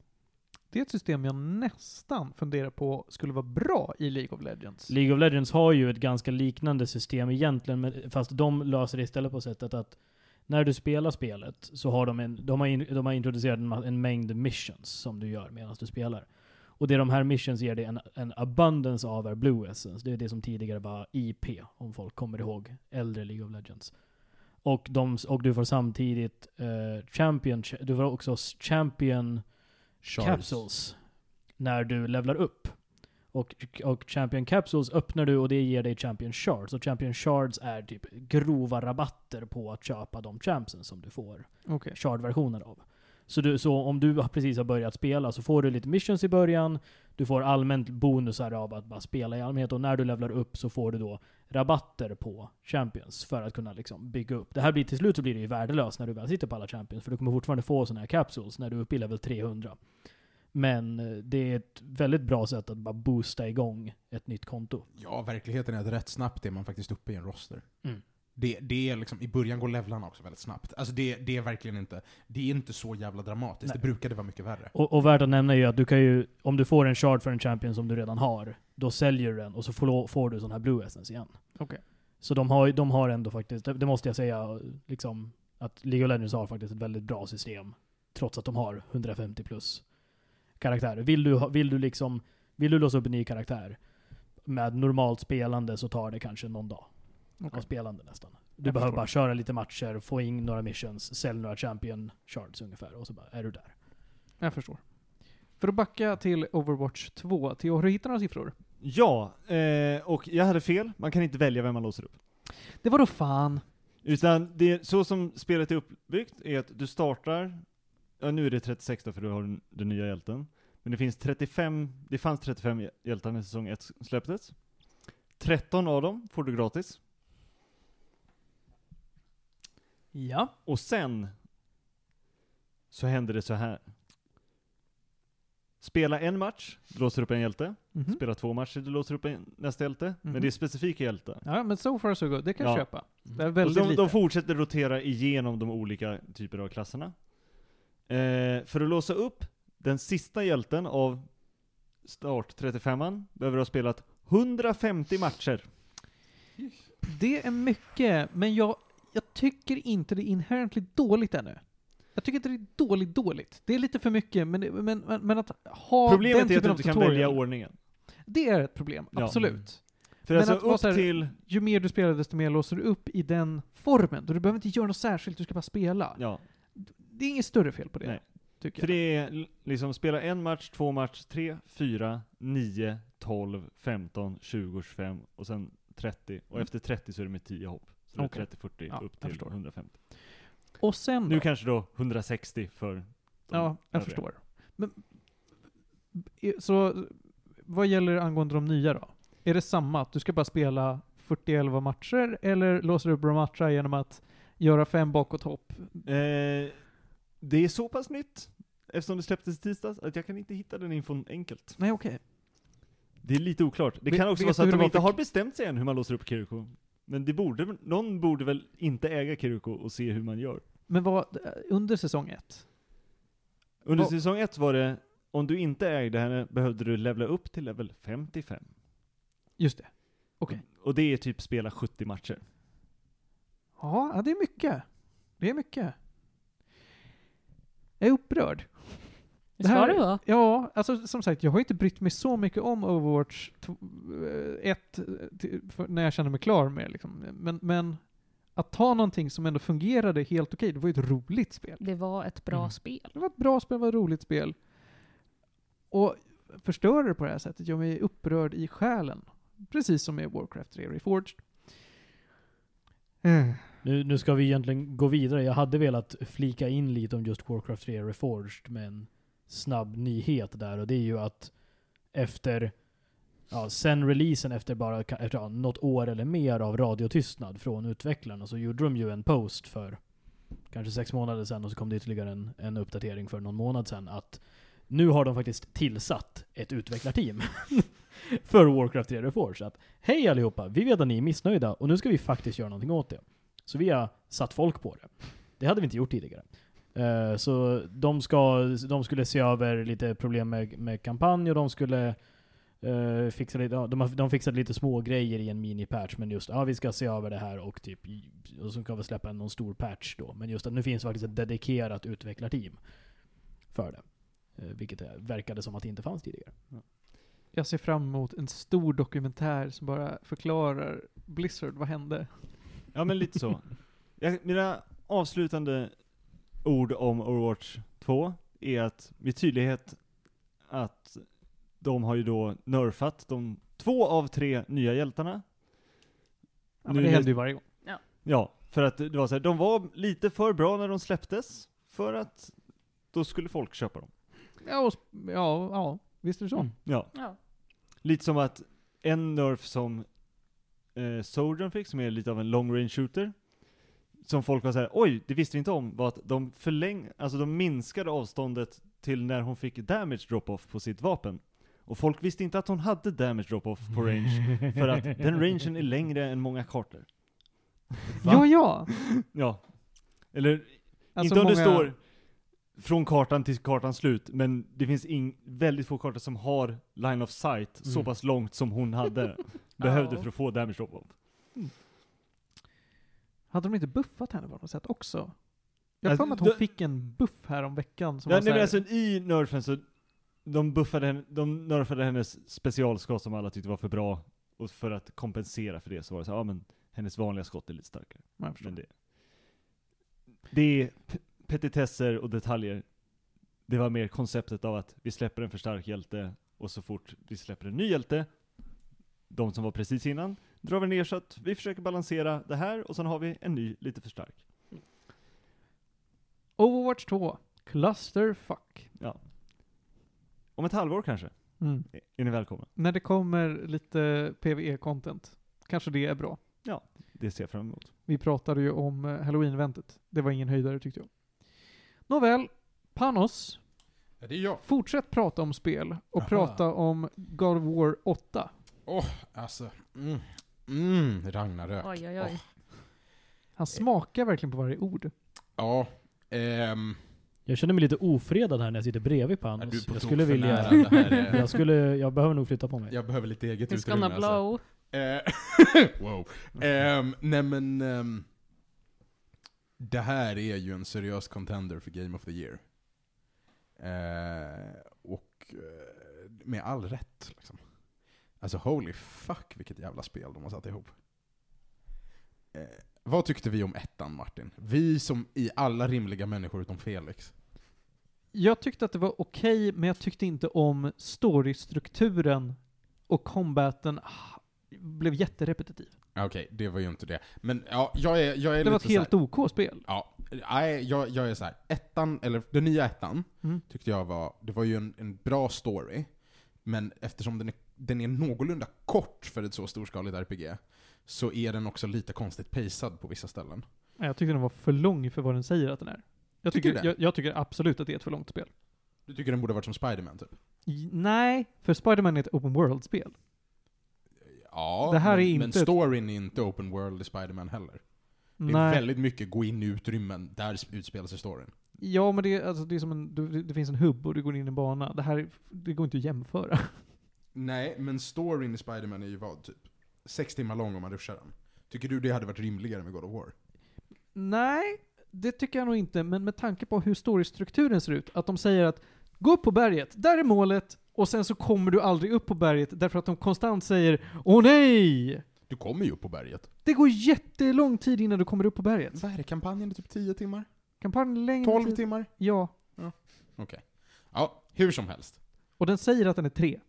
S1: Det är ett system jag nästan funderar på skulle vara bra i League of Legends.
S5: League of Legends har ju ett ganska liknande system egentligen, men, fast de löser det istället på sättet att när du spelar spelet så har de, en, de, har in, de har introducerat en, ma- en mängd missions som du gör medan du spelar. Och det de här missions ger dig en, en abundance av är Blue Essence. Det är det som tidigare var IP, om folk kommer ihåg äldre League of Legends. Och, de, och du får samtidigt eh, champion, du får också champion
S3: Shards.
S5: capsules. när du levlar upp. Och, och Champion Capsules öppnar du och det ger dig Champion Shards. Och Champion Shards är typ grova rabatter på att köpa de champsen som du får
S1: Okej.
S5: shard-versioner av. Så, du, så om du har- precis har börjat spela så får du lite missions i början, du får allmänt bonusar av att bara spela i allmänhet och när du levlar upp så får du då rabatter på champions för att kunna liksom bygga upp. Det här blir till slut så blir det ju värdelöst när du väl sitter på alla champions för du kommer fortfarande få sådana här capsules när du är uppe i level 300. Men eh, det är ett väldigt bra sätt att bara boosta igång ett nytt konto.
S3: Ja, verkligheten är att rätt snabbt är man faktiskt uppe i en roster.
S5: Mm.
S3: Det, det är liksom, I början går levlarna också väldigt snabbt. Alltså det, det är verkligen inte, det är inte så jävla dramatiskt.
S5: Nej.
S3: Det brukade vara mycket värre.
S5: Och, och värt att nämna är ju att du kan ju, om du får en shard för en champion som du redan har, då säljer du den och så får, får du sån här blue essence igen.
S1: Okej.
S5: Så de har, ju- de har ändå faktiskt, det, det måste jag säga, liksom, att League of Legends har faktiskt ett väldigt bra system. Trots att de har 150 plus karaktärer. Vill du, ha- vill du liksom, vill du låsa upp en ny karaktär med normalt spelande så tar det kanske någon dag av
S1: Okej.
S5: spelande nästan. Du
S1: Jag
S5: behöver
S1: förstår.
S5: bara köra lite matcher, få in några missions, sälj några champion shards ungefär och så bara är du där.
S1: Jag förstår. För att backa till Overwatch 2, Theo, har du hittat några siffror?
S4: Ja, eh, och jag hade fel. Man kan inte välja vem man låser upp.
S1: Det var då fan.
S4: Utan det, så som spelet är uppbyggt är att du startar, ja nu är det 36 då för du har den, den nya hjälten. Men det finns 35, det fanns 35 hj- hjältar när säsong 1 släpptes. 13 av dem får du gratis.
S1: Ja.
S4: Och sen så händer det så här. Spela en match, du låser upp en hjälte. Spela två matcher, du låser upp en, nästa hjälte.
S1: Mhm.
S4: Men det är specifika hjältar.
S1: Ja, men so far so good. Det kan
S4: Ja.
S1: jag köpa. Det är
S4: Och
S1: väldigt
S4: de,
S1: lite.
S4: de fortsätter rotera igenom de olika typer av klasserna. Eh, för att låsa upp den sista hjälten av start 35an behöver du ha spelat 150 matcher.
S1: Det är mycket, men jag, jag tycker inte det är inherently dåligt ännu. Jag tycker inte det är dåligt dåligt. Det är lite för mycket, men, det- men, men, men att ha den
S4: Problemet är att du
S1: typen
S4: inte
S1: av
S4: kan välja
S1: tutorial,
S4: ordningen.
S1: det är ett problem.
S4: Ja.
S1: Absolut.
S4: För
S1: Men att
S4: alltså
S1: vara
S4: upp
S1: så här-
S4: till...
S1: Ju mer du spelar, desto mer låser du upp i den formen. Då du behöver inte göra något särskilt, du ska bara spela.
S4: Ja,
S1: Det är inget större fel på det,
S4: Nej.
S1: tycker
S4: för
S1: jag.
S4: det är l- liksom spela en match, två match, tre, fyra, nio, tolv, femton, tjugo, tjugofem och sen 30. Och
S1: Mm.
S4: efter 30 så är det med 10 hopp. Så det är
S1: Okej.
S4: 30, 40
S1: Ja,
S4: upp
S1: jag
S4: till
S1: förstår.
S4: 150.
S1: Och sen då?
S4: Nu kanske då 160 för de
S1: Ja, jag
S4: övriga.
S1: förstår. Men, i- så vad gäller angående de nya då? Är det samma? Att du ska bara spela 40-11 matcher eller låser du upp matcher genom att göra fem bakåthopp?
S4: Eh, det är så pass nytt, eftersom det släpptes i tisdags, att jag kan inte hitta den infon enkelt.
S1: Nej, okej.
S4: Det är lite oklart. Det
S1: Vet-
S4: kan också
S1: vet
S4: vara så
S1: du
S4: att
S1: hur
S4: de
S1: det
S4: inte
S1: var för-
S4: har bestämt sig än hur man låser upp Kiriko. Men det borde, någon borde väl inte äga Kiriko och se hur man gör.
S1: Men vad, eh, under säsong ett?
S4: Under
S1: Ja.
S4: säsong ett var det, om du inte ägde henne behövde du levla upp till level 55.
S1: Just det. Okej.
S4: Och det är typ spela 70 matcher.
S1: Ja, ja, det är mycket. Det är mycket. Jag är upprörd.
S8: Det ska
S1: här-
S8: det vara.
S1: Ja, alltså som sagt, jag har inte brytt mig så mycket om Overwatch eh, 1 när jag kände mig klar med liksom. men, men att ta någonting som ändå fungerade helt okej, det var ju ett roligt spel.
S2: Det var ett bra
S5: Mm.
S2: spel.
S1: Det var ett bra spel, det var ett roligt spel. Och förstöra det på det här sättet gör mig upprörd i själen. Precis som med Warcraft 3 Reforged. Eh,
S5: Nu, nu ska vi egentligen gå vidare. Jag hade velat flika in lite om just Warcraft 3 Reforged med en snabb nyhet där och det är ju att efter Ja, sen releasen efter bara ka- efter, ja, något år eller mer av radiotystnad från utvecklarna så gjorde de ju en post för kanske sex månader sedan och så kom det ytterligare en, en uppdatering för någon månad sedan att nu har de faktiskt tillsatt ett utvecklarteam för Warcraft 3 Reforged. Så att hej allihopa, vi vet att ni är missnöjda och nu ska vi faktiskt göra någonting åt det. Så vi har satt folk på det. Det hade vi inte gjort tidigare. Eh, Så de, ska, de skulle se över lite problem med, med kampanj och de skulle eh, fixa lite, ja, de, har, de fixade lite små grejer i en mini-patch men just ja, vi ska se över det här och typ och så ska vi släppa någon stor patch då. Men just att nu finns faktiskt ett dedikerat utvecklarteam för det. Eh, Vilket eh, verkade som att det inte fanns tidigare.
S1: Jag ser fram emot en stor dokumentär som bara förklarar Blizzard, vad hände?
S4: Ja men lite så. Jag, mina avslutande ord om Overwatch 2 är att med tydlighet att de har ju då nerfat de två av tre nya hjältarna.
S1: Ja, men
S4: Nu
S1: det
S4: är det-
S1: händer ju varje gång.
S4: Ja, för att det var så här, de var lite för bra när de släpptes, för att då skulle folk köpa dem.
S1: Ja, och, sp- ja, ja, visst är det så.
S5: Mm.
S4: Ja.
S2: Ja.
S4: Lite som att en nerf som eh, Sojourn fick, som är lite av en long range shooter, som folk var såhär, oj, det visste vi inte om, var att de förläng alltså de minskade avståndet till när hon fick damage drop-off på sitt vapen. Och folk visste inte att hon hade damage drop-off på range, för att den rangen är längre än många kartor.
S1: Ja, ja.
S4: Ja. Eller
S1: Alltså
S4: inte om det
S1: många-
S4: står från kartan till kartans slut, men det finns ing- väldigt få kartor som har line of sight så
S1: Mm.
S4: pass långt som hon hade behövde
S2: Ja.
S4: för att få damage drop off.
S1: Hade de inte buffat henne på något sätt också? Jag har
S4: Alltså,
S1: för mig att hon
S4: det-
S1: fick en buff här om veckan som
S4: Ja,
S1: var
S4: nej, men
S1: såhär,
S4: alltså i nerfen så, de buffade henne, de nerfade hennes specialskott som alla tyckte var för bra, och för att kompensera för det så var det så ja ah, men hennes vanliga skott är lite starkare.
S1: Ja, jag förstår.
S4: Men det, det är p- petitesser och detaljer. Det var mer konceptet av att vi släpper en för stark hjälte och så fort vi släpper en ny hjälte, de som var precis innan, drar vi ner så att vi försöker balansera det här och sen har vi en ny lite för stark.
S1: Overwatch 2, clusterfuck.
S4: Om ett halvår kanske,
S1: Mm.
S4: är ni välkomna.
S1: När det kommer lite PVE-content, kanske det är bra.
S4: Det ser jag fram emot.
S1: Vi pratade ju om eh, halloween-väntet. Det var ingen höjdare tyckte jag. Nåväl, Panos,
S3: Ja, det är jag.
S1: fortsätt prata om spel och
S3: Aha.
S1: prata om God of War 8.
S3: Alltså. Mm. Mm, Ragnarök.
S2: Oj,
S4: Oh,
S2: oj, oj.
S1: Han smakar verkligen på varje ord.
S3: Ja. Ehm,
S5: Jag känner mig lite ofredad här när jag sitter bredvid
S3: är
S5: Panos.
S3: du på
S5: jag
S3: tok
S5: skulle
S3: för
S5: vilja...
S3: nära det här är-
S5: Jag, skulle, jag behöver nog flytta på mig.
S3: Jag behöver lite eget
S9: He's
S3: utrymme
S9: gonna
S3: alltså.
S9: blow.
S3: Eh, wow. Ehm, nej men... ehm, det här är ju en seriös contender för Game of the Year. Eh, och eh, med all rätt. Liksom. Alltså holy fuck vilket jävla spel de har satt ihop. Eh, vad tyckte vi om ettan Martin? Vi som i alla rimliga människor utom Felix.
S1: Jag tyckte att det var okej, men jag tyckte inte om storystrukturen och combaten ah, blev jätterepetitiv.
S3: Ah, Okej, det var ju inte det. Men ja, jag är, jag är
S1: Det var ett
S3: lite så här-
S1: helt OK spel.
S3: Ja, nej, jag, jag är så här. ettan, eller den nya ettan,
S1: Mm.
S3: tyckte jag var, det var ju en, en bra story. Men eftersom den är, den är någorlunda kort för ett så storskaligt RPG, så är den också lite konstigt pacad på vissa ställen.
S1: Nej, Jag tyckte den var för lång för vad den säger att den är. Jag tycker,
S3: Tycker du det?
S1: jag, jag tycker absolut att det är ett för långt spel.
S3: Du tycker den borde ha varit som Spiderman typ?
S1: I- Nej, för Spider-Man är ett open world-spel.
S3: Ja,
S1: Det här
S3: men,
S1: är inte
S3: men
S1: ett-
S3: storyn är inte open world i Spiderman heller. Det är
S1: Nej.
S3: väldigt mycket gå in i utrymmen, där s- utspelar sig storyn.
S1: Ja, men det, är- alltså, det är som en, du- det finns en hubb och du går in i en bana. Det här, är- det går inte att jämföra.
S3: Nej, men storyn i Spiderman är ju vad typ? Sex timmar lång om man ruschar den. Tycker du det hade varit rimligare med God of War?
S1: Nej, det tycker jag nog inte. Men med tanke på hur storystrukturen ser ut, att de säger att gå upp på berget, där är målet, och sen så kommer du aldrig upp på berget därför att de konstant säger Åh nej!
S3: Du kommer ju upp på berget.
S1: Det går jättelång tid innan du kommer upp på berget.
S3: Vad är det, kampanjen är typ 10 timmar?
S1: Kampanjen är längre
S3: 12
S1: tid.
S3: timmar?
S1: Ja.
S3: Ja, hur som helst.
S1: Och den säger att den är tre.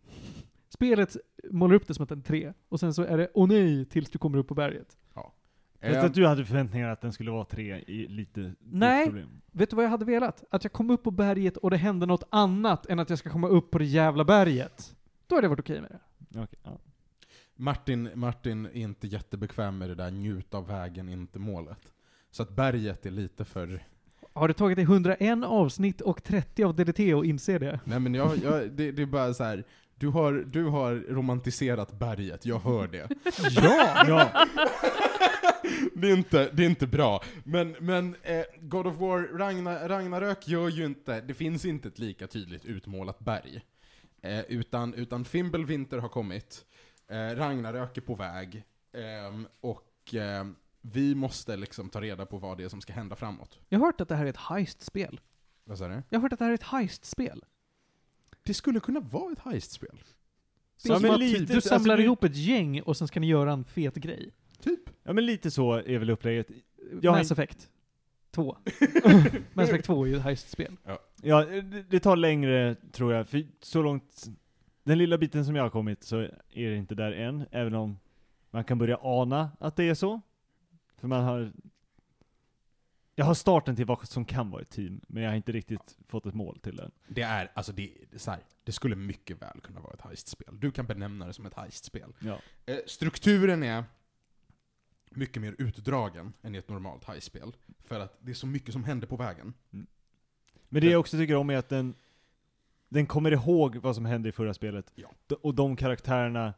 S1: Spelet målar upp det som att den är tre. Och sen så är det åh nej tills du kommer upp på berget.
S4: Fast
S3: Eh,
S4: att du hade förväntningar att den skulle vara tre i lite ditt
S1: Nej.
S4: problem.
S1: Vet du vad jag hade velat? Att jag kom upp på berget och det hände något annat än att jag ska komma upp på det jävla berget. Då hade jag varit okej med det.
S4: Okej, ja.
S3: Martin, Martin är inte jättebekväm med det där njut av vägen, inte målet. Så att berget är lite för...
S1: Har det tagit dig 101 avsnitt och 30 av DDT och inser det?
S3: Nej men jag, jag, det, det är bara så här. Du har, du har romantiserat berget, jag hör det.
S1: Ja!
S4: ja.
S3: Det är inte, det är inte bra. Men, men eh, God of War, Ragnar, Ragnarök gör ju inte, det finns inte ett lika tydligt utmålat berg. Eh, utan, utan Fimbulvinter har kommit, eh, Ragnarök är på väg, ehm, och ehm, vi måste liksom ta reda på vad det är som ska hända framåt.
S1: Jag har hört att det här är ett heist-spel.
S3: Vad sa du?
S1: Jag har hört att det här är ett heist-spel.
S3: Det skulle kunna vara ett heistspel.
S1: Det är
S4: Ja,
S1: som
S4: men
S1: att
S4: lite-
S1: du
S4: alltså,
S1: samlar
S4: du-
S1: ihop ett gäng och sen ska ni göra en fet grej.
S3: Typ.
S4: ja men lite så är väl upplägget. Jag har
S1: Mass Effect 2. Mass Effect 2 är ju ett heist-spel.
S4: Ja, det, det tar längre tror jag, för så långt den lilla biten som jag har kommit så är det inte där än, även om man kan börja ana att det är så. För man har... Jag har starten till vad som kan vara ett team, men jag har inte riktigt fått ett mål till den.
S3: Det är, alltså det, det är så här, det skulle mycket väl kunna vara ett heistspel. Du kan benämna det som ett heistspel.
S4: Ja.
S3: Eh, Strukturen är mycket mer utdragen än i ett normalt heistspel. För att det är så mycket som händer på vägen.
S4: Men det jag också tycker om är att den, den kommer ihåg vad som hände i förra spelet.
S3: Ja.
S4: D- Och de karaktärerna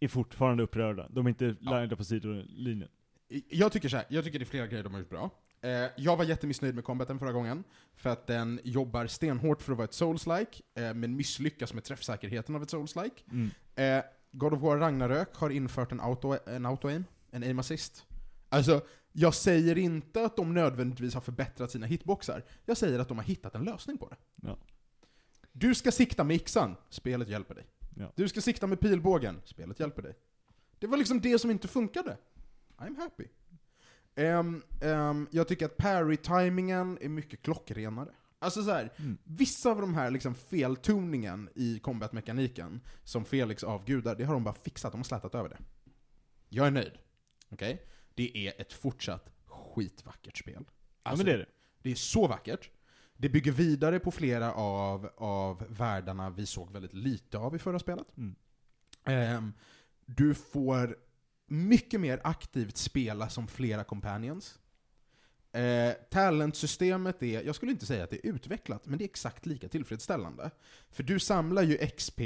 S4: är fortfarande upprörda. De är inte lagda på sidolinjen. Mm.
S3: I- Jag tycker så här, jag tycker det är flera grejer de har gjort bra. Eh, jag var jättemissnöjd med combaten förra gången, för att den jobbar stenhårt för att vara ett souls-like, eh, men misslyckas med träffsäkerheten av ett souls-like. Eh, God of War Ragnarök har infört en auto-aim, en, auto aim, en aim assist. Alltså, jag säger inte att de nödvändigtvis har förbättrat sina hitboxar, jag säger att de har hittat en lösning på det.
S4: Ja.
S3: Du ska sikta med yxan, spelet hjälper dig.
S4: Ja.
S3: Du ska sikta med pilbågen, spelet hjälper dig. Det var liksom det som inte funkade. I'm happy. Ehm, ehm, jag tycker att parry-timingen är mycket klockrenare. Alltså så här,
S4: Mm.
S3: vissa av de här liksom feltoningen i combat-mekaniken som Felix avgudar, det har de bara fixat, de har slätat över det. Jag är nöjd. Okej? Det är ett fortsatt skitvackert spel.
S4: Ja
S3: Alltså,
S4: men det är det.
S3: det är så vackert. Det bygger vidare på flera av, av världarna vi såg väldigt lite av i förra spelet.
S4: Mm.
S3: Ehm, du får mycket mer aktivt spela som flera companions. Eh, talentsystemet är, jag skulle inte säga att det är utvecklat, men det är exakt lika tillfredsställande. För du samlar ju XP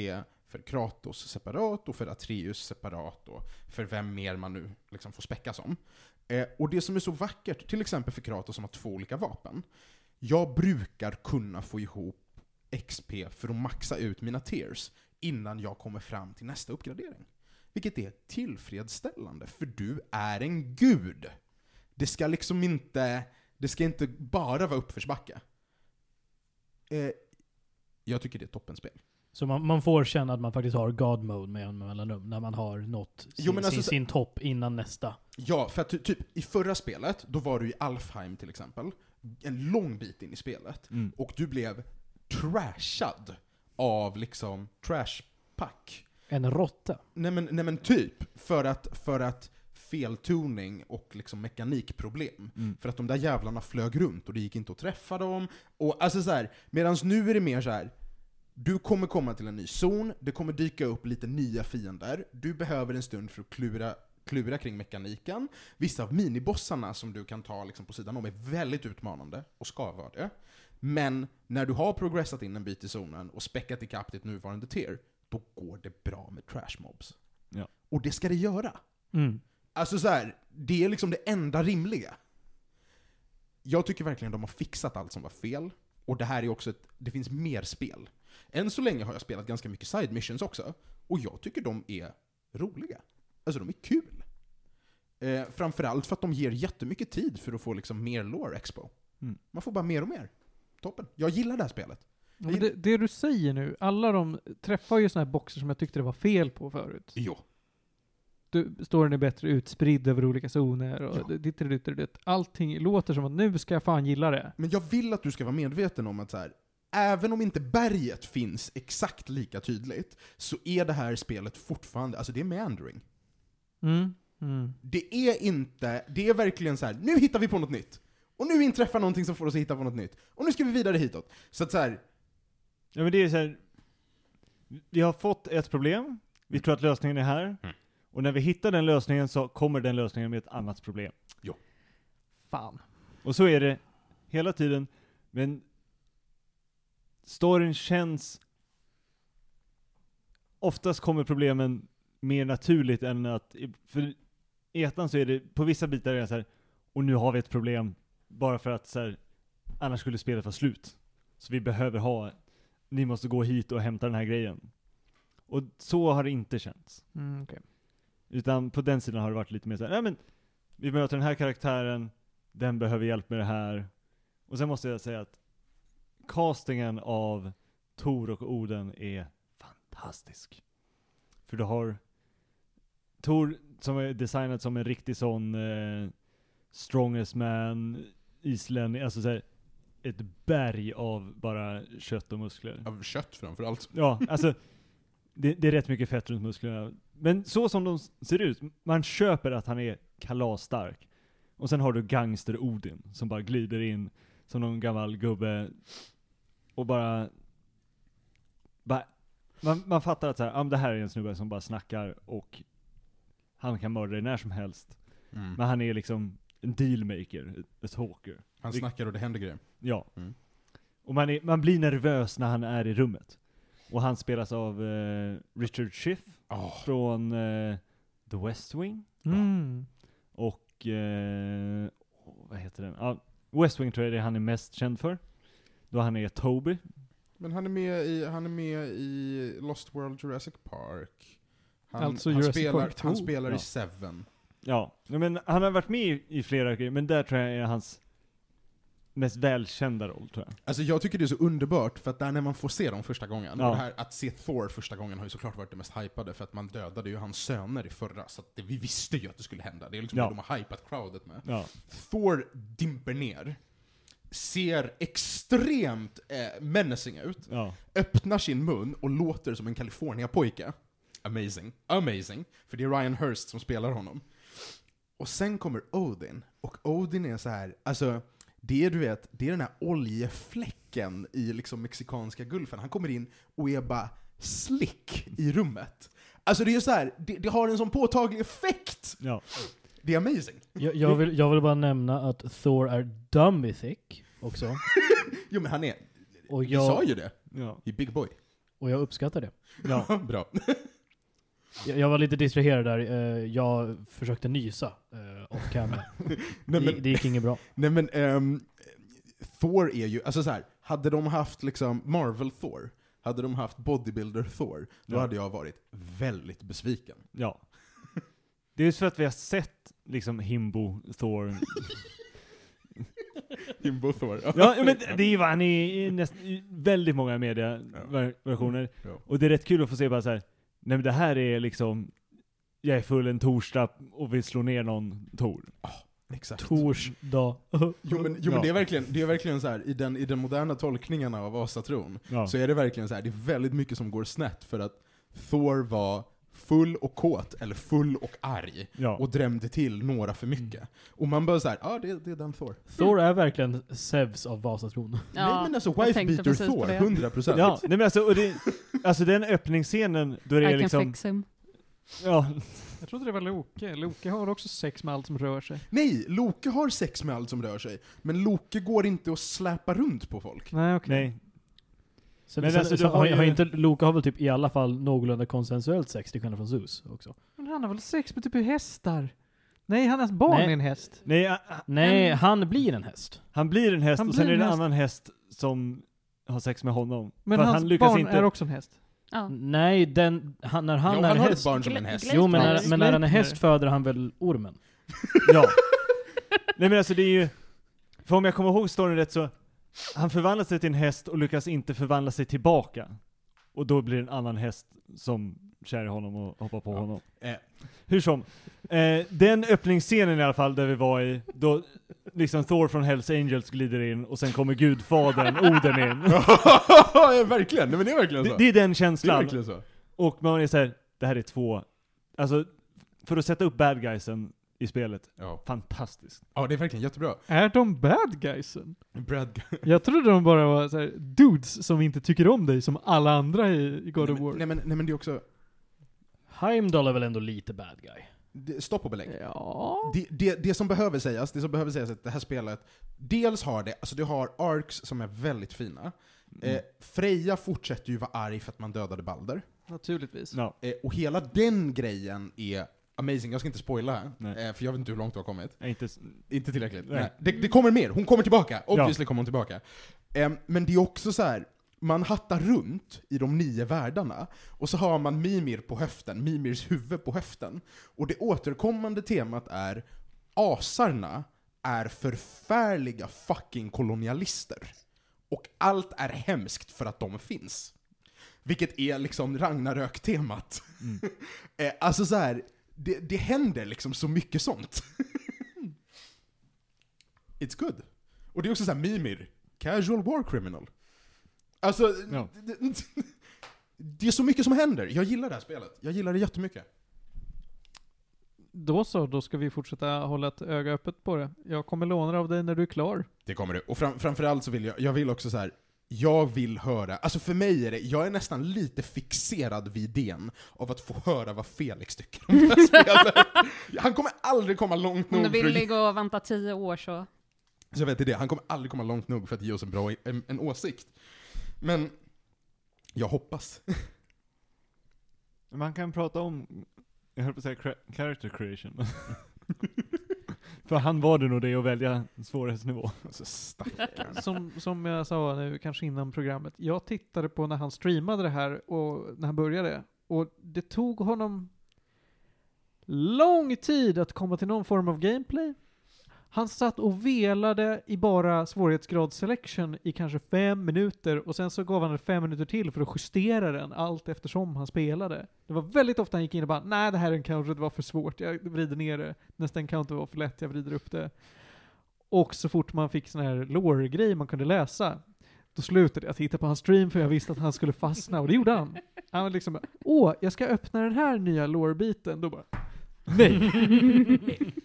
S3: för Kratos separat och för Atreus separat och för vem mer man nu liksom får späcka som. Eh, och det som är så vackert, till exempel för Kratos som har två olika vapen, jag brukar kunna få ihop XP för att maxa ut mina tears innan jag kommer fram till nästa uppgradering. Vilket är tillfredsställande, för du är en gud. Det ska liksom inte, det ska inte bara vara uppförsbacke. Eh, jag tycker det är toppenspel.
S5: Så man, man får känna att man faktiskt har God mode med jämna mellanrum när man har nått sin,
S3: Jo, men alltså
S5: sin,
S3: så-
S5: sin topp innan nästa.
S3: Ja, för att ty- typ i förra spelet, då var du i Alfheim till exempel, en lång bit in i spelet,
S4: Mm.
S3: och du blev trashad av liksom trashpack.
S5: En råtta.
S3: Nej men, nej men typ, för att, för att feltoning och liksom mekanikproblem.
S4: Mm.
S3: För att de där jävlarna flög runt och det gick inte att träffa dem. Och alltså så här, medan nu är det mer så här. Du kommer komma till en ny zon, det kommer dyka upp lite nya fiender, du behöver en stund för att klura, klura kring mekaniken. Vissa av minibossarna som du kan ta liksom på sidan om är väldigt utmanande, och ska vara det. Men när du har progressat in en bit i zonen och späckat ikapp ditt nuvarande tier, då går det bra med trash mobs.
S4: Ja.
S3: Och det ska det göra.
S5: Mm.
S3: Alltså så här, det är liksom det enda rimliga. Jag tycker verkligen de har fixat allt som var fel. Och det här är också ett, det finns mer spel. Än så länge har jag spelat ganska mycket side missions också. Och jag tycker de är roliga. Alltså de är kul. Eh, framförallt för att de ger jättemycket tid för att få liksom mer lore expo.
S4: Mm.
S3: Man får bara mer och mer. Toppen. Jag gillar det här spelet.
S1: Ja, men det, det du säger nu, alla de träffar ju såna här boxer som jag tyckte det var fel på förut.
S3: Jo.
S1: Du, storyn är bättre utspridd över olika zoner och
S3: Ja.
S1: ja. ditt, ditt, ditt, ditt. Allting låter som att nu ska jag fan gilla det.
S3: Men jag vill att du ska vara medveten om att så här, även om inte berget finns exakt lika tydligt, så är det här spelet fortfarande, alltså det är meandering.
S1: Mm. Mm.
S3: Det är inte, det är verkligen så här, nu hittar vi på något nytt. Och nu inträffar någonting som får oss att hitta på något nytt. Och nu ska vi vidare hitåt. Så att så här,
S4: Ja men det är så här. Vi har fått ett problem, vi tror att lösningen är här,
S3: Mm.
S4: och när vi hittar den lösningen så kommer den lösningen med ett annat problem.
S1: Fan.
S4: Och så är det hela tiden, men storyn känns... Oftast kommer problemen mer naturligt än att... För i ettan så är det, på vissa bitar är det så här, och nu har vi ett problem, bara för att så här, annars skulle spelet vara slut. Så vi behöver ha, ni måste gå hit och hämta den här grejen. Och så har det inte känts.
S1: Mm, okej.
S4: Utan på den sidan har det varit lite mer såhär, nej men vi möter den här karaktären, den behöver hjälp med det här. Och sen måste jag säga att castingen av Tor och Oden är fantastisk. För du har Tor som är designad som en riktig sån eh, strongest man, islänning, alltså såhär ett berg av bara kött och muskler.
S3: av kött framförallt.
S4: Ja, alltså det, det är rätt mycket fett runt musklerna. Men så som de s- ser ut, man köper att han är kalasstark. Och sen har du gangster-Odin som bara glider in som någon gammal gubbe och bara... bara man, man fattar att så här, ah, men det här är en snubbe som bara snackar och han kan mörda dig när som helst.
S3: Mm.
S4: Men han är liksom en dealmaker, a talker.
S3: Han snackar och det händer grejer.
S4: Ja.
S3: Mm.
S4: Och man, är, man blir nervös när han är i rummet. Och han spelas av eh, Richard Schiff
S3: Oh,
S4: från eh, The West Wing.
S1: Mm.
S4: Och, eh, åh, vad heter den? Ja, West Wing tror jag det är han är mest känd för. Då han är Toby.
S3: men han är, med i, han är med i Lost World Jurassic Park. Han,
S1: Alltså
S3: han
S1: Jurassic
S3: spelar,
S1: Park 2.
S3: Han spelar
S4: Ja.
S3: i Seven.
S4: Ja, Nej, men han har varit med i, i flera grejer, men där tror jag är hans mest välkända roll tror jag.
S3: Alltså jag tycker det är så underbart, för att där när man får se dem första gången,
S4: Ja.
S3: och det här att se Thor första gången har ju såklart varit det mest hypade, för att man dödade ju hans söner i förra, så att det, vi visste ju att det skulle hända. Det är liksom
S4: Ja.
S3: det de har hypat crowdet med.
S4: Ja.
S3: Thor dimper ner, ser extremt eh, menacing ut,
S4: Ja.
S3: öppnar sin mun och låter som en California-pojke. Amazing. Amazing. För det är Ryan Hurst som spelar honom. Och sen kommer Odin, och Odin är så här, alltså det är du vet, det är den här oljefläcken i liksom mexikanska gulfen. Han kommer in och är bara slick i rummet. Alltså det är så här, det, det har en sån påtaglig effekt!
S4: Ja.
S3: Det är amazing.
S5: Jag, jag, vill, jag vill bara nämna att Thor är dummy thick också.
S3: Jo men han är,
S5: Och
S3: vi sa
S5: jag,
S3: ju det.
S4: Ja.
S3: I Big Boy.
S5: och jag uppskattar det.
S4: Ja.
S3: Bra.
S5: Jag, jag var lite distraherad där. eh, Jag försökte nysa eh, off camera.
S3: Nej
S5: Det,
S3: men,
S5: det gick inget bra.
S3: nej, men ehm, Thor är ju, alltså så här, hade de haft liksom Marvel-Thor, hade de haft Bodybuilder-Thor, då
S4: Ja.
S3: hade jag varit väldigt besviken.
S4: Ja. Det är ju så att vi har sett liksom Himbo, Thor.
S3: Himbo-Thor.
S4: Ja, men det är ju vad han är i, näst, i väldigt många mediaversioner.
S3: Ja. Mm, Ja.
S4: Och det är rätt kul att få se bara så här. nej men det här är liksom, jag är full en torsdag och vill slå ner någon Tor.
S3: Exakt.
S5: Torsdag.
S3: Jo men, jo, men
S4: Ja.
S3: det är verkligen, det är verkligen så här, i den, i den moderna tolkningen av asatron,
S4: Ja.
S3: så är det verkligen så här, det är väldigt mycket som går snett för att Thor var full och kåt, eller full och arg,
S4: ja. Mm.
S3: och drämde till några för mycket. Och man bara så här, ja ah, det, det är den Thor.
S5: Thor är verkligen Zeus av Vasatron.
S3: Nej men alltså
S10: jag
S3: wife
S10: tänkte
S3: beater
S10: precis på
S3: Thor,
S10: det.
S3: 100%.
S4: ja, nej men alltså, och det, alltså den öppningsscenen, då är det
S2: I can
S4: liksom,
S2: fix him.
S4: ja,
S1: Jag trodde det var Loke. Loke har också sex med allt som rör sig.
S3: Nej, Loke har sex med allt som rör sig, men Loke går inte att släpa runt på folk.
S1: Nej, okej.
S4: nej.
S5: Sen,
S4: Men
S5: sen,
S4: alltså, du
S5: sen,
S4: har
S5: har,
S4: ju-
S5: har inte, Loka har väl typ i alla fall någorlunda konsensuellt sex till skillnad från Zeus också?
S1: Men han har väl sex med typ hästar? Nej, hans barn
S5: Nej.
S1: är en häst.
S4: Nej, a- a-
S5: Nej, han blir en häst.
S4: han blir en häst
S1: Han
S4: och sen
S1: blir
S4: är det
S1: en
S4: en
S1: häst.
S4: annan häst som har sex med honom.
S1: Men
S4: För att
S1: hans
S4: han lyckas
S1: barn
S4: inte-
S1: är också en häst.
S2: Ja.
S3: Mm.
S5: Nej, den, han, när han
S3: ja,
S5: är
S3: han har ett
S5: häst...
S3: barn som en häst.
S2: Glenn-
S5: Jo, men
S2: Glenn-
S5: när, men när han är häst föder han väl ormen?
S4: Ja. Nej men alltså det är ju, för om jag kommer ihåg storyn rätt så, han förvandlar sig till en häst och lyckas inte förvandla sig tillbaka. Och då blir det en annan häst som kär i honom och hoppar på
S3: Ja.
S4: honom.
S3: Eh.
S4: Hur som. Eh, den öppningsscenen i alla fall där vi var i, då liksom Thor från Hells Angels glider in och sen kommer gudfadern Oden in.
S3: ja, verkligen, nej men det är verkligen
S4: Det,
S3: så.
S4: det är den
S3: alltså. Det är
S4: känslan.
S3: verkligen så.
S4: Och man är såhär, det här är två, alltså för att sätta upp bad guysen i spelet,
S3: Ja.
S4: fantastiskt.
S3: ja, det är verkligen jättebra.
S1: Är de bad guysen?
S3: Brad Gu-
S1: Jag trodde de bara var så här, dudes som inte tycker om dig som alla andra i i God
S3: nej,
S1: of
S3: men,
S1: War.
S3: nej, men, nej men det är också,
S5: Heimdall är väl ändå lite bad guy?
S3: det, stopp och belägg.
S1: Ja.
S3: Det, det, det som behöver sägas, det som behöver sägas är att det här spelet, dels har det, alltså du har arcs som är väldigt fina.
S5: Mm.
S3: Eh, Freja fortsätter ju vara arg för att man dödade Balder.
S1: Naturligtvis.
S4: Ja.
S3: Eh, och hela den grejen är amazing, jag ska inte spoila här,
S4: Nej.
S3: eh, för jag vet inte hur långt du har kommit.
S4: Nej, Inte, s-
S3: Inte tillräckligt.
S4: Nej.
S3: Nej. Det, det kommer mer, hon kommer tillbaka. Obviously kommer hon tillbaka. Em, men det är också så här. man hattar runt i de nio världarna, och så har man Mimir på höften, Mimirs huvud på höften. Och det återkommande temat är asarna är förfärliga fucking kolonialister. Och allt är hemskt för att de finns. Vilket är liksom Ragnarök-temat. Eh, alltså så här, det, det händer liksom så mycket sånt. It's good. Och det är också såhär Mimir, casual war criminal. Alltså,
S4: Ja.
S3: d- d- det är så mycket som händer. Jag gillar det här spelet. Jag gillar det jättemycket.
S1: Då så, då ska vi fortsätta hålla ett öga öppet på det. Jag kommer låna det av dig när du är klar.
S3: Det kommer du. Och fram, framförallt så vill jag, jag vill också så här. jag vill höra, alltså för mig är det, jag är nästan lite fixerad vid idén av att få höra vad Felix tycker om det här spelet. Han kommer aldrig komma långt
S2: Om du
S3: nog för att,
S2: vill gå och vänta tio år så.
S3: så jag vet inte det, han kommer aldrig komma långt nog för att ge oss en bra, i- en, en åsikt. Men, jag hoppas.
S6: Man kan prata om, jag höll på att säga cra- character creation. För han var det nog det att välja svårighetsnivå.
S3: Alltså stackarn.
S1: Som, som jag sa nu, kanske innan programmet. Jag tittade på när han streamade det här och när han började. Och det tog honom lång tid att komma till någon form av gameplay. Han satt och velade i bara svårighetsgrad selection i kanske fem minuter och sen så gav han det fem minuter till för att justera den allt eftersom han spelade. Det var väldigt ofta han gick in och bara nej det här encounteret var för svårt, jag vrider ner det. Nästa encounter var för lätt, jag vrider upp det. Och så fort man fick sån här lore-grej man kunde läsa, då slutade jag titta på hans stream för jag visste att han skulle fastna och det gjorde han. Han var liksom bara, åh, jag ska öppna den här nya lore-biten. Då bara, nej.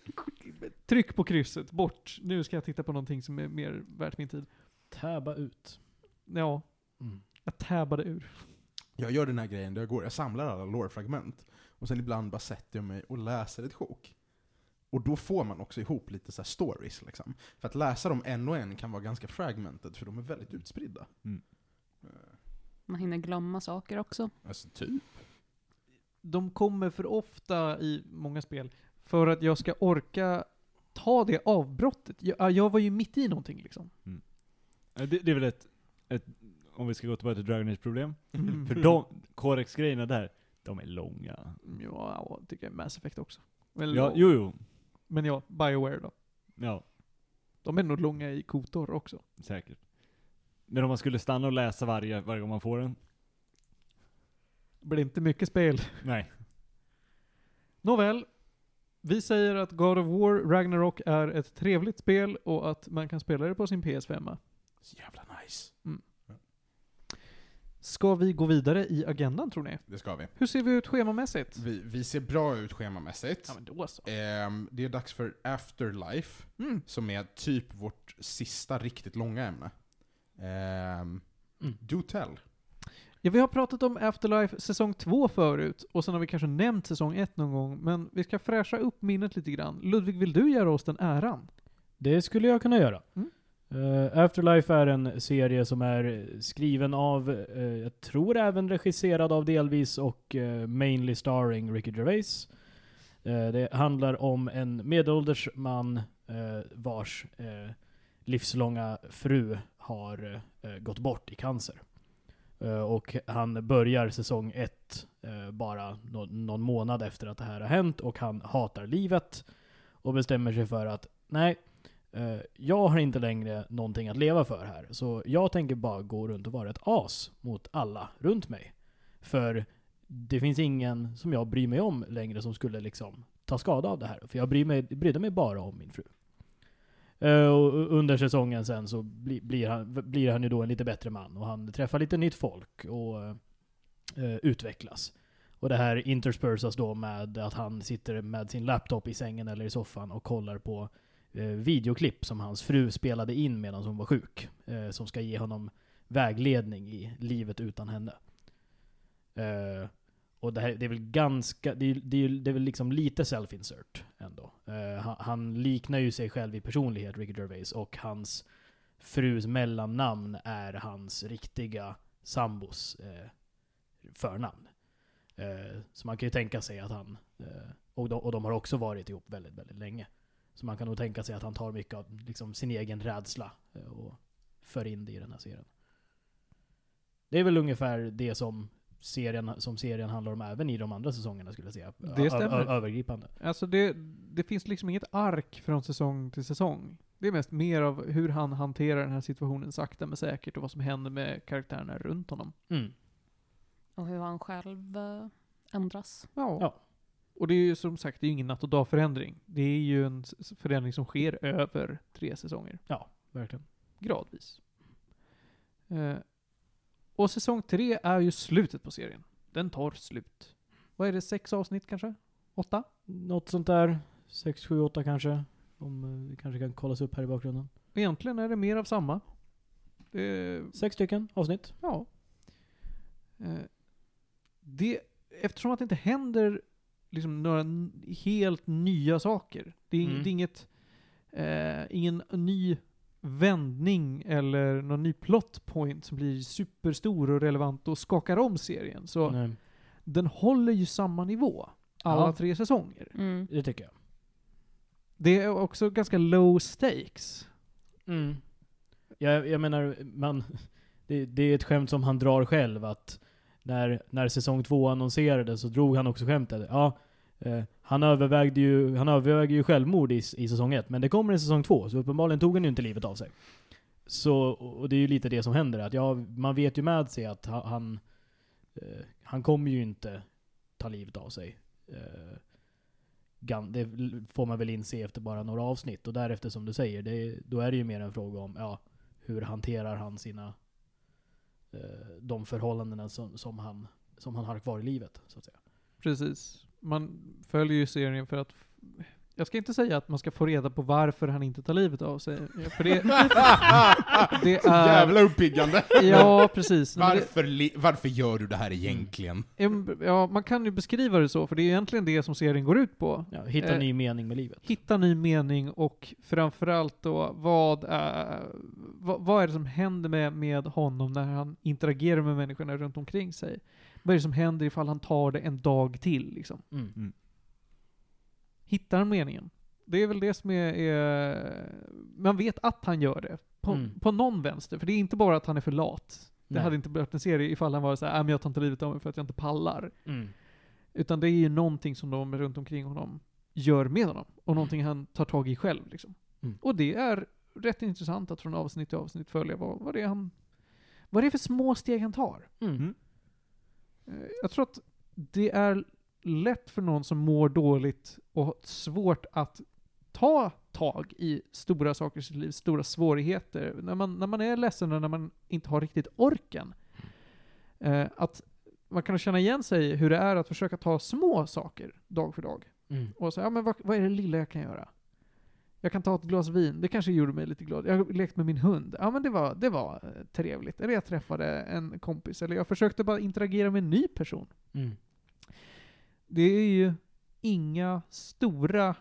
S1: Tryck på krysset, bort. Nu ska jag titta på någonting som är mer värt min tid.
S5: Täba ut.
S1: Ja,
S5: Mm.
S1: jag tabbade ur.
S3: Jag gör den här grejen där jag går, jag samlar alla lore-fragment. Och sen ibland bara sätter jag mig och läser ett sjok. Och då får man också ihop lite så här stories liksom. För att läsa dem en och en kan vara ganska fragmented, för de är väldigt utspridda.
S6: Mm.
S3: Eh,
S2: Man hinner glömma saker också.
S3: Alltså typ.
S1: De kommer för ofta i många spel för att jag ska orka ta det avbrottet. Jag, jag var ju mitt i någonting liksom.
S6: Eh, Det, det är väl ett, ett, om vi ska gå tillbaka till Dragon Age problem. För de, Corex-grejerna där, de är långa.
S1: Ja, tycker jag är Mass Effect också. Eller,
S6: Ja, jo, jo.
S1: Men ja, Bioware då.
S6: Ja,
S1: De är nog långa i kotor också.
S6: säkert. Men om man skulle stanna och läsa varje, varje gång man får den?
S1: Det blir inte mycket spel.
S6: Nej.
S1: Nåväl. Vi säger att God of War Ragnarok är ett trevligt spel och att man kan spela det på sin PS5.
S3: Så jävla nice.
S1: Ska vi gå vidare i agendan tror ni?
S3: Det ska vi.
S1: Hur ser vi ut schemamässigt?
S3: Vi, vi ser bra ut schemamässigt.
S1: Ja men då så.
S3: Ehm, det är dags för Afterlife,
S1: Mm.
S3: som är typ vårt sista riktigt långa ämne. Ehm,
S5: Mm.
S3: Do tell.
S1: Ja, vi har pratat om Afterlife säsong 2 förut och sen har vi kanske nämnt säsong 1 någon gång men vi ska fräscha upp minnet lite grann. Ludvig, vill du göra oss den äran?
S5: Det skulle jag kunna göra.
S1: Mm.
S5: Eh, Afterlife är en serie som är skriven av, eh, jag tror även regisserad av delvis och eh, mainly starring Ricky Gervais. Eh, det handlar om en medelålders man eh, vars eh, livslånga fru har eh, gått bort i cancer. Eh, och han börjar säsong ett eh, bara nå- någon månad efter att det här har hänt och han hatar livet och bestämmer sig för att nej, Eh, jag har inte längre någonting att leva för här, så jag tänker bara gå runt och vara ett as mot alla runt mig. För det finns ingen som jag bryr mig om längre som skulle liksom ta skada av det här. För jag bryr mig, brydde mig bara om min fru. Eh, och under säsongen sen så bli, blir, han, blir han ju då en lite bättre man och han träffar lite nytt folk och eh, utvecklas. Och det här interspersas då med att han sitter med sin laptop i sängen eller i soffan och kollar på eh, videoklipp som hans fru spelade in medan hon var sjuk. Eh, som ska ge honom vägledning i livet utan henne. Eh, och det, här, det är väl ganska, det, är- det, är- det är väl liksom lite self-insert ändå. Eh, han, han liknar ju sig själv i personlighet, Ricky Gervais, och hans frus mellannamn är hans riktiga sambos eh, förnamn. Eh, så man kan ju tänka sig att han, eh, och, de, och de har också varit ihop väldigt, väldigt länge. Så man kan nog tänka sig att han tar mycket av liksom, sin egen rädsla eh, och för in det i den här serien. Det är väl ungefär det som serien, som serien handlar om även i de andra säsongerna skulle jag säga.
S1: Det
S5: Ö- ö-
S1: stämmer.
S5: ö- övergripande.
S1: Alltså det, det finns liksom inget ark från säsong till säsong. Det är mest mer av hur han hanterar den här situationen sakta men säkert och vad som händer med karaktärerna runt honom.
S5: Mm.
S2: Och hur han själv eh, ändras.
S1: Ja.
S5: Ja.
S1: Och det är ju som sagt, det är ju ingen natt och dag förändring. Det är ju en s- s- förändring som sker över tre säsonger.
S5: Ja, verkligen.
S1: Gradvis. Eh, Och säsong tre är ju slutet på serien. Den tar slut. Vad är det, sex avsnitt kanske? Åtta?
S5: Något sånt där. 6, 7, 8 kanske. Om eh, det kanske kan kollas upp här i bakgrunden.
S1: Egentligen är det mer av samma. Det,
S5: Sex stycken avsnitt.
S1: ja. Eh, Det, eftersom att det inte händer liksom några n- helt nya saker. Det är, ing-
S5: Mm.
S1: det är inget, eh, ingen ny vändning eller någon ny plot point som blir superstor och relevant och skakar om serien. Så
S5: Nej,
S1: den håller ju samma nivå alla
S5: Ja.
S1: tre säsonger.
S2: Mm.
S5: det tycker jag.
S1: Det är också ganska low stakes.
S5: Mm. Jag, jag menar, man, det, det är ett skämt som han drar själv att när, när säsong två annonserades så drog han också skämtet. Ja, eh, han övervägde ju, han övervägde ju självmord i, s- i säsong ett, men det kommer i säsong två, så uppenbarligen tog han ju inte livet av sig. Så, och det är ju lite det som händer, att ja, man vet ju med sig att ha- han, eh, han kommer ju inte ta livet av sig. Eh, gan- det får man väl inse efter bara några avsnitt. Och därefter som du säger, det, då är det ju mer en fråga om ja, hur hanterar han sina eh, de förhållandena som, som, han, som han har kvar i livet. Så att säga.
S1: Precis. Man följer ju serien för att... Jag ska inte säga att man ska få reda på varför han inte tar livet av sig. För det, det
S3: Så
S1: är...
S3: jävla uppiggande.
S1: Ja, precis. Nej, men det-
S3: Varför, li- varför gör du det här egentligen?
S1: em- Ja, man kan ju beskriva det så, för det är egentligen det som serien går ut på.
S5: Ja, hitta
S1: Eh,
S5: ny mening med livet.
S1: Hitta ny mening och framförallt då, vad, är- vad, vad är det som händer med, med honom när han interagerar med människorna runt omkring sig? Vad är det som händer ifall han tar det en dag till, liksom?
S5: Mm.
S1: hittar han meningen. Det är väl det som är... är man vet att han gör det. På,
S5: Mm.
S1: på någon vänster. För det är inte bara att han är för lat. Det
S5: Nej.
S1: hade inte blivit en serie ifall han var så här, "Äh, men jag tar inte livet av mig för att jag inte pallar.
S5: Mm.
S1: Utan det är ju någonting som de runt omkring honom gör med honom. Och någonting han tar tag i själv. Liksom.
S5: Mm.
S1: Och det är rätt intressant att från avsnitt till avsnitt följa vad, vad det är han... Vad det är för små steg han tar.
S5: Mm.
S1: Eh, Jag tror att det är lätt för någon som mår dåligt och har svårt att ta tag i stora saker i sitt liv, stora svårigheter. När man, när man är ledsen och när man inte har riktigt orken. Eh, att man kan känna igen sig i hur det är att försöka ta små saker dag för dag.
S5: Mm.
S1: Och säga, ja men vad, vad är det lilla jag kan göra? Jag kan ta ett glas vin, det kanske gjorde mig lite glad. Jag har lekt med min hund, ja men det var, det var eh, trevligt. Eller jag träffade en kompis, eller jag försökte bara interagera med en ny person.
S5: Mm.
S1: Det är ju inga stora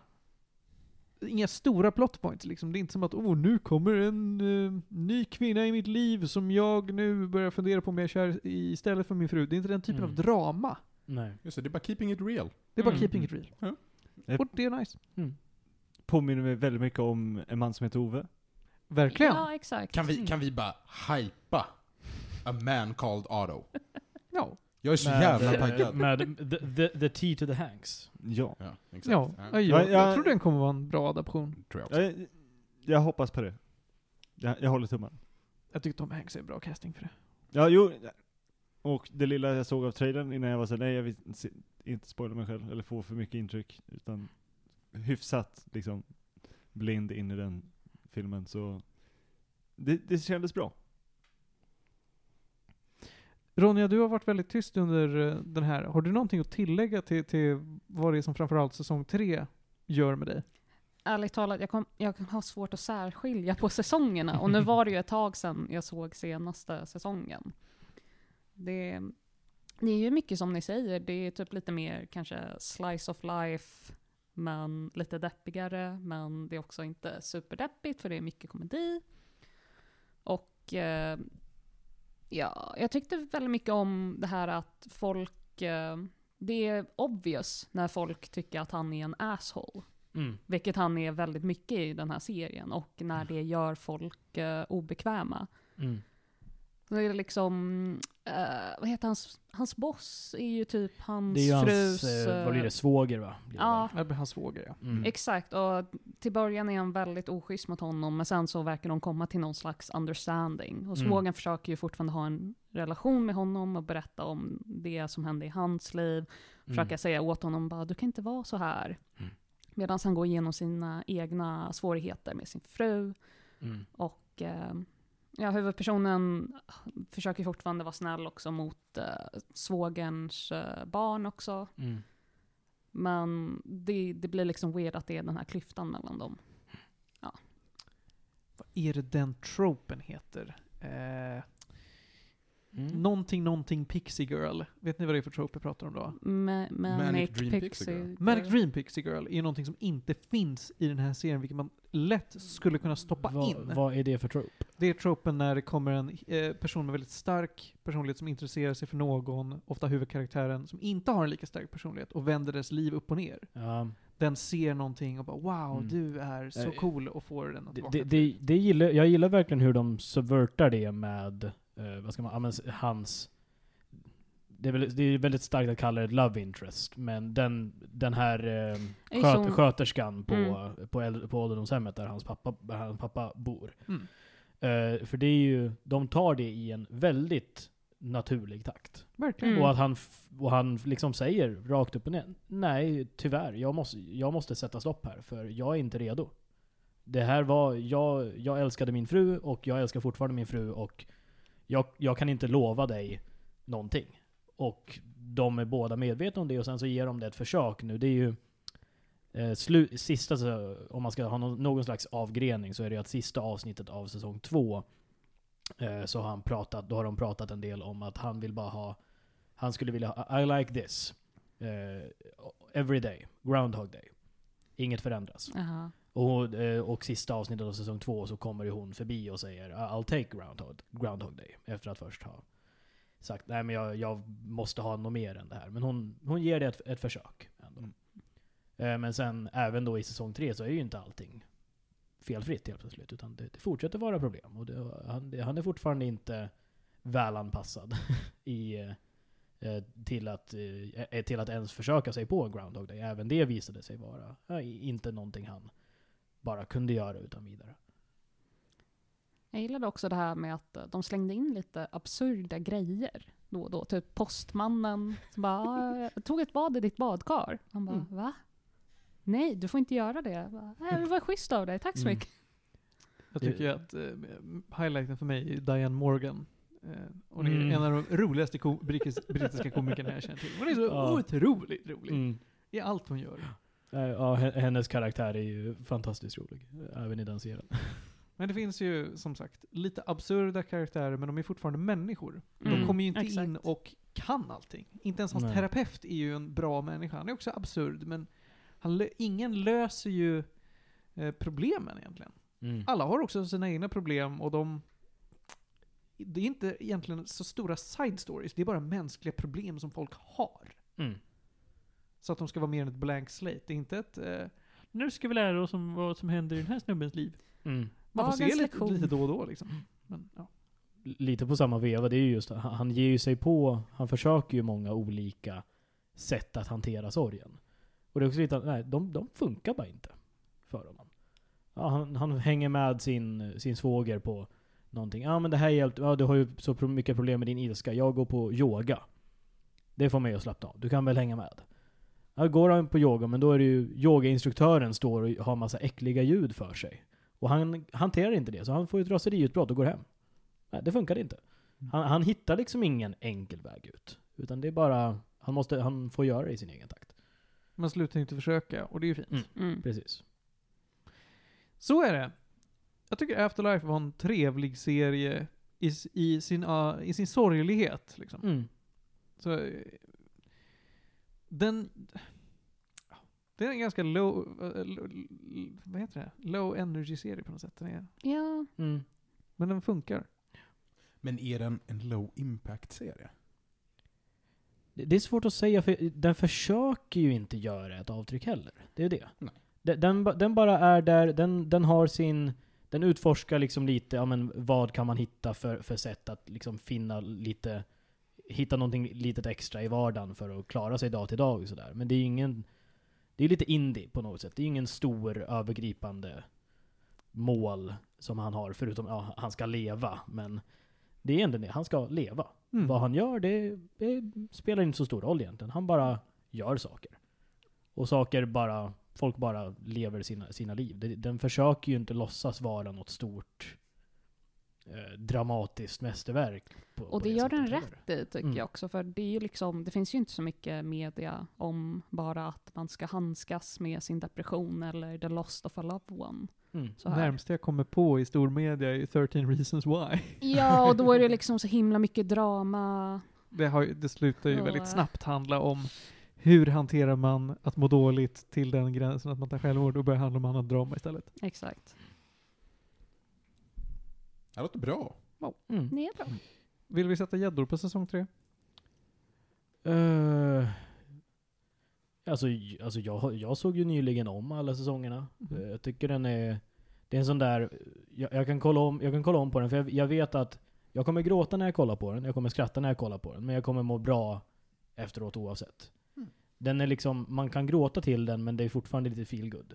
S1: Inga stora plot points liksom. Det är inte som att oh, nu kommer en eh, ny kvinna i mitt liv som jag nu börjar fundera på om jag är kär i istället för min fru. Det är inte den typen
S5: Mm.
S1: av drama.
S5: Nej.
S3: Just det, det är bara keeping it real.
S1: Det är bara
S5: Mm.
S1: keeping it real.
S3: Ja.
S1: Och det är nice.
S4: Påminner mig väldigt mycket om en man som heter Ove.
S1: Verkligen.
S2: Ja, exakt.
S3: Kan vi, kan vi bara hypa A Man Called Otto?
S1: Ja.
S3: Jag är så
S5: Med-
S3: jävla
S5: eh,
S3: taggad.
S5: Med the, the, the T to the Hanks.
S4: Ja.
S3: Ja, exakt.
S1: Ja.
S3: Ja,
S1: Jag, jag
S4: jag-
S1: tror den kommer vara en bra adaption.
S3: tror jag också.
S4: Jag, jag hoppas på det. Jag, jag håller tummarna.
S1: Jag tycker Tom Hanks är en bra casting för det.
S4: Ja, jo. Och det lilla jag såg av trailern innan jag var så nej jag vill se- inte spoila mig själv eller få för mycket intryck. Utan hyfsat liksom blind in i den filmen så det, det kändes bra.
S1: Ronja, du har varit väldigt tyst under eh, den här. Har du någonting att tillägga till, till vad det är som framförallt säsong tre gör med dig?
S2: Ärligt talat, jag, kom, jag har svårt att särskilja på säsongerna. Och nu var det ju ett tag sedan jag såg senaste säsongen. Det, det är ju mycket som ni säger, det är typ lite mer kanske slice of life, men lite deppigare. Men det är också inte superdeppigt för det är mycket komedi. Och eh, ja, jag tyckte väldigt mycket om det här att folk, eh, det är obvious när folk tycker att han är en asshole.
S5: Mm.
S2: Vilket han är väldigt mycket i den här serien och när det gör folk eh, obekväma.
S5: Mm.
S2: Så det är liksom, eh, vad heter hans, hans boss är ju typ hans
S5: Det är ju hans,
S2: frus...
S5: eh,
S2: eh,
S5: vad blir det, svåger va? Blir det
S2: Ja,
S1: Det blir hans svåger, ja.
S5: väl? Mm.
S2: exakt. Och till början är han väldigt oschysst mot honom men sen så verkar de komma till någon slags understanding. Och
S5: Mm.
S2: svågen försöker ju fortfarande ha en relation med honom och berätta om det som hände i hans liv. försöka säga åt honom bara, du kan inte vara så här.
S5: Mm.
S2: Medan han går igenom sina egna svårigheter med sin fru.
S5: Mm. Mm.
S2: Och eh, Ja, huvudpersonen försöker fortfarande vara snäll också mot eh, svågerns eh, barn också.
S5: Mm.
S2: Men det, det blir liksom weird att det är den här klyftan mellan dem.
S1: Vad är det den tropen heter? Eh,
S5: Mm.
S1: Någonting, någonting Pixie Girl. Vet ni vad det är för trope jag pratar om då?
S2: Ma- Manic
S3: Dream
S2: Pixie.
S3: Pixie Girl.
S1: Manic Dream Pixie Girl är ju någonting som inte finns i den här serien, vilket man lätt skulle kunna stoppa
S5: Vad-
S1: in.
S5: Vad är det för trope?
S1: Det är tropen när det kommer en eh, person med väldigt stark personlighet som intresserar sig för någon, ofta huvudkaraktären, som inte har en lika stark personlighet och vänder dess liv upp och ner.
S5: Ja,
S1: Den ser någonting och bara wow,
S5: Mm.
S1: du är så
S5: Eh,
S1: cool och får den att
S5: det,
S1: vakna
S5: det,
S1: till.
S5: det, det gillar, jag gillar verkligen hur de subvertar det med, eh, vad ska man, ja, men s- hans... Det är, väl, det är väldigt starkt att kalla det ett love interest, men den, den här eh,
S2: Är
S5: sköt,
S2: som-
S5: sköterskan på,
S2: Mm.
S5: på, äldre, på ålderdomshemmet där hans pappa, där hans pappa bor.
S1: Mm.
S5: Eh, för det är ju, de tar det i en väldigt naturlig takt.
S1: Verkligen.
S2: Mm.
S5: Och att han, f- och han liksom säger rakt upp och ner, nej tyvärr, jag måste, jag måste sätta stopp här för jag är inte redo. Det här var, jag, jag älskade min fru och jag älskar fortfarande min fru och jag, jag kan inte lova dig någonting. Och de är båda medvetna om det och sen så ger de det ett försök nu. Det är ju eh, slu, sista, så, om man ska ha någon, någon slags avgrening så är det ju att sista avsnittet av säsong två eh, så har han pratat, då har de pratat en del om att han vill bara ha han skulle vilja ha I like this. Eh, every day. Groundhog day. Inget förändras.
S2: Aha.
S5: Och, eh, och sista avsnittet av säsong två så kommer ju hon förbi och säger I'll take groundhog, groundhog day. Efter att först ha sagt nej men jag, jag måste ha något mer än det här. Men hon, hon ger det ett, ett försök. Ändå.
S4: Mm.
S5: Eh, men sen även då i säsong tre så är ju inte allting felfritt helt plötsligt. Utan det, det fortsätter vara problem. Och det, han, det, han är fortfarande inte välanpassad i, eh, till, att, eh, eh, till att ens försöka sig på groundhog day. Även det visade sig vara eh, inte någonting han bara kunde göra utan vidare.
S2: Jag gillade också det här med att eh, de slängde in lite absurda grejer då och då. Typ postmannen som bara "Ah, jag tog ett bad i ditt badkar. Han bara
S1: Mm.
S2: va? Nej, du får inte göra det. Jag Bara, "Nej, det var schysst av dig, tack så
S5: Mm.
S2: mycket.
S1: Jag tycker ju att eh, highlighten för mig är Diane Morgan. Eh, hon är
S5: Mm.
S1: en av de roligaste ko- brittis- brittiska komikerna jag känner till. Hon är så
S5: Ja. Mm.
S1: otroligt rolig i allt hon gör.
S5: Eh, Ja, he- hennes karaktär är ju fantastiskt rolig. Även i den serien.
S1: Men det finns ju som sagt lite absurda karaktärer men de är fortfarande människor. de
S2: Mm,
S1: kommer ju inte
S2: exakt.
S1: in och kan allting. Inte ens hans
S5: Nej.
S1: terapeut är ju en bra människa. Han är också absurd men han lö- ingen löser ju eh, problemen egentligen.
S5: Mm.
S1: Alla har också sina egna problem och de... Det är inte egentligen så stora side stories, det är bara mänskliga problem som folk har.
S5: Mm.
S1: Så att de ska vara mer än ett blank slate. Det är inte ett... Eh, nu ska vi lära oss om vad som händer i den här snubbens liv.
S5: Mm.
S1: Man får
S2: Dagens
S1: se lite,
S2: lektion.
S1: lite då och då liksom. Men, ja.
S5: Lite på samma veva, det är ju just att han, han ger ju sig på, han försöker ju många olika sätt att hantera sorgen. Och det är också lite, att, nej, de, de funkar bara inte för honom. Ja, han, han hänger med sin, sin svåger på någonting. Ja men det här hjälpte, ja, du har ju så pro- mycket problem med din ilska, jag går på yoga. Det får mig att slappna av, du kan väl hänga med? Ja, går han på yoga, men då är det ju yogainstruktören står och har massa äckliga ljud för sig. Och han hanterar inte det, så han får ju ett raseriutbrott och går hem. Nej, det funkade inte. Han, han hittar liksom ingen enkel väg ut. Utan det är bara, han, måste, han får göra det i sin egen takt.
S1: Man slutar inte försöka och det är ju fint.
S5: Mm.
S2: Mm.
S5: Precis.
S1: Så är det. Jag tycker Afterlife var en trevlig serie i, s- i, sin, ah, i sin sorglighet. Liksom.
S7: Mm.
S5: Mm,
S1: Så, eh, den... Det är en ganska low... eh, l- l- Vad heter det? Low energy-serie på något sätt. Den är,
S2: Ja,
S5: Mm.
S1: men den funkar.
S3: Men är den en low impact-serie?
S5: Det, det är svårt att säga, för den försöker ju inte göra ett avtryck heller. Det är det.
S3: Nej.
S5: De- Den, ba- den bara är där, den, den har sin... Den utforskar liksom lite, ja men vad kan man hitta för, för sätt att liksom finna lite... Hitta någonting litet extra i vardagen för att klara sig dag till dag och sådär. Men det är ju ingen... Det är lite indie på något sätt. Det är ju ingen stor övergripande mål som han har, förutom ja, han ska leva. Men det är ändå det, han ska leva.
S1: Mm.
S5: Vad han gör, det, det spelar inte så stor roll egentligen. Han bara gör saker. Och saker bara, folk bara lever sina, sina liv. Det- Den försöker ju inte låtsas vara något stort eh, dramatiskt mästerverk. På,
S7: Och
S5: på
S7: det gör
S5: sättet
S7: den
S5: heller.
S7: rätt i tycker
S5: Mm.
S7: jag också, för det, är ju liksom, det finns ju inte så mycket media om bara att man ska handskas med sin depression eller the lost of a loved one.
S5: Mm.
S7: Så här.
S1: Närmsta jag kommer på i stor media är 13 reasons why.
S7: Ja, och då är det liksom så himla mycket drama.
S1: Det, har, ju- det slutar ju
S7: Ja.
S1: väldigt snabbt handla om hur hanterar man att må dåligt till den gränsen att man tar självmord och börjar handla om annat drama istället.
S7: Exakt.
S3: Det här låter bra.
S5: Mm.
S7: Det är bra.
S1: Vill vi sätta gäddor på säsong tre?
S5: Eh, alltså j- alltså jag, har- jag såg ju nyligen om alla säsongerna.
S1: Mhm.
S5: Eh, jag tycker den är... Det är en sån där... Jag, jag, kan, kolla om, jag kan kolla om på den, för jag, jag vet att jag kommer gråta när jag kollar på den, jag kommer skratta när jag kollar på den, men jag kommer må bra efteråt oavsett. Den är liksom, man kan gråta till den men det är fortfarande lite feel good.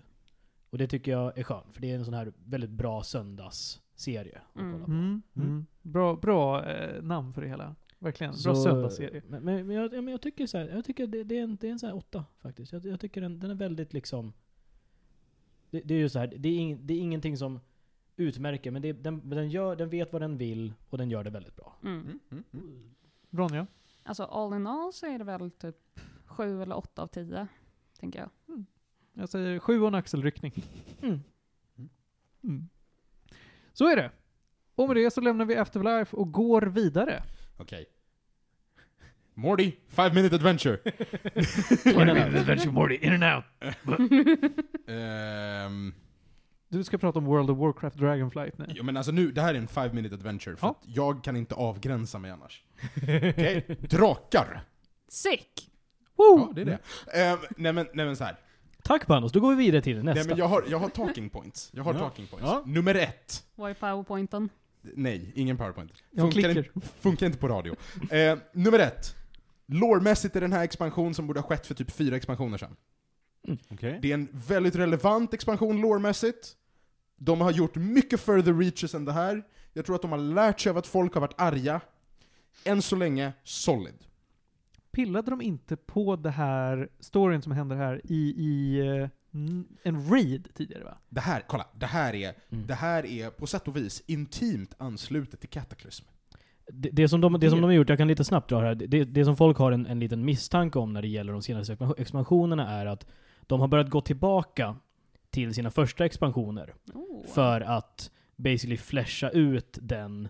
S5: Och det tycker jag är skönt, för det är en sån här väldigt bra söndagsserie att
S7: Mm.
S5: kolla på.
S1: Mm. Mm. Bra, bra eh, namn för det hela. Verkligen. Bra
S5: Så-
S1: söndagsserie.
S5: Men, men, men, jag, ja, men jag tycker så här, jag tycker det, det är en, det är en så här åtta faktiskt. Jag, jag tycker den, den är väldigt liksom... Det, det är ju så här, det är, ing, det är ingenting som utmärker, men det, den, men den, gör, den vet vad den vill och den gör det väldigt bra.
S7: Mm.
S3: Mm, mm, mm.
S1: Ronja?
S7: Alltså all in all så är det väl typ sju eller åtta av tio, tänker jag.
S1: Jag säger sju och en axelryckning.
S5: Mm.
S1: Mm. Så är det. Och med det så lämnar vi Afterlife och går vidare.
S3: Okej. Morty, five minute adventure.
S1: Adventure Morty, in and out.
S3: Ehm,
S1: Du ska prata om World of Warcraft Dragonflight nu.
S3: ja, men alltså nu, det här är en five minute adventure, för
S1: Ja.
S3: att jag kan inte avgränsa mig annars. Okej, drakar.
S7: Sick!
S3: Ja,
S1: Oh.
S3: det är det. Ehm, nej men, nej men så här.
S5: Tack Panos, då går vi vidare till nästa.
S3: Nej men jag har, jag har talking points. Jag har
S6: Ja.
S3: talking points.
S6: Ja.
S3: Nummer ett.
S7: Vad är powerpointen?
S3: Nej, ingen powerpoint.
S1: Jag klickar.
S3: inte, funkar inte på radio. Eh, nummer ett. Lårmässigt är den här expansion som borde ha skett för typ fyra expansioner sedan.
S6: Okej.
S3: Det är en väldigt relevant expansion lårmässigt. De har gjort mycket further reaches än det här. Jag tror att de har lärt sig av att folk har varit arga. Än så länge, solid.
S1: Pillade de inte på det här storyn som händer här i, i eh, n- en raid tidigare va?
S3: Det här, kolla, det här är,
S5: Mm.
S3: det här är på sätt och vis intimt anslutet till Cataclysm.
S5: Det, det, som de, det som de har gjort, jag kan lite snabbt dra här. Det, det som folk har en, en liten misstanke om när det gäller de senaste expan- expansionerna är att de har börjat gå tillbaka till sina första expansioner.
S7: Oh.
S5: För att basically flesha ut den,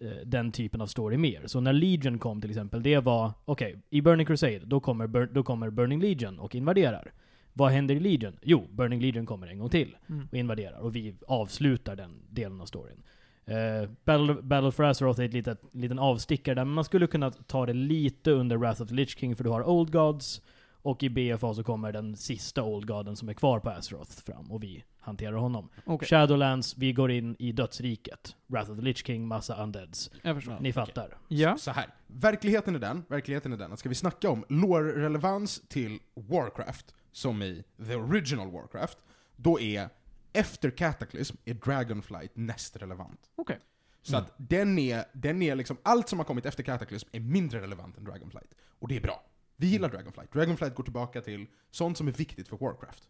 S5: eh, den typen av story mer. Så när Legion kom till exempel, det var okej, i Burning Crusade, då kommer, Bur- då kommer Burning Legion och invaderar. Vad händer i Legion? Jo, Burning Legion kommer en gång till
S1: Mm.
S5: och invaderar och vi avslutar den delen av storyn. Eh, Battle, Battle for Azeroth är ett litet, liten avstickare där, men man skulle kunna ta det lite under Wrath of the Lich King för du har Old Gods och i BFA så kommer den sista Old Goden som är kvar på Azeroth fram och vi hanterar honom.
S1: Okej,
S5: Shadowlands, vi går in i dödsriket. Wrath of the Lich King, massa undeads.
S1: jag förstår.
S5: Ni fattar.
S1: Ja.
S3: Så här. Verkligheten är den, verkligheten är den att ska vi snacka om lore-relevans till Warcraft, som i the original Warcraft, då är efter Cataclysm är Dragonflight näst relevant.
S1: Okej.
S3: Så
S5: Mm.
S3: att den är, den är liksom, allt som har kommit efter Cataclysm är mindre relevant än Dragonflight. Och det är bra. Vi gillar
S5: Mm.
S3: Dragonflight. Dragonflight går tillbaka till sånt som är viktigt för Warcraft.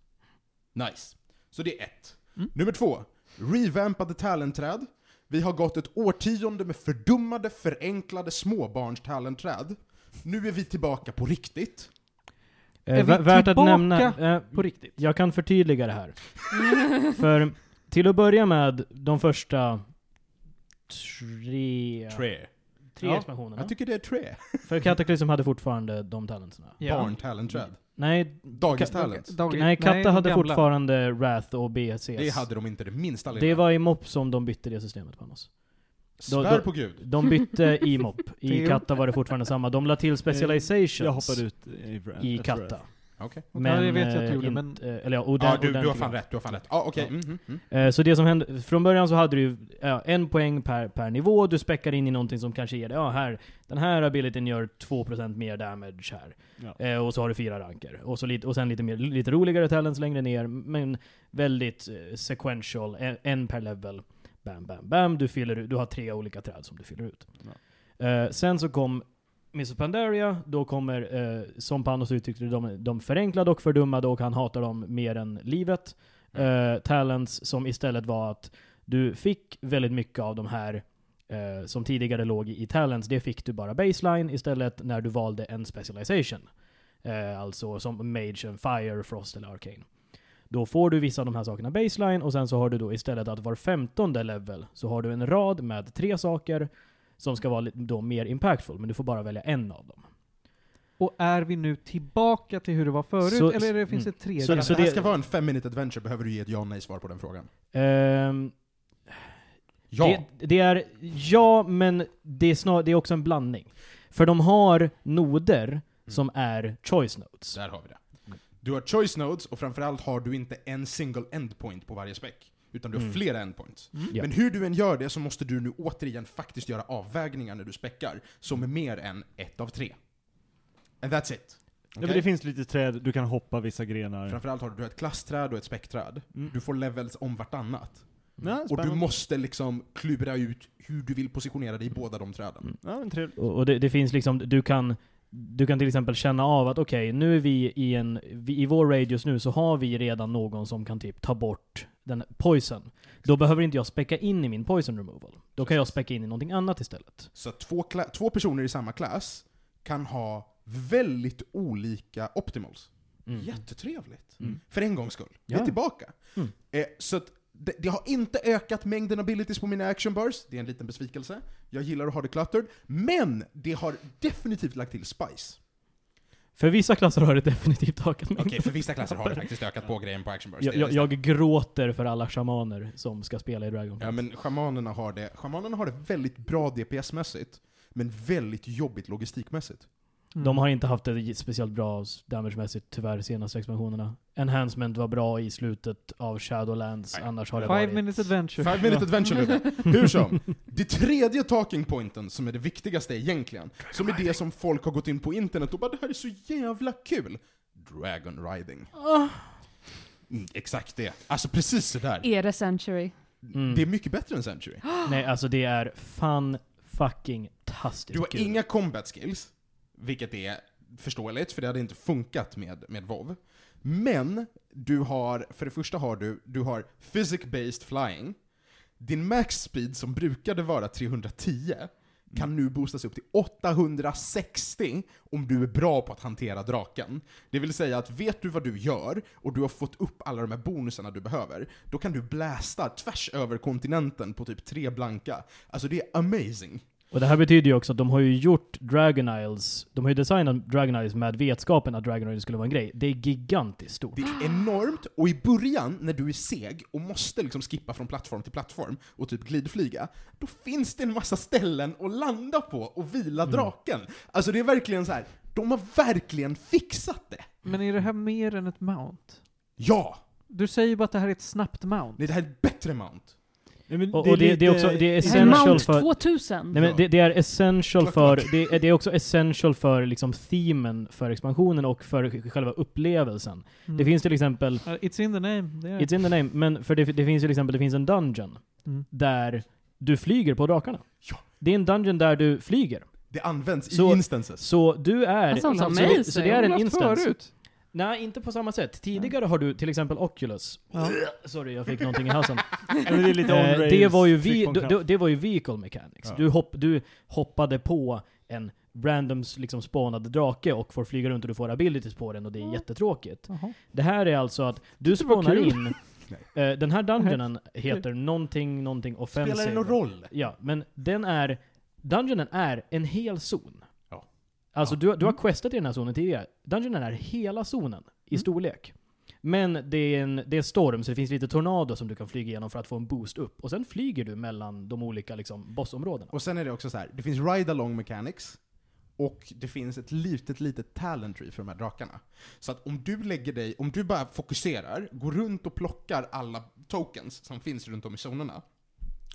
S3: Nice. Så det är ett.
S1: Mm.
S3: Nummer två. Revampade talentträd. Vi har gått ett årtionde med fördummade, förenklade småbarns talentträd. Nu är vi tillbaka på riktigt.
S1: Är vi
S5: vä- värt att
S1: tillbaka
S5: nämna... Eh,
S1: På riktigt.
S5: jag kan förtydliga det här. För till att börja med, de första tre,
S3: Tre.
S5: tre
S1: Ja.
S5: expansionerna.
S3: Jag tycker det är tre.
S5: För Cataclysm hade fortfarande de talenterna.
S3: Barn talentträd.
S5: Nej,
S3: Dagis
S5: Ka-
S3: talent.
S1: Dagis-
S5: nej Katta
S1: de
S5: hade
S1: gamla.
S5: fortfarande Wrath och BSCs.
S3: Det hade de inte det minsta lilla.
S5: det var i MOP som de bytte det systemet på oss. då-
S3: Svär
S5: då-
S3: på gud.
S5: De bytte i MOP. I
S1: Det-
S5: Katta var det fortfarande samma. De la till specializations.
S6: Jag hoppade ut i, Wrath-
S5: i
S6: efter Wrath.
S5: Katta.
S3: Okej.
S1: Ja, det vet jag att du
S5: eh,
S1: gjorde,
S5: inte-
S1: men-
S5: eh, Eller ja, och
S3: Ja,
S5: den-
S3: du,
S5: och den
S3: du har
S5: fick
S3: fan
S5: jag.
S3: rätt, du har fan rätt. Ah, okej.
S5: Ja.
S3: Mm, mm, mm.
S5: Eh, Så det som hände, från början så hade du ju, ja, en poäng per, per nivå, du späckar in i någonting som kanske ger dig, ja här, den här abilityn gör 2% mer damage här.
S6: Ja.
S5: Eh, och så har du fyra ranker. Och, så lite, och sen lite, mer, lite roligare talents längre ner, men väldigt eh, sequential, en, en per level. Bam, bam, bam. Du, fyller, ut- du har tre olika träd som du fyller ut. Eh, sen så kom Mrs. Pandaria, då kommer, eh, som Panos uttryckte det, de, de förenklade och fördummade och han hatar dem mer än livet. Eh, talents som istället var att du fick väldigt mycket av de här eh, som tidigare låg i Talents, det fick du bara baseline istället när du valde en specialization. Eh, alltså som Mage, and Fire, Frost eller Arcane. Då får du vissa av de här sakerna baseline och sen så har du då istället att var femtonde level så har du en rad med tre saker som ska vara lite- då mer impactful, men du får bara välja en av dem.
S1: Och är vi nu tillbaka till hur det var förut,
S5: Så- mm.
S1: eller är det, finns det ett tredje?
S3: Så, så,
S5: Så- så
S3: det här
S5: det-
S3: ska vara en fem minute adventure, behöver du ge ett ja och nej svar på den frågan?
S5: Ehm,
S3: Ja!
S5: Det, det är ja, men det är, snar, det är också en blandning. För de har noder som är choice nodes.
S3: Där har vi det. Du har choice nodes, och framförallt har du inte en single endpoint på varje spec. Utan du har
S5: Mm.
S3: flera endpoints.
S1: Mm.
S5: Ja.
S3: Men hur du än gör det så måste du nu återigen faktiskt göra avvägningar när du späckar, som är mer än ett av tre. And that's it.
S6: Ja, men det finns lite träd, du kan hoppa vissa grenar.
S3: Framförallt har du- du har ett klassträd och ett späckträd.
S6: Mm.
S3: Du får levels om vartannat.
S4: Mm.
S6: Ja,
S3: Och du
S6: spännande.
S3: måste liksom klura ut hur du vill positionera dig i båda de träden.
S6: Ja, men trevligt.
S5: Och, och det, det finns liksom, du kan, du kan till exempel känna av att okej, nu är vi i en, vi, i vår raid just nu så har vi redan någon som kan typ ta bort den poison. Då behöver inte jag späcka in i min poison removal. Då kan jag späcka in i någonting annat istället.
S3: Så att två, kla- två personer i samma klass kan ha väldigt olika optimals.
S5: Mm.
S3: Jättetrevligt.
S5: Mm.
S3: För en gångs skull. Vi är
S5: Ja.
S3: tillbaka.
S5: Mm.
S3: Eh, så att det, det har inte ökat mängden abilities på mina action bars. Det är en liten besvikelse. Jag gillar att ha det cluttered. Men det har definitivt lagt till spice.
S5: För vissa klasser har det definitivt ökat
S3: Okej,
S5: mängden.
S3: för vissa klasser har det faktiskt ökat på grejen på action bars.
S5: Jag,
S3: Det-
S5: jag,
S3: det-
S5: jag gråter för alla shamaner som ska spela i Dragon
S3: Ja men shamanerna har det, shamanerna har det väldigt bra DPS-mässigt, men väldigt jobbigt logistikmässigt.
S5: De har inte haft det speciellt bra s- damagemässigt tyvärr senaste expansionerna. Enhancement var bra i slutet av Shadowlands,
S3: Nej.
S5: annars har det
S1: Five
S5: varit...
S1: minutes adventure.
S3: Five minute adventure Ludde. Hur som, det tredje talking pointen som är det viktigaste egentligen, som är det som folk har gått in på internet och bara det här är så jävla kul. Dragon riding.
S7: Ah!
S3: Mm, exakt det. Alltså precis sådär.
S7: Är det Century?
S5: Mm.
S3: Det är mycket bättre än Century.
S5: Nej, alltså det är fan fucking tastiskt
S3: Du har
S5: kul.
S3: inga combat skills, vilket är förståeligt, för det hade inte funkat med, med WoW. Men, du har, för det första har du, du har physic-based flying. Din max speed som brukade vara 310 kan nu boostas upp till 860 om du är bra på att hantera draken. Det vill säga att vet du vad du gör och du har fått upp alla de här bonusarna du behöver, då kan du blästa tvärs över kontinenten på typ tre blanka. Alltså det är amazing.
S5: Och det här betyder ju också att de har ju gjort Dragon Isles, de har ju designat Dragon Isles med vetskapen att Dragon Isles skulle vara en grej. Det är gigantiskt stort.
S3: Det är enormt, och i början när du är seg och måste liksom skippa från plattform till plattform och typ glidflyga, då finns det en massa ställen att landa på och
S5: Mm.
S3: vila draken. Alltså det är verkligen så här. de har verkligen fixat det!
S1: Men är det här mer än ett mount?
S3: Ja!
S1: Du säger ju bara att det här är ett snabbt mount.
S3: Nej, det här är ett bättre mount.
S6: Ja, men
S5: Och, och det, det är också,
S4: Eh,
S5: det är
S7: Är det
S5: essential
S7: Mount
S5: för...
S7: 2000?
S5: Nej
S3: Ja.
S5: men det, det är essential
S3: Klock,
S5: för, det, är- det är också essential för liksom themen för expansionen och för själva upplevelsen.
S1: Mm.
S5: Det finns till exempel
S1: Uh, It's in the name. Det är...
S5: It's in the name, men för det, det finns ju till exempel, det finns en dungeon
S1: Mm.
S5: där du flyger på drakarna.
S3: Ja.
S5: Det är en dungeon där du flyger.
S3: Det används i
S5: Så-
S3: instances.
S5: Så du är...
S7: That sounds
S5: så,
S7: amazing.
S5: det, så det är en
S1: Alltså, Har vi haft
S5: instans.
S1: Förut.
S5: Nej, inte på samma sätt. Tidigare har du till exempel Oculus.
S1: Ja.
S5: Sorry, jag fick någonting i halsen.
S6: Ja, men det är lite on
S5: Eh,
S6: rails,
S5: det, var ju vi,
S6: tryck på en
S5: det, det var ju vehicle mechanics.
S6: Ja.
S5: Du, hopp, du hoppade på en random liksom, spanad drake och får flyga runt och du får abilities på den och det är jättetråkigt.
S1: Jaha.
S5: Det här är alltså att du
S1: Det var
S5: spånar
S1: kul.
S5: in... eh, den här dungeonen heter någonting, någonting offensive.
S3: Spelar det någon roll?
S5: Ja, men den är... Dungeonen är en hel zon.
S3: Ja. Mm.
S5: Alltså du, du har questat i den här zonen tidigare. Dungeonen är hela zonen i storlek. Men det är, en, det är storm, så det finns lite tornado som du kan flyga igenom för att få en boost upp. Och sen flyger du mellan de olika liksom, bossområdena.
S3: Och sen är det också så här. det finns ride-along mechanics, och det finns ett litet, litet talent tree för de här drakarna. Så att om du lägger dig, om du bara fokuserar, går runt och plockar alla tokens som finns runt om i zonerna,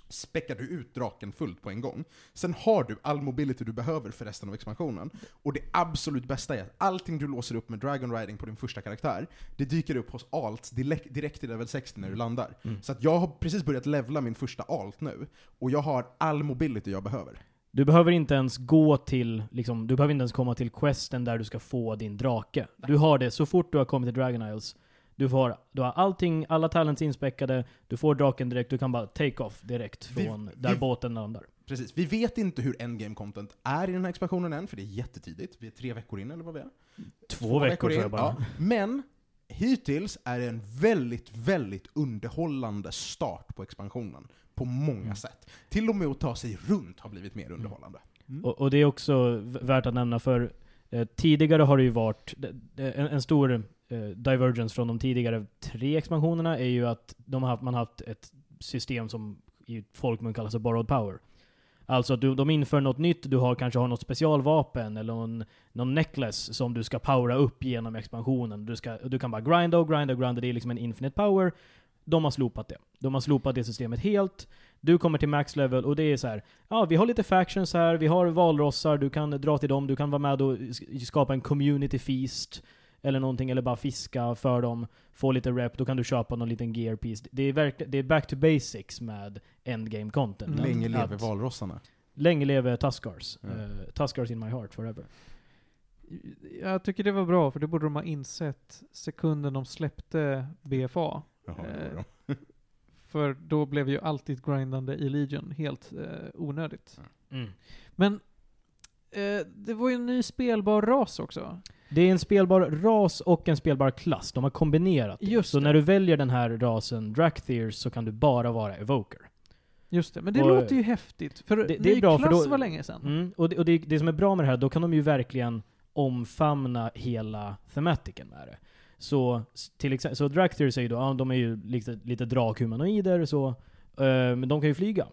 S3: späckar du ut draken fullt på en gång. Sen har du all mobility du behöver för resten av expansionen. Och det absolut bästa är att allting du låser upp med Dragon Riding på din första karaktär, det dyker upp hos alts direkt, direkt i level 60 när du landar. Så att jag har precis börjat levla min första alt nu, och jag har all mobility jag behöver.
S5: Du behöver inte ens gå till, liksom, du behöver inte ens komma till questen där du ska få din drake. Du har det så fort du har kommit till Dragon Isles. Du, får, du har allting, alla talents inspäckade, du får draken direkt, du kan bara take off direkt
S3: Vi-
S5: från där
S3: vi-
S5: båten landar.
S3: Precis. Vi vet inte hur endgame content är i den här expansionen än, för det är jättetidigt. Vi är tre veckor in, eller vad vi är.
S5: Två, veckor tror jag
S3: in,
S5: bara.
S3: ja. Men hittills är det en väldigt, väldigt underhållande start på expansionen. På många
S5: Mm.
S3: sätt. Till och med att ta sig runt har blivit mer underhållande.
S4: Mm.
S5: Och, och det är också v- värt att nämna för eh, tidigare har det ju varit d- d- en, en stor eh, divergence från de tidigare tre expansionerna är ju att de har haft, man har haft ett system som i folkmun kallas för borrowed power. Alltså att du, de inför något nytt, du har, kanske har något specialvapen eller någon, någon necklace som du ska powera upp genom expansionen. Du, ska, du kan bara grinda och grinda och grinda, det är liksom en infinite power. De har slopat det. De har slopat det systemet helt. Du kommer till max level och det är så här ja, vi har lite factions här, vi har valrossar, du kan dra till dem, du kan vara med och sk- skapa en community feast eller någonting, eller bara fiska för dem, få lite rep, då kan du köpa någon liten gear piece. Det är, verk- det är back to basics med endgame content.
S1: Mm.
S3: Länge lever
S5: Att-
S3: valrossarna.
S5: Länge leve Tuskars.
S3: Mm.
S5: Eh, Tuskars in my heart forever.
S1: Jag tycker det var bra, för det borde de ha insett sekunden de släppte BFA.
S3: Jaha, det
S1: Eh,
S3: gjorde de.
S1: För då blev ju alltid grindande i Legion helt eh, onödigt.
S5: Mm.
S1: Men eh, det var ju en ny spelbar ras också.
S5: Det är en spelbar ras och en spelbar klass. De har kombinerat det.
S1: Just
S5: så
S1: det.
S5: när du väljer den här rasen, Drakthir, så kan du bara vara Evoker.
S1: Just det, men det
S5: Och-
S1: låter ju häftigt. För
S5: det- det
S1: ny
S5: är bra, för
S1: klass
S5: då-
S1: var länge sedan.
S5: Mm. Och, det, och det, det som är bra med det här, då kan de ju verkligen omfamna hela tematiken med det. Så s- till exempel, så Dractyr säger då, ja, de är ju lite, lite drakhumanoider så, eh, men de kan ju flyga.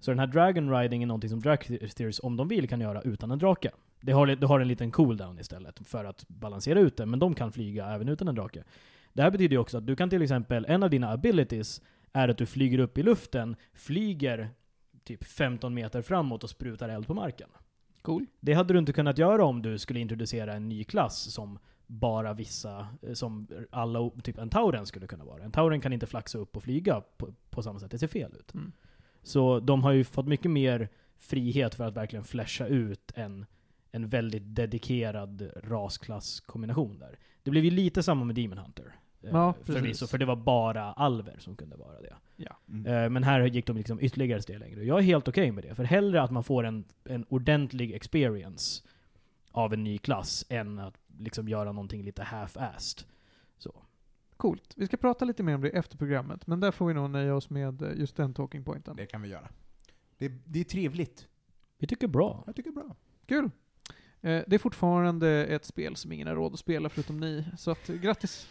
S5: Så den här Dragon Riding är någonting som Dractyrs, om de vill, kan göra utan en drake. Det har, li- det har en liten cooldown istället för att balansera ut det, men de kan flyga även utan en drake. Det här betyder ju också att du kan till exempel, en av dina abilities är att du flyger upp i luften, flyger typ 15 meter framåt och sprutar eld på marken.
S1: Cool.
S5: Det hade du inte kunnat göra om du skulle introducera en ny klass som bara vissa, eh, som alla, o- typ en tauren skulle kunna vara. En tauren kan inte flaxa upp och flyga på, på samma sätt, det ser fel ut.
S1: Mm.
S5: Så de har ju fått mycket mer frihet för att verkligen flasha ut en, en väldigt dedikerad rasklasskombination där. Det blev ju lite samma med Demon Hunter. eh,
S1: Ja, precis.
S5: förvisso, för det var bara alver som kunde vara det.
S1: Ja.
S5: Eh, Men här gick de liksom ytterligare ett steg längre. Jag är helt okej med det. För hellre att man får en, en ordentlig experience av en ny klass än att liksom göra någonting lite half-assed. Så.
S1: Coolt. Vi ska prata lite mer om det efter programmet, men där får vi nog nöja oss med eh, just den talking pointen.
S3: Det kan vi göra. Det, det är trevligt.
S5: Vi tycker bra.
S3: Jag tycker det är bra.
S1: Kul! Eh, det är fortfarande ett spel som ingen har råd att spela förutom ni, så att, eh, grattis!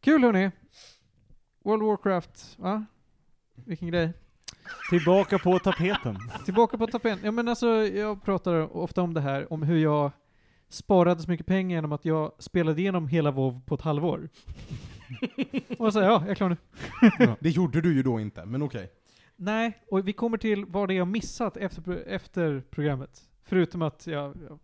S1: Kul hörni! World of Warcraft, va? Vilken grej.
S6: Tillbaka på tapeten.
S1: Tillbaka på tapeten. Ja, men alltså, jag pratar ofta om det här, om hur jag sparade så mycket pengar genom att jag spelade igenom hela WoW på ett halvår. och så, här, ja, jag är klar nu.
S3: Det gjorde du ju då inte, men okej.
S1: Nej, och vi kommer till vad det är jag missat efter, efter programmet. Förutom att jag, jag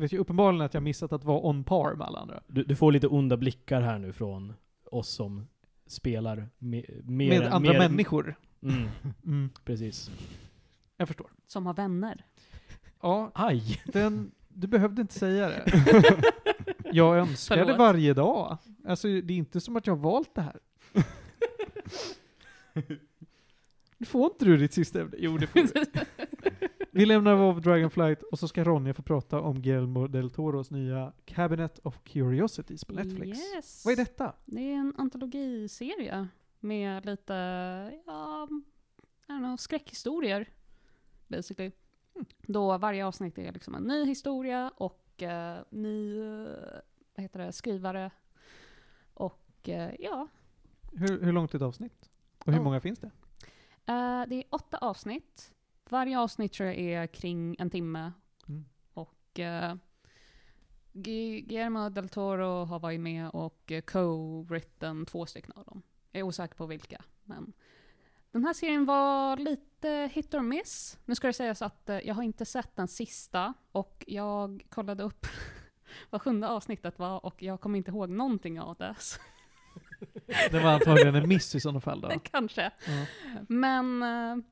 S1: vet ju uppenbarligen att jag missat att vara on par med alla andra.
S5: Du, du får lite onda blickar här nu från oss som spelar me, mer
S1: Med
S5: än-
S1: andra
S5: mer,
S1: människor.
S5: Mm,
S1: Mm,
S5: precis.
S1: jag förstår.
S2: Som har vänner.
S1: Ja,
S5: Aj!
S1: den, du behövde inte säga det. Jag önskar det
S2: Förlåt.
S1: varje dag. Alltså det är inte som att jag har valt det här. Nu får inte du ditt sista ämne. Jo, det får du. Vi lämnar WoW Dragonflight och så ska Ronja få prata om Guillermo del Toros nya Cabinet of Curiosities på Netflix.
S2: Yes.
S1: Vad är detta?
S2: Det är en antologiserie med lite, ja, I don't know, skräckhistorier. Basically. Då varje avsnitt är liksom en ny historia och eh, ny, eh, vad heter det, skrivare. Och eh, ja,
S1: Hur, hur långt är ett avsnitt? Och hur
S2: Oh.
S1: många finns det?
S2: eh, det är åtta avsnitt. Varje avsnitt tror jag är kring en timme.
S1: Mm.
S2: Och eh, Gu- Guillermo del Toro har varit med och eh, co-written två stycken av dem. Jag är osäker på vilka. Men den här serien var lite hit or miss. Nu ska det sägas att eh, jag har inte sett den sista och jag kollade upp vad sjunde avsnittet var och jag kommer inte ihåg någonting av det. Så
S1: Det var antagligen en miss i sådana fall då.
S2: Kanske.
S1: Ja.
S2: Men eh,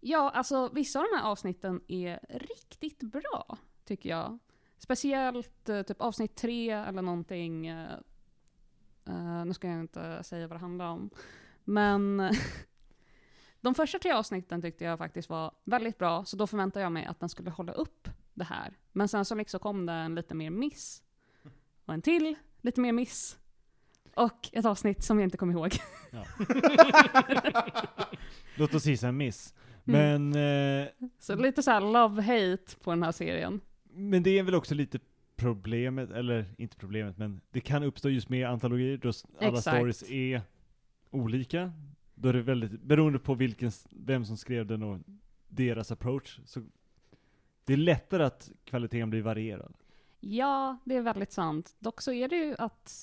S2: ja, alltså vissa av de här avsnitten är riktigt bra, tycker jag. Speciellt eh, typ avsnitt tre eller någonting. eh, eh, nu ska jag inte säga vad det handlar om. Men De första tre avsnitten tyckte jag faktiskt var väldigt bra, så då förväntade jag mig att den skulle hålla upp det här. Men sen så liksom kom det en lite mer miss, och en till lite mer miss, och ett avsnitt som jag inte kommer ihåg.
S6: Låt oss gissa en miss.
S2: Mm.
S6: Men, eh,
S2: Så lite så här love-hate på den här serien.
S6: men det är väl också lite problemet, eller inte problemet, men det kan uppstå just med antologier då s- alla
S2: Exakt.
S6: stories är olika. Då är det väldigt, beroende på vilken, s- vem som skrev den och deras approach, så det är lättare att kvaliteten blir varierad.
S2: Ja, det är väldigt sant. Dock så är det ju att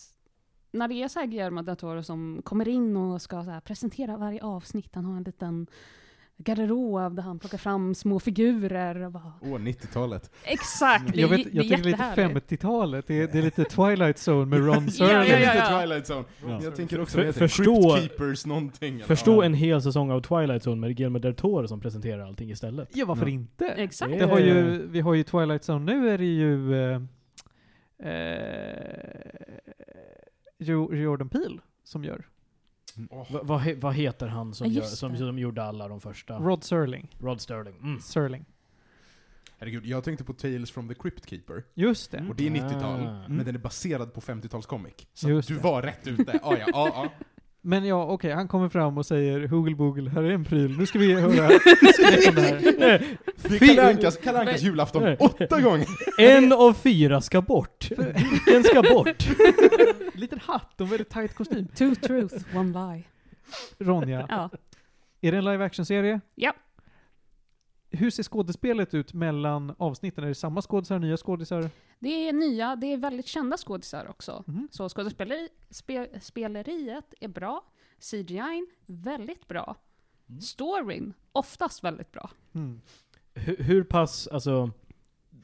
S2: när det är så här Guillermo del Toro som kommer in och ska så här presentera varje avsnitt, han har en liten garderob där han plockar fram små figurer och bara...
S3: Åh, 90-talet.
S2: Exakt!
S1: Mm.
S2: Det,
S1: Jag,
S2: är
S1: vet,
S2: j-
S1: jag
S2: det är
S1: tänker lite
S2: jättehärligt.
S1: 50-talet, det är, det är lite Twilight Zone med Ron
S2: Ja, ja,
S1: Serling.
S2: ja, ja.
S3: Lite Twilight Zone.
S6: Ja.
S3: Jag tänker också
S5: För-
S3: vad heter
S5: förstå-
S3: det? Crypt Keepers någonting. eller?
S5: Förstå
S3: Ja.
S5: en hel säsong av Twilight Zone med Guillermo del Toro som presenterar allting istället.
S1: Ja, varför
S6: Ja. Eh.
S1: inte?
S2: Exakt.
S1: Det har ju, vi har ju Twilight Zone, nu är det ju eh, eh, Jo- Jordan Peele som gör.
S5: Va- Vad he- vad heter han som,
S2: Ja,
S5: gör,
S2: just
S5: som,
S2: det.
S5: som gjorde alla de första? Rod,
S1: Rod Serling.
S5: Sterling. Mm.
S1: Serling.
S3: Herregud, jag tänkte på Tales from the Crypt Keeper.
S1: Just det.
S6: Mm.
S3: Och det är 90-tal,
S5: Ah.
S3: men den är baserad på 50-talscomic. Så
S1: Just
S3: du
S1: det.
S3: var rätt ute. Ah, ja, ah, ah.
S1: Men ja, okej, han kommer fram och säger Hoogle Boogle, här är en pryl, nu ska vi höra direkt om det här.
S3: Det är Kalle Ankas, Kalle Ankas julafton
S5: Nej.
S3: åtta gånger!
S5: En av fyra ska bort. En ska bort.
S1: Liten hatt och en väldigt tight kostym.
S2: Two truth, one lie.
S1: Ronja,
S2: Ja.
S1: är det en live action-serie?
S2: Ja.
S1: Hur ser skådespelet ut mellan avsnitten? Är det samma skådisar, nya skådisar?
S2: Det är nya, det är väldigt kända skådisar också.
S1: Mhm.
S2: Så skådespeleri, spe, speleriet är bra, CGI väldigt bra, storyn oftast väldigt bra.
S1: Mm.
S5: Hur, hur pass, alltså...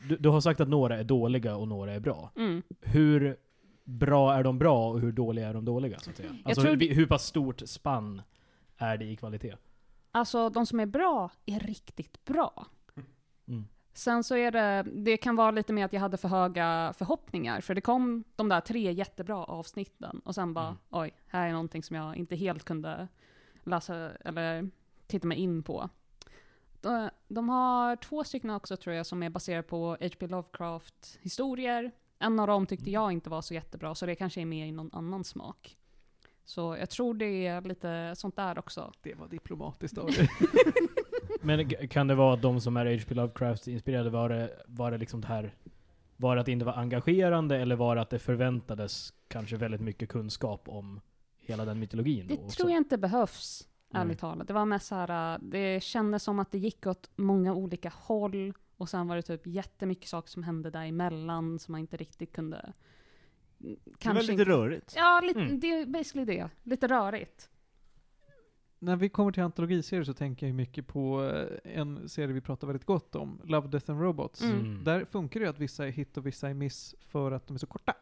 S5: Du, du har sagt att några är dåliga och några är bra.
S2: Mm.
S5: Hur bra är de bra och hur dåliga är de dåliga? Så att säga? Alltså,
S2: tror
S5: hur, hur pass stort spann är det i kvalitet?
S2: Alltså de som är bra är riktigt bra.
S5: Mm.
S2: Sen så är det, det kan vara lite med att jag hade för höga förhoppningar, för det kom de där tre jättebra avsnitten, och sen bara
S5: Mm.
S2: oj, här är någonting som jag inte helt kunde läsa eller titta mig in på. De, de har två stycken också tror jag som är baserade på H.P. Lovecraft-historier. En av dem
S5: Mm.
S2: tyckte jag inte var så jättebra, så det kanske är med i någon annan smak. Så jag tror det är lite sånt där också.
S1: Det var diplomatiskt av dig.
S5: Men g- kan det vara att de som är H.P. Lovecraft-inspirerade, var det, var det liksom det här... Var det att det inte var engagerande eller var det att det förväntades kanske väldigt mycket kunskap om hela den mytologin?
S2: Det
S5: och så?
S2: tror jag inte behövs, ärligt
S5: Nej.
S2: talat. Det var mest så här, äh, det kändes som att det gick åt många olika håll, och sen var det typ jättemycket saker som hände däremellan som man inte riktigt kunde... mm,
S6: Det är
S2: Kanske
S6: väldigt
S2: inte,
S6: rörigt.
S2: Ja, lite,
S5: Mm.
S2: det är basically det. Lite rörigt.
S1: När vi kommer till antologiserier så tänker jag ju mycket på eh, en serie vi pratar väldigt gott om, Love, Death and Robots.
S2: Mm.
S1: Där funkar det ju att vissa är hit och vissa är miss för att de är så korta.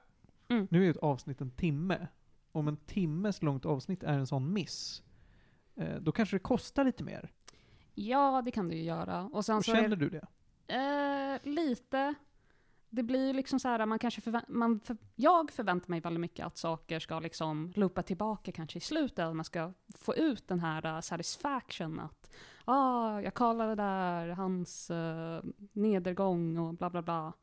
S2: Mm.
S1: Nu är ju ett avsnitt en timme. Om en timmes långt avsnitt är en sån miss, eh, då kanske det kostar lite mer.
S2: Ja, det kan du ju göra. Och sen
S1: Och
S2: så är
S1: känner du det?
S2: Eh, lite. Det blir ju liksom så här, man kanske förvä- man för- jag förväntar mig väldigt mycket att saker ska liksom loopa tillbaka kanske i slutet, att man ska få ut den här eh, satisfaction att ah, jag kollade där, hans eh, nedergång och bla bla bla.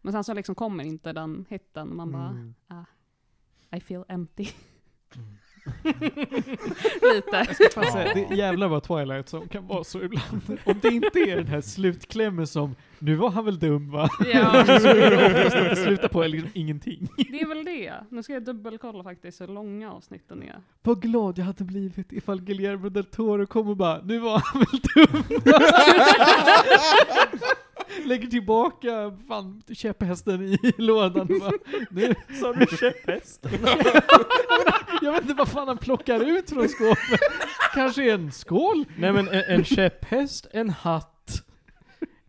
S2: Men sen så liksom kommer inte den hitten och man bara
S1: Mm.
S2: I feel empty. lite.
S1: Fan, så här, det, jävlar vad Twilight som kan vara så ibland. Om det inte är den här slutklämmen som ”nu var han väl dum va?”
S2: Ja.
S1: så är det oftast att det slutar på liksom ingenting.
S2: Det är väl det. Nu ska jag dubbelkolla faktiskt hur långa avsnitten är.
S1: Vad glad jag hade blivit ifall Guillermo del Toro kom och bara ”nu var han väl dum”. Lägger tillbaka fan, käpphästen i lådan och bara, nu Sa du käpphästen? jag vet inte vad fan han plockar ut från skåpet. Kanske en skål?
S5: Nej men en, en käpphäst, en hatt,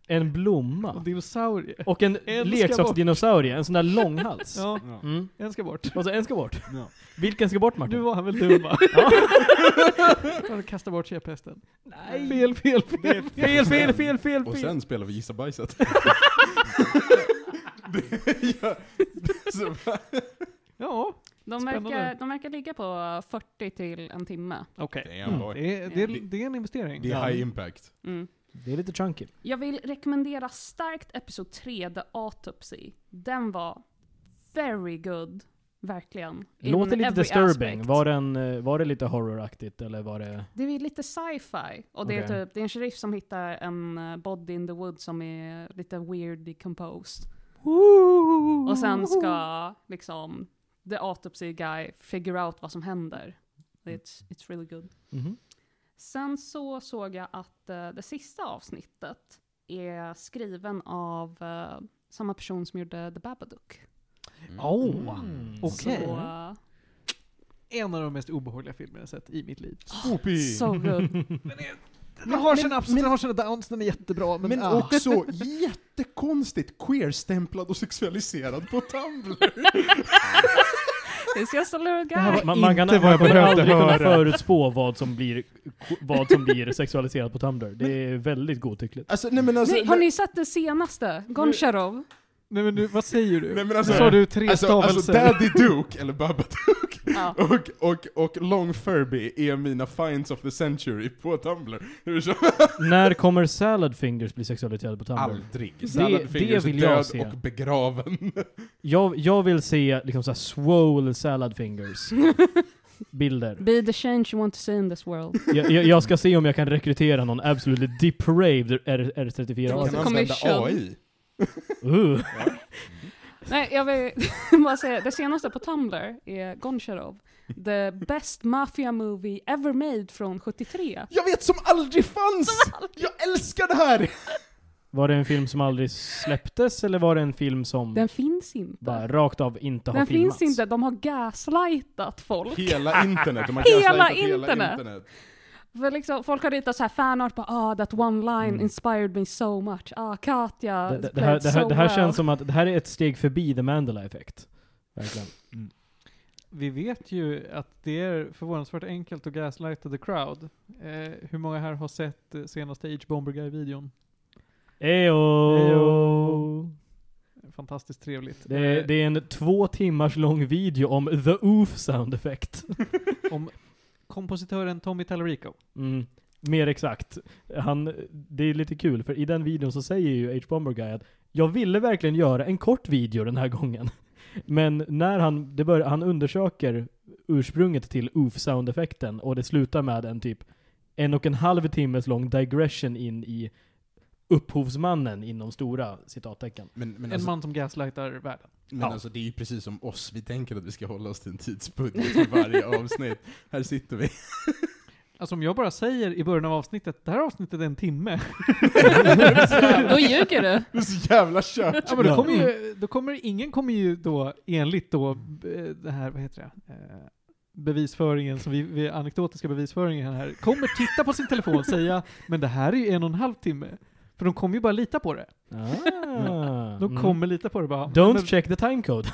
S5: en
S1: Och
S5: blomma
S1: dinosaurie.
S5: och en,
S1: En ska
S5: leksaksdinosaurie, en sån där långhals.
S1: Ja,
S6: Ja.
S5: Mm.
S1: en ska bort.
S5: Och så en ska bort.
S6: Ja.
S5: Vilken ska bort Martin?
S1: Nu var han väl dum va? Han kastar bort käpphästen. Nej. Fel, fel, fel.
S5: Fel, fel, fel, fel,
S3: Och
S5: fel!
S3: sen spelar vi Gissa bajset. det, ja, så,
S1: Ja,
S2: De
S1: Spännande.
S2: verkar, de verkar ligga på 40 till en timme.
S1: Okej.
S3: Damn, boy.
S1: Det, är, det, är, det är en investering.
S3: Det är high impact.
S2: Mm.
S5: Det är lite chunky.
S2: Jag vill rekommendera starkt episod 3, The Autopsy. Den var very good. Verkligen. In
S5: Låter lite
S2: every
S5: disturbing.
S2: aspect.
S5: Var, den, eh, var det lite horroraktigt eller var det...
S2: Det är lite sci-fi. Och det,
S5: Okej.
S2: är typ, det är en sheriff som hittar en eh, body in the woods som är lite weird decomposed. Och sen ska liksom the autopsy guy figure out vad som händer. It's, it's really good.
S5: Mhm.
S2: Sen så såg jag att eh, det sista avsnittet är skriven av eh, samma person som gjorde The Babadook.
S1: Åh,
S5: Mm.
S1: Okej.
S2: Så, eh,
S1: En av de mest obehagliga filmer jag sett i mitt liv.
S3: Spoopy!
S2: so good.
S1: Den har sina ups, den har sina downs, den är jättebra, men,
S3: Men
S1: ah.
S3: också jättekonstigt queerstämplad och sexualiserad på Tumblr.
S2: It's just a little guy.
S5: Det här var man, man kan,
S1: inte vad jag
S5: man kommer
S1: behövde
S5: aldrig kunna
S1: höra.
S5: förutspå vad som blir, vad som blir sexualiserat på Tumblr. Det är väldigt godtyckligt.
S3: Alltså, nej men alltså...
S2: Nej, har ni sett det senaste? Goncharov?
S1: Nej men nu, vad säger du?
S3: Nej, men alltså-
S1: Sa du tre
S3: Alltså, alltså
S1: stavelser?
S3: Daddy Duke, eller Babadook,
S2: Ja.
S3: och, och, och Long Furby är mina finds of the century på Tumblr. Hur så?
S5: När kommer salad fingers bli sexualiserade på Tumblr?
S3: Aldrig.
S5: det
S3: Salad Fingers är
S5: vill jag
S3: död
S5: se.
S3: och begraven.
S5: Jag, jag vill se liksom såhär swole salad fingers bilder.
S2: Be the change you want to see in this world.
S5: Jag, jag, jag ska se om jag kan rekrytera någon absolutely depraved R, R34.
S3: Kan
S2: Alltså,
S5: -are.
S3: använda
S2: commission.
S3: AI.
S5: Uh.
S2: Nej, jag vill bara säga, det senaste på Tumblr är Goncharov. The best mafia movie ever made från 73.
S3: Jag vet som aldrig fanns! Jag älskar det här!
S5: Var det en film som aldrig släpptes eller var det en film som
S2: Den finns inte.
S5: bara rakt av inte har
S2: Den
S5: filmats?
S2: finns inte, de har gaslightat folk.
S3: Hela internet, de har
S2: Hela
S3: gaslightat
S2: internet.
S3: hela internet.
S2: För liksom, folk har ritat så här fanart på ah, that one line inspired me so much. Ah, Katja
S5: Mm. Det, det, det,
S2: played
S5: här, det, här,
S2: so
S5: det här
S2: well.
S5: känns som att det här är ett steg förbi the Mandela effekt. Verkligen.
S1: Vi vet ju att det är förvånansvärt enkelt att gaslighta the crowd. Eh, hur många här har sett eh, senaste Age Bomber Guy-videon?
S5: Ejo.
S1: Ejo. Fantastiskt trevligt.
S5: Det, är-
S1: Eh,
S5: det är en två timmars lång video om the oof sound effect.
S1: Eh, Om kompositören Tommy Tallarico.
S5: Mm. Mer exakt. Han, det är lite kul, för i den videon så säger ju H-Bomber Guy att jag ville verkligen göra en kort video den här gången. Men när han, det bör, han undersöker ursprunget till oof sound effekten och det slutar med en typ en och en halv timmes lång digression in i upphovsmannen inom stora citattecken.
S3: Men, men,
S1: En
S3: alltså,
S1: man som gaslightar världen.
S3: men
S5: ja.
S3: alltså, det är ju precis som oss, vi tänker att vi ska hålla oss till en tidsbudget för varje avsnitt. Här sitter vi.
S1: Alltså om jag bara säger i början av avsnittet, det här avsnittet är en timme.
S2: Då ljuger du.
S3: Det är så jävla kört.
S1: Ja, men då kommer ju, då kommer, ingen kommer ju då enligt då eh, det här, vad heter det? Eh, bevisföringen, som vi, vi, anekdotiska bevisföringen här, kommer titta på sin telefon och säga men det här är ju en och en halv timme. För de kommer ju bara lita på det.
S5: Ah,
S1: De kommer lita på det bara.
S5: Don't
S1: Men
S5: check the timecode.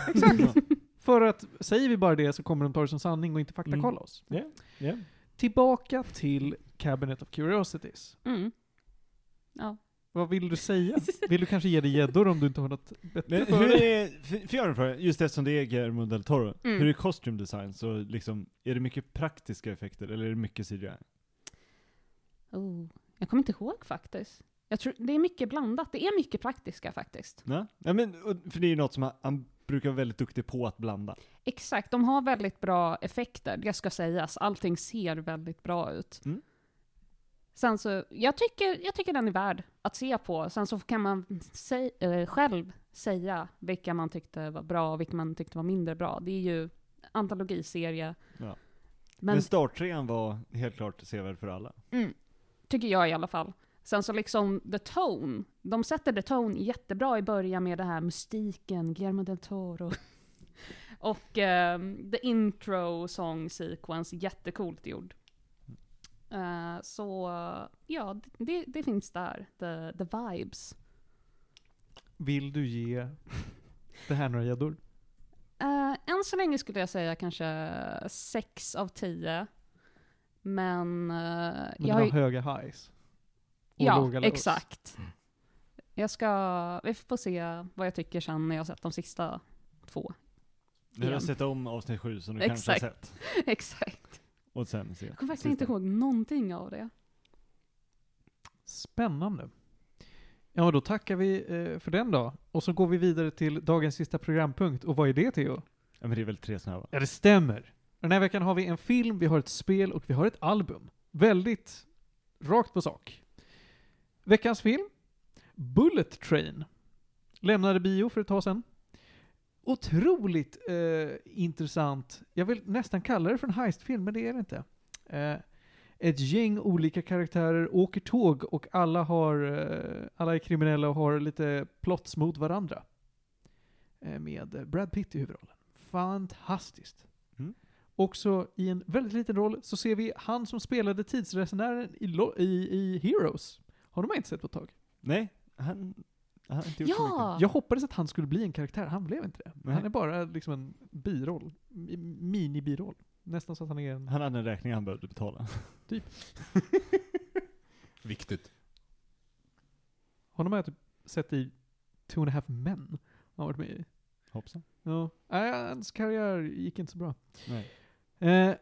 S1: för att, säger vi bara det så kommer de ta det som sanning och inte faktakolla
S5: Mm.
S1: oss.
S5: Ja, ja.
S1: Tillbaka till Cabinet of Curiosities.
S2: Mm.
S1: Vad vill du säga? Vill du kanske ge dig gäddor om du inte har något bättre
S6: Men
S1: för
S6: hur
S1: dig?
S6: är, för- för jag har en fråga, just eftersom det är Guillermo del Toro,
S2: Mm.
S6: hur är costume design? Så liksom, är det mycket praktiska effekter eller är det mycket CGI?
S2: Oh, jag kommer inte ihåg faktiskt. Jag tror, det är mycket blandat. Det är mycket praktiska faktiskt.
S6: Nej? Ja, men, och- för det är ju något som han, han brukar vara väldigt duktig på att blanda.
S2: Exakt, de har väldigt bra effekter, det ska sägas. Allting ser väldigt bra ut.
S6: Mm.
S2: Sen så, jag tycker, jag tycker den är värd att se på. Sen så kan man sä- eh, själv säga vilka man tyckte var bra och vilka man tyckte var mindre bra. Det är ju antologiserie.
S6: Ja. Men,
S2: Men
S6: starttrean var helt klart sevärd för alla.
S2: Mm. Tycker jag i alla fall. Sen så liksom the tone. De sätter the tone jättebra i början med det här mystiken, Guillermo del Toro. Och ehm, the intro song sequence, jättecoolt gjord. Eh, så ja, det, det finns där. The, the vibes.
S1: Vill du ge det här några gäddor?
S2: Uh, än så länge skulle jag säga kanske 6 av 10. Men, eh,
S1: Men
S2: jag
S1: den
S2: har
S1: har
S2: ju-
S1: höga highs. Och
S2: ja,
S1: låga lows.
S2: exakt. Jag ska, vi får se vad jag tycker sen när jag har sett de sista två.
S4: Ni har
S2: igen.
S4: sett om avsnitt sju som du kanske har
S2: Exakt.
S4: sett.
S2: Exakt.
S4: Och sen se.
S2: Jag kommer verkligen inte ihåg någonting av det.
S1: Spännande. Ja, då tackar vi eh, för den då. Och så går vi vidare till dagens sista programpunkt. Och vad är det, Theo?
S4: Ja men det är väl tre snabba.
S1: Ja, det stämmer. Den här veckan har vi en film, vi har ett spel och vi har ett album. Väldigt rakt på sak. Veckans film, Bullet Train, lämnade bio för ett tag sedan. Otroligt eh, intressant, jag vill nästan kalla det för en heistfilm, men det är det inte. Eh, ett gäng olika karaktärer åker tåg och alla, har, eh, alla är kriminella och har lite plots mot varandra. Eh, med eh, Brad Pitt i huvudrollen. Fantastiskt.
S4: Mm.
S1: Också i en väldigt liten roll så ser vi han som spelade tidsresenären i, Lo- i, i Heroes. Har man inte sett på ett tag.
S4: Nej, han, han har inte gjort så mycket.
S2: Ja!
S1: Jag hoppades att han skulle bli en karaktär, han blev inte det.
S4: Nej.
S1: Han är bara liksom en biroll. Mi- Mini-biroll. Nästan så att han är en...
S4: Han hade en räkning han behövde betala.
S3: Viktigt.
S1: Honom har jag typ sett i Two and a half men. Han har varit med i.
S4: Hoppsan.
S1: Ja. Nej, hans karriär gick inte så bra.
S4: Nej.
S1: Eh,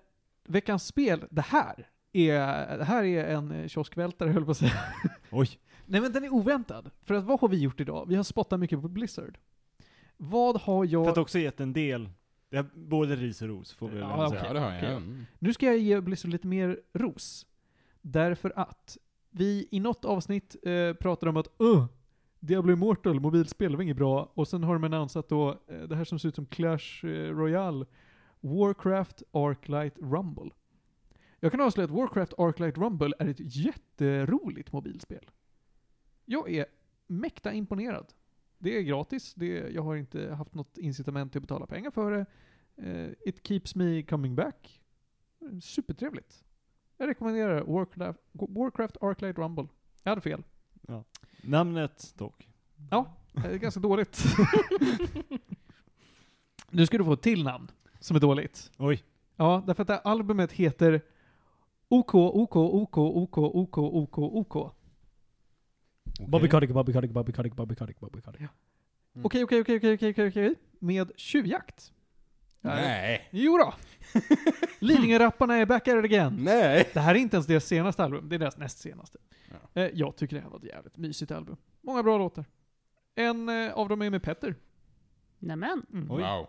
S1: veckans spel, det här är, det här är en eh, kioskvältare höll på att säga.
S4: Oj.
S1: Nej men den är oväntad. För att vad har vi gjort idag? Vi har spottat mycket på Blizzard. Vad har jag...
S4: För att också gett en del, det är både ris och ros får vi väl
S1: Ja,
S4: ändå
S1: okej.
S4: säga.
S3: Ja, det har jag.
S1: okej.
S3: Mm.
S1: Nu ska jag ge Blizzard lite mer ros. Därför att vi i något avsnitt eh, pratade om att uh, Diablo Immortal, mobilspel, det var inget bra. Och sen har de annonsat då eh, det här som ser ut som Clash eh, Royale, Warcraft Arclight Rumble. Jag kan avslöja att Warcraft Arclight Rumble är ett jätteroligt mobilspel. Jag är mäkta imponerad. Det är gratis, det, jag har inte haft något incitament till att betala pengar för det. Eh, it keeps me coming back. Supertrevligt. Jag rekommenderar Warcraft, Warcraft Arclight Rumble. Jag hade fel.
S4: Namnet dock.
S1: Ja, det är ganska dåligt. nu ska du få ett till namn som är dåligt.
S4: Oj.
S1: Ja, därför att det här albumet heter OK, OK, OK, OK, OK, OK, OK.
S5: Bobby Kotick, Bobby Kotick, Bobby Kotick, Bobby Kotick, Bobby Kotick.
S1: Okej, okej, okej, okej, okej, okej, okej. Med tjuvjakt.
S3: Nej.
S1: Jo då. Lidingö-rapparna är back at it again.
S3: Nej.
S1: Det här är inte ens deras senaste album, det är deras näst senaste.
S3: Ja.
S1: Eh, jag tycker det här var ett jävligt mysigt album. Många bra låtar. En eh, av dem är med Petter.
S2: Nämen.
S1: Mm.
S4: Oj.
S3: Wow.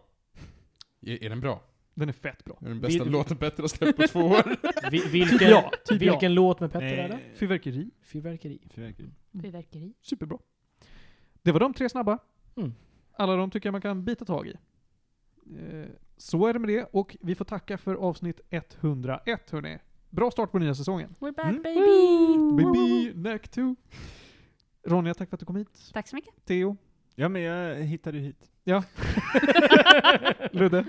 S3: Är, är den bra?
S1: Den är fett bra.
S3: Är den bästa
S5: Vi-
S3: låten Petter har släppt på två år?
S5: Vi, vilken
S1: Typ ja, typ
S5: vilken
S1: ja.
S5: låt med Petter
S4: Nej.
S5: är det?
S1: Fyrverkeri.
S5: Fyrverkeri.
S4: Fyrverkeri.
S2: Fyrverkeri.
S1: Superbra. Det var de tre snabba.
S5: Mm.
S1: Alla de tycker jag man kan bita tag i. Eh, Så är det med det och vi får tacka för avsnitt 101 hörni. Bra start på nya säsongen.
S2: We're back
S4: Mm.
S2: baby!
S1: Baby, neck to. Ronja, tack för att du kom hit.
S2: Tack så mycket.
S1: Theo,
S4: Ja men jag hittade ju hit.
S1: Ludde,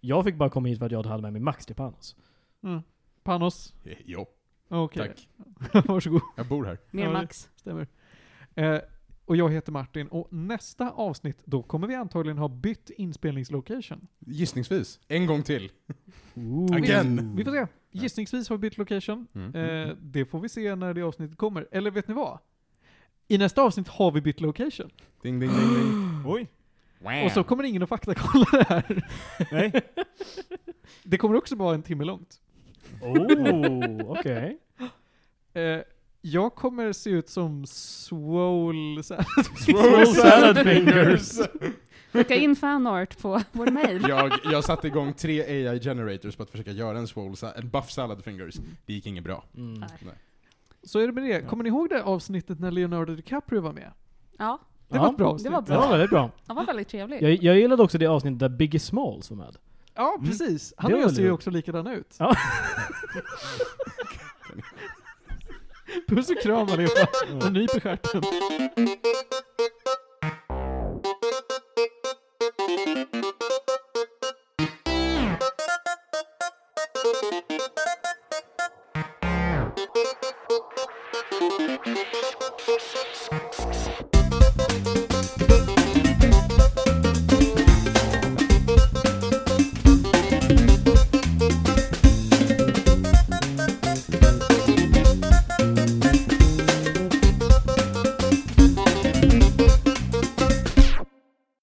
S5: Jag fick bara komma hit för att jag hade med mig Max till Panos.
S1: Mm. Panos.
S3: Jo,
S1: Okej.
S3: tack.
S1: Varsågod.
S3: Jag bor här.
S1: Ja,
S2: Mer
S1: det-
S2: Max.
S1: Stämmer. Eh, och jag heter Martin och nästa avsnitt då kommer vi antagligen ha bytt inspelningslocation.
S3: Gissningsvis. En gång till.
S1: Vi-
S3: Again.
S1: Vi får se. Gissningsvis har vi bytt location.
S3: Mm.
S1: Eh, det får vi se när det avsnittet kommer. Eller vet ni vad? I nästa avsnitt har vi bytt location.
S3: Ding, ding, ding, ding.
S4: Oj.
S1: Och så kommer ingen att faktakolla det här.
S4: Äh. Nej.
S1: Det kommer också vara en timme långt.
S5: Oh, okej.
S1: Eh, jag kommer se ut som Swole... så här.
S3: Swole salad fingers.
S2: Skicka in fanart på vår mail.
S3: jag, jag satte igång tre AI generators på att försöka göra en, swole, sa- en buff salad fingers. Det gick inget bra.
S5: Mm.
S1: Så är det med det. Kommer ni ihåg det avsnittet när Leonardo DiCaprio var med?
S2: Ja,
S1: Det var
S5: Ja,
S1: ett bra avsnitt.
S2: det var
S5: Det var
S2: bra.
S5: väldigt bra.
S2: Det var väldigt trevligt.
S5: Jag, jag gillade också det avsnittet där Biggie Smalls var med.
S1: Ja, precis. Han
S5: Det
S1: och
S5: var
S1: jag ser ju
S5: lite-
S1: också likadana ut.
S5: Ja.
S1: Puss och kram allihopa. Och nyp i stjärten.